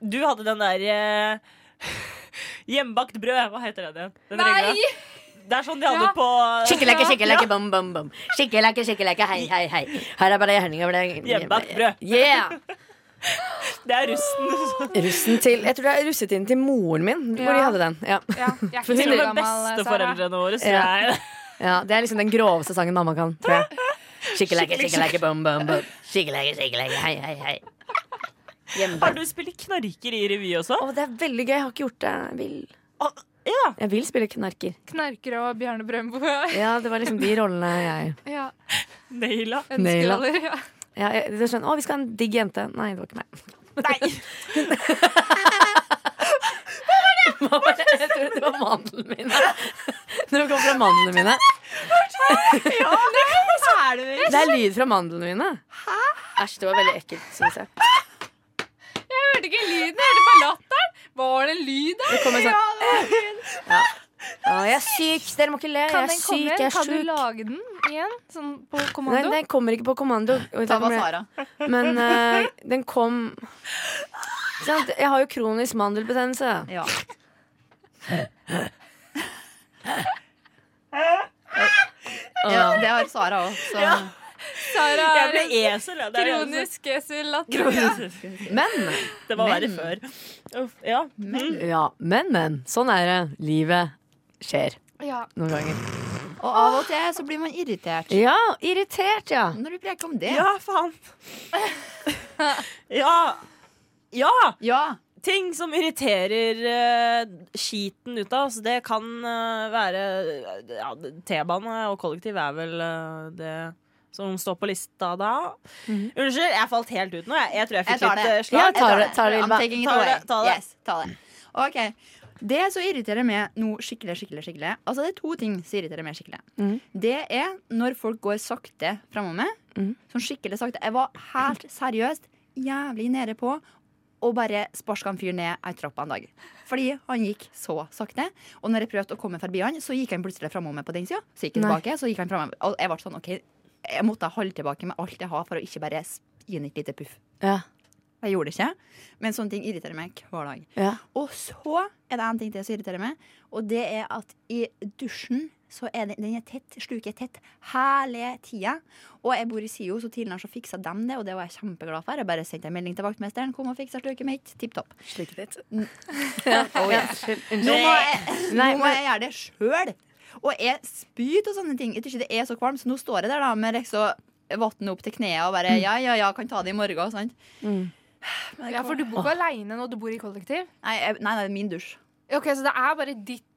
Speaker 3: Du hadde den der eh, Hjemmebakt brød. Hva heter den igjen? Den regla.
Speaker 6: Nei!
Speaker 3: Det er sånn de hadde
Speaker 6: Ja.
Speaker 3: på
Speaker 4: Skikkelekke, skikkelekke, bom, bom, bom. Skikkelekke, skikkelekke, hei, hei, hei. Her er bare henninga
Speaker 3: Hjemmebakt brød.
Speaker 4: Yeah!
Speaker 3: Det er russen.
Speaker 4: Russen til Jeg tror det er russetiden til moren min, hvor de
Speaker 6: Ja.
Speaker 4: hadde den. Ja.
Speaker 6: Ja, jeg er ikke
Speaker 3: Til
Speaker 6: så
Speaker 3: og med
Speaker 6: gammel, eh, Sara.
Speaker 3: besteforeldrene våre. Så
Speaker 4: Ja.
Speaker 3: jeg.
Speaker 4: ja, Det er liksom den groveste sangen mamma kan, tror jeg. Skikkelekke, skikkelekke, bom, bom, bom. Skikkelekke, skikkelekke, hei, hei, hei.
Speaker 3: Har
Speaker 4: Hjemmebakt.
Speaker 3: du spilt knarker i revy også?
Speaker 4: Å, det er veldig gøy. Jeg har ikke gjort det. Jeg vil,
Speaker 3: Å, ja.
Speaker 4: jeg vil spille knarker.
Speaker 6: Knarker og Bjarne Brøndbo.
Speaker 4: Ja, det var liksom de rollene jeg
Speaker 6: Ja,
Speaker 3: Naila.
Speaker 4: Naila.
Speaker 6: ønskeroller. Ja.
Speaker 4: ja, jeg, det er sånn, Å, vi skal ha en digg jente. Nei, det var ikke meg.
Speaker 3: Nei.
Speaker 4: Hva var det? Jeg tror det var mandlene mine. Når det kom fra mandlene mine. Det er lyd fra mandlene mine. Æsj, det var veldig ekkelt, syns jeg.
Speaker 6: Jeg hørte ikke lyden, jeg hørte bare latteren. Var det en lyd der?
Speaker 4: Det kom en sånn ja. Å, jeg er syk! Dere må ikke le.
Speaker 6: Kan
Speaker 4: Jeg er
Speaker 6: den
Speaker 4: syk,
Speaker 6: komme
Speaker 4: jeg
Speaker 6: igjen?
Speaker 4: er
Speaker 6: Kan du
Speaker 4: sjuk.
Speaker 6: lage den igjen? Sånn på
Speaker 4: Nei,
Speaker 6: kommando?
Speaker 4: den kommer ikke på kommando. Oi,
Speaker 5: Da
Speaker 4: da
Speaker 5: var
Speaker 4: kommer
Speaker 5: Sara.
Speaker 4: det- Men eh, den kom Ikke sant? Jeg har jo kronisk mandelbetennelse.
Speaker 5: Ja. ja, det har Sara òg. Så
Speaker 6: Sara
Speaker 3: Jeg
Speaker 6: er
Speaker 3: ble
Speaker 6: en
Speaker 3: esel. ja. Det
Speaker 4: sånn.
Speaker 3: er det eneste-
Speaker 6: kronisk esel-latter.
Speaker 3: Kronisk.
Speaker 4: Men,
Speaker 3: Det var verre før. Uff, ja.
Speaker 5: Mm.
Speaker 4: ja, men, men. Sånn er det. Livet skjer
Speaker 6: Ja.
Speaker 4: noen ganger.
Speaker 5: Og av og til så blir man irritert
Speaker 4: Ja, irritert, ja.
Speaker 5: når du preker om det.
Speaker 3: Ja, faen. Ja. Ja!
Speaker 5: Ja.
Speaker 3: Ting som irriterer eh, skiten ut av oss, det kan eh, være eh, ja, T-bane og kollektiv er vel eh, det som står på lista da. Unnskyld, jeg falt helt ut nå. Jeg, jeg tror jeg
Speaker 5: Jeg
Speaker 3: fikk
Speaker 5: tar
Speaker 3: litt
Speaker 5: det.
Speaker 3: eh,
Speaker 4: Ja,
Speaker 3: slag.
Speaker 4: jeg tar det. Tar det,
Speaker 5: I'm
Speaker 4: Ylva.
Speaker 5: taking it
Speaker 3: Ta det,
Speaker 5: away.
Speaker 3: ta det.
Speaker 5: Yes, ta det. Ok. Det som irriterer meg nå skikkelig, skikkelig, skikkelig Altså det er to ting som irriterer meg skikkelig.
Speaker 4: Mhm.
Speaker 5: Det er når folk går sakte framover meg.
Speaker 4: Mhm.
Speaker 5: Sånn skikkelig sakte. Jeg var helt seriøst jævlig nede på og bare sparka en fyr ned ei trapp en dag. Fordi han gikk så sakte. Og når jeg prøvde å komme forbi han, så gikk han plutselig framover meg på den sida. Så gikk jeg
Speaker 4: Nei.
Speaker 5: tilbake, så gikk han framover. Og jeg ble sånn, OK, jeg måtte holde tilbake med alt jeg har for å ikke bare gi han et lite puff.
Speaker 4: Ja.
Speaker 5: Jeg gjorde det ikke, men sånne ting irriterer meg hver dag.
Speaker 4: Ja.
Speaker 5: Og så er det en ting til som irriterer meg, og det er at i dusjen så er den, den er tett, sluket er tett hele tida. Og jeg bor i SIO, så tidligere så fiksa dem det, og det var jeg kjempeglad for. Jeg bare sendte en melding til vaktmesteren. Kom og fiksa sluket mitt. Tipp topp.
Speaker 4: Sliket ditt.
Speaker 5: Nå må jeg,
Speaker 4: Nei,
Speaker 5: nå må jeg gjøre det sjøl! Og jeg spyr av sånne ting. Jeg tror ikke det er så kvalmt, så nå står jeg der da med liksom vann opp til knærne og bare ja, ja, ja, kan ta det i morgen. Sant? Men det
Speaker 6: Ja, for du bor ikke aleine nå, du bor i kollektiv.
Speaker 5: Nei, jeg, nei, nei, min dusj.
Speaker 6: Ok, Så det er bare ditt,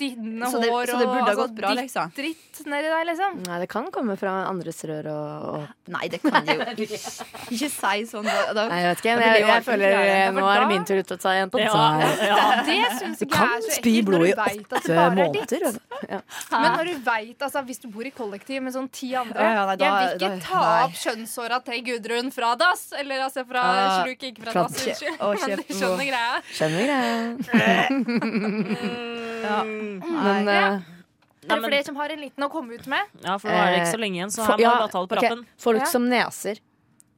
Speaker 6: dine
Speaker 5: Så det-
Speaker 6: hår
Speaker 5: så det
Speaker 6: og
Speaker 5: burde
Speaker 6: altså,
Speaker 5: ha gått bra,
Speaker 6: ditt
Speaker 5: liksom.
Speaker 6: dritt nedi der, liksom.
Speaker 4: Nei, det kan komme fra andres rør og, og
Speaker 5: Nei, det kan de jo ikke si sånn. Da, da,
Speaker 4: Nei, jeg vet ikke.
Speaker 5: Da
Speaker 4: Men
Speaker 5: blir det jo
Speaker 4: jeg, jeg,
Speaker 5: alt for
Speaker 4: føler
Speaker 5: fjerde.
Speaker 4: eh,
Speaker 5: Ja, for
Speaker 4: nå
Speaker 6: da-
Speaker 4: er det min tur ut til å ta en på deg.
Speaker 6: Det syns
Speaker 4: Du
Speaker 6: ikke
Speaker 4: kan
Speaker 6: jeg er så
Speaker 4: spy
Speaker 6: ekkelt.
Speaker 4: blod
Speaker 6: når
Speaker 4: i
Speaker 6: du vet at det
Speaker 4: åtte
Speaker 6: bare er ditt.
Speaker 4: måneder. vet du. Ja.
Speaker 6: Men når du vet, altså, hvis du bor i kollektiv med sånn ti andre
Speaker 5: Ja, ja, nei, da-
Speaker 6: Jeg vil ikke
Speaker 5: da-
Speaker 6: ta
Speaker 5: nei.
Speaker 6: opp skjønnshåra til Gudrun fra dass. Eller altså fra
Speaker 5: Ah,
Speaker 6: sluk, ikke fra
Speaker 4: fra
Speaker 6: dass. Unnskyld.
Speaker 5: å,
Speaker 6: Men
Speaker 5: kjeft,
Speaker 6: du skjønner greia.
Speaker 4: Skjønner greia.
Speaker 5: ja.
Speaker 4: Mm. Men
Speaker 6: Ja.
Speaker 4: eh,
Speaker 6: Er det flere som har en liten å komme ut med?
Speaker 3: Ja, for nå er det ikke så lenge igjen, så
Speaker 4: fo-
Speaker 3: her må
Speaker 4: Eh, ja,
Speaker 3: vi bare ta det på
Speaker 4: ok,
Speaker 3: rappen.
Speaker 4: Folk
Speaker 6: Ja.
Speaker 4: som neser.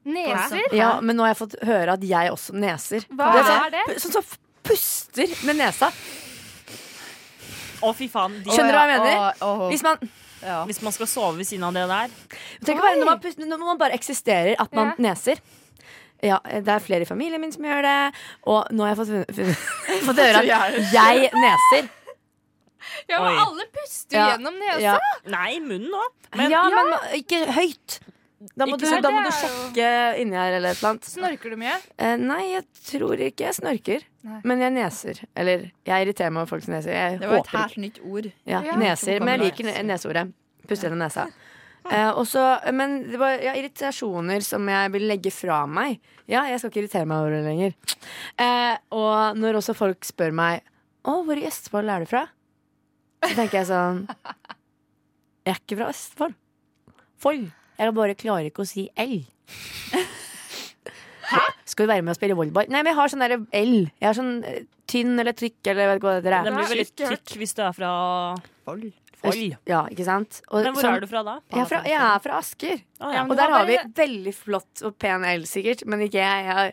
Speaker 6: Neser?
Speaker 4: Ja, men nå har jeg fått høre at jeg også neser.
Speaker 6: Hva
Speaker 4: sånn-
Speaker 6: er det?
Speaker 4: Sånn som puster med nesa.
Speaker 3: Å, fy faen. De,
Speaker 4: Skjønner du hva jeg mener?
Speaker 5: Å, å, å.
Speaker 4: Hvis man,
Speaker 3: hvis man skal sove ved siden av det der.
Speaker 4: tenk bare når man, puster, men når man bare eksisterer, at man
Speaker 6: Ja.
Speaker 4: neser. Ja, Det er flere i familien min som gjør det. Og nå har jeg fått, funnet, funnet, fått høre at jeg neser.
Speaker 6: Ja, men
Speaker 3: Oi.
Speaker 6: alle puster
Speaker 4: Ja,
Speaker 6: gjennom nesa.
Speaker 4: Ja.
Speaker 3: Nei, munnen nå. Men
Speaker 4: ja, men ma- ikke høyt. Da må,
Speaker 3: Ikke
Speaker 4: du,
Speaker 3: sant?
Speaker 4: da må
Speaker 6: Det er jo-
Speaker 4: du sjekke inni her eller et eller annet.
Speaker 6: Snorker du mye?
Speaker 4: Eh, nei, jeg tror ikke jeg snorker.
Speaker 6: Nei.
Speaker 4: Men jeg neser. Eller jeg irriterer meg over folk som neser. Jeg
Speaker 5: Det var et
Speaker 4: håper
Speaker 5: helt nytt ord.
Speaker 4: Ja,
Speaker 6: Ja.
Speaker 4: neser, men jeg liker ne- neseordet. Puste gjennom nesa. Eh, og så- men det var ja, irritasjoner som jeg vil legge fra meg. Ja, jeg skal ikke irritere meg over det lenger. Eh, og når også folk spør meg Å, hvor i Østfold er du fra? Så tenker jeg sånn Jeg er ikke fra Østfold. Fold. Jeg bare klarer ikke å si L. Hæ? Skal du være med og spille volleyball? Nei, men jeg har sånn derre L. Jeg har sånn eh, tynn eller tykk eller jeg vet ikke hva det heter.
Speaker 3: Den blir veldig tykk hvis du er fra Foll.
Speaker 4: Ja, ikke sant? Og
Speaker 3: Men hvor
Speaker 4: sånn-
Speaker 3: er du fra da?
Speaker 4: jeg er, fra, jeg er fra Asker.
Speaker 3: Å, ja.
Speaker 6: men
Speaker 4: Og
Speaker 6: du
Speaker 4: der
Speaker 6: har
Speaker 4: har vi
Speaker 6: bare-
Speaker 4: veldig flott og pen el, sikkert, men ikke jeg. jeg har,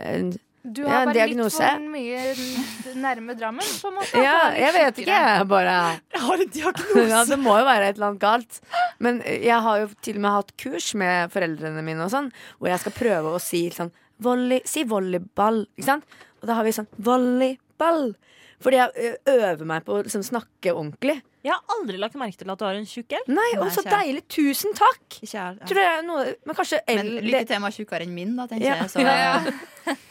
Speaker 4: eh,
Speaker 6: Du
Speaker 4: Ja,
Speaker 6: har
Speaker 4: en
Speaker 6: bare
Speaker 4: diagnose.
Speaker 6: litt for mye n- nærme Drammen, på en måte. at det
Speaker 4: ja,
Speaker 6: er litt
Speaker 4: jeg vet ikke.
Speaker 6: tjukkere.
Speaker 4: Jeg bare ja, Det må jo være et eller annet galt. Men eh, jeg har jo til og med hatt kurs med foreldrene mine og sånn, hvor jeg skal prøve å si sånn volley, Si volleyball, ikke sant? Og da har vi sånn volleyball. Fordi jeg ø, øver meg på å liksom, snakke ordentlig.
Speaker 3: Jeg har aldri lagt merke til at du har en tjukk L.
Speaker 4: Nei, og
Speaker 5: Nei,
Speaker 4: så
Speaker 5: ikke jeg.
Speaker 4: deilig! Tusen takk!
Speaker 5: Ikke jeg, ja.
Speaker 4: Tror jeg er noe Men kanskje L
Speaker 5: Men lykke til med å være tjukkere enn min, da, tenker
Speaker 4: Ja.
Speaker 5: jeg.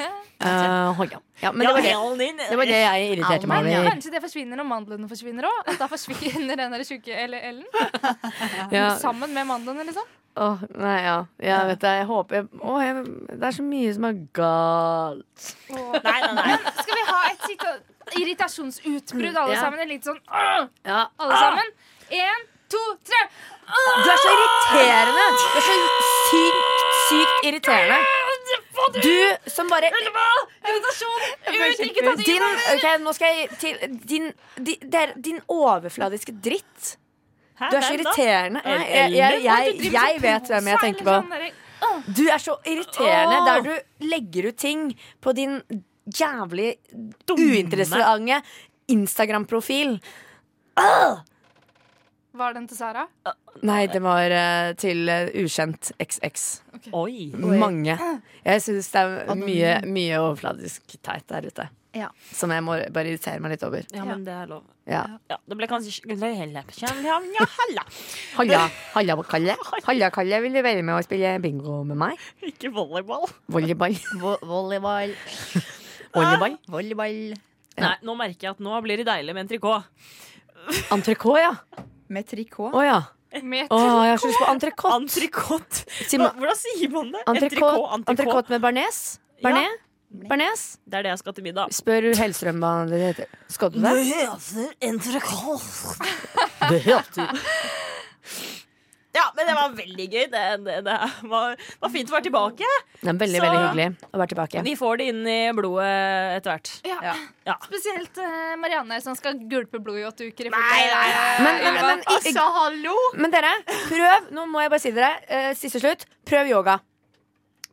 Speaker 5: Så,
Speaker 4: Eh, hold, ja. ja, men det
Speaker 3: Ja,
Speaker 4: var det.
Speaker 3: L-en din.
Speaker 4: Det var det jeg irriterte meg
Speaker 6: Men
Speaker 4: over.
Speaker 6: kanskje det forsvinner når mandlene forsvinner òg? At da forsvinner den der tjukke L- L-en?
Speaker 4: Ja.
Speaker 6: Sammen med mandlene, liksom?
Speaker 4: Åh, nei, ja. Jeg vet det. Jeg håper jeg, åh, jeg, Det er så mye som er galt.
Speaker 6: Åh.
Speaker 3: Nei, nei, nei.
Speaker 6: Skal vi ha et sita- irritasjonsutbrudd, alle
Speaker 4: Ja.
Speaker 6: sammen? En litt sånn «Åh!»
Speaker 4: Ja.
Speaker 6: Alle sammen? Én, to, tre!
Speaker 4: Du er så irriterende! Du er så sykt, sykt irriterende. Du som bare
Speaker 6: Ut, ikke ta det
Speaker 4: Din, ok, nå skal jeg til din, di- det er din overfladiske dritt.
Speaker 3: Hæ,
Speaker 4: Du er så
Speaker 3: hvem da?
Speaker 4: irriterende.
Speaker 3: Er
Speaker 4: Nei, jeg, jeg, jeg,
Speaker 6: Du driver sånn
Speaker 4: jeg vet hvem jeg
Speaker 6: prosa,
Speaker 4: tenker
Speaker 6: eller
Speaker 4: på.
Speaker 6: sånn der-
Speaker 4: Du er så irriterende der du legger ut ting på din jævlig uinteressante Instagram-profil.
Speaker 6: Var den til Sara?
Speaker 4: Nei, det var eh, til eh, ukjent XX.
Speaker 3: Oi.
Speaker 4: Mange. Jeg syns det er mye, mye overfladisk teit der ute.
Speaker 5: Ja.
Speaker 4: Som jeg må bare irritere meg litt over.
Speaker 3: Ja, men det er lov.
Speaker 4: Ja.
Speaker 3: Ja, det ble kanskje Ja, halla.
Speaker 4: Halla, halla, Kalle. Halla, Kalle, vil du være med og spille bingo med meg?
Speaker 3: Ikke volleyball.
Speaker 4: Volleyball.
Speaker 5: vo volleyball.
Speaker 4: Volleyball.
Speaker 5: Volleyball.
Speaker 3: Nei, nå merker jeg at nå blir det deilig med en trikot.
Speaker 4: Entrecôte, ja.
Speaker 5: Med trikot.
Speaker 4: Å ja.
Speaker 6: Med
Speaker 4: Å, jeg har så lyst på entrecôte.
Speaker 3: Antrikott.
Speaker 4: Si meg-
Speaker 3: Hvordan sier man det? En trikot,
Speaker 4: Entrecôte
Speaker 3: antrikott.
Speaker 4: entrecôte med bearnés. Bearnés? Bearnés?
Speaker 3: Det er det jeg skal til middag.
Speaker 4: Spør Hellstrøm hva det heter. Skal du det?
Speaker 3: heter entrecôte.
Speaker 10: Det heter
Speaker 3: Ja, men det var veldig gøy. Det, det, det var, var fint å være tilbake.
Speaker 4: Det er veldig,
Speaker 3: Så-
Speaker 4: veldig hyggelig å være tilbake.
Speaker 3: Vi får det inn i blodet etter hvert.
Speaker 6: Ja.
Speaker 3: Ja.
Speaker 6: Spesielt eh, Marianne, som skal gulpe blod i åtte uker.
Speaker 4: Men, men, men,
Speaker 5: Altså, hallo!
Speaker 4: men dere, prøv Nå må jeg bare si dere, eh, siste slutt, prøv yoga.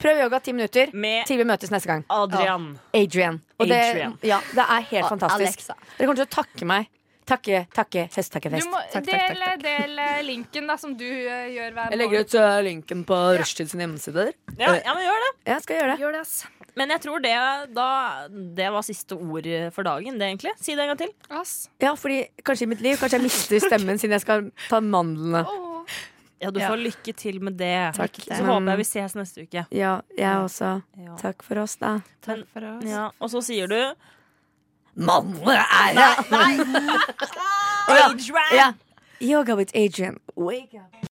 Speaker 4: Prøv yoga ti minutter
Speaker 3: Med
Speaker 4: til vi møtes neste gang.
Speaker 3: Adrian.
Speaker 4: Adrian. Og det,
Speaker 3: Adrian.
Speaker 4: ja, det er helt
Speaker 5: Og
Speaker 4: fantastisk.
Speaker 5: Alexa.
Speaker 4: Dere kommer til å takke meg. Takke, takke,
Speaker 6: Du
Speaker 4: hestetakkefest.
Speaker 6: må
Speaker 4: Takk, takk,
Speaker 6: del,
Speaker 4: takk, takk.
Speaker 6: del eh, linken da, som du eh, gjør hver
Speaker 4: ut eh, linken på Rushtid sin hjemmeside.
Speaker 3: Ja, ja, men gjør det.
Speaker 4: Jeg skal gjøre det.
Speaker 6: Gjør det, ass.
Speaker 3: Men jeg tror det, da, det var siste ord for dagen, det, egentlig. Si det en gang til.
Speaker 6: ass.
Speaker 4: Ja, fordi kanskje i mitt liv Kanskje jeg mister stemmen siden jeg skal ta mandlene.
Speaker 6: Åh.
Speaker 3: Ja, du får lykke til med det.
Speaker 4: Takk.
Speaker 3: Så håper jeg vi ses neste uke.
Speaker 4: Ja, jeg også.
Speaker 3: Ja.
Speaker 4: Takk for oss, da.
Speaker 3: Takk for oss. Ja, og så sier du
Speaker 11: Mandler er her!
Speaker 3: Adrian!
Speaker 4: Yoga with Adrian. Wake up.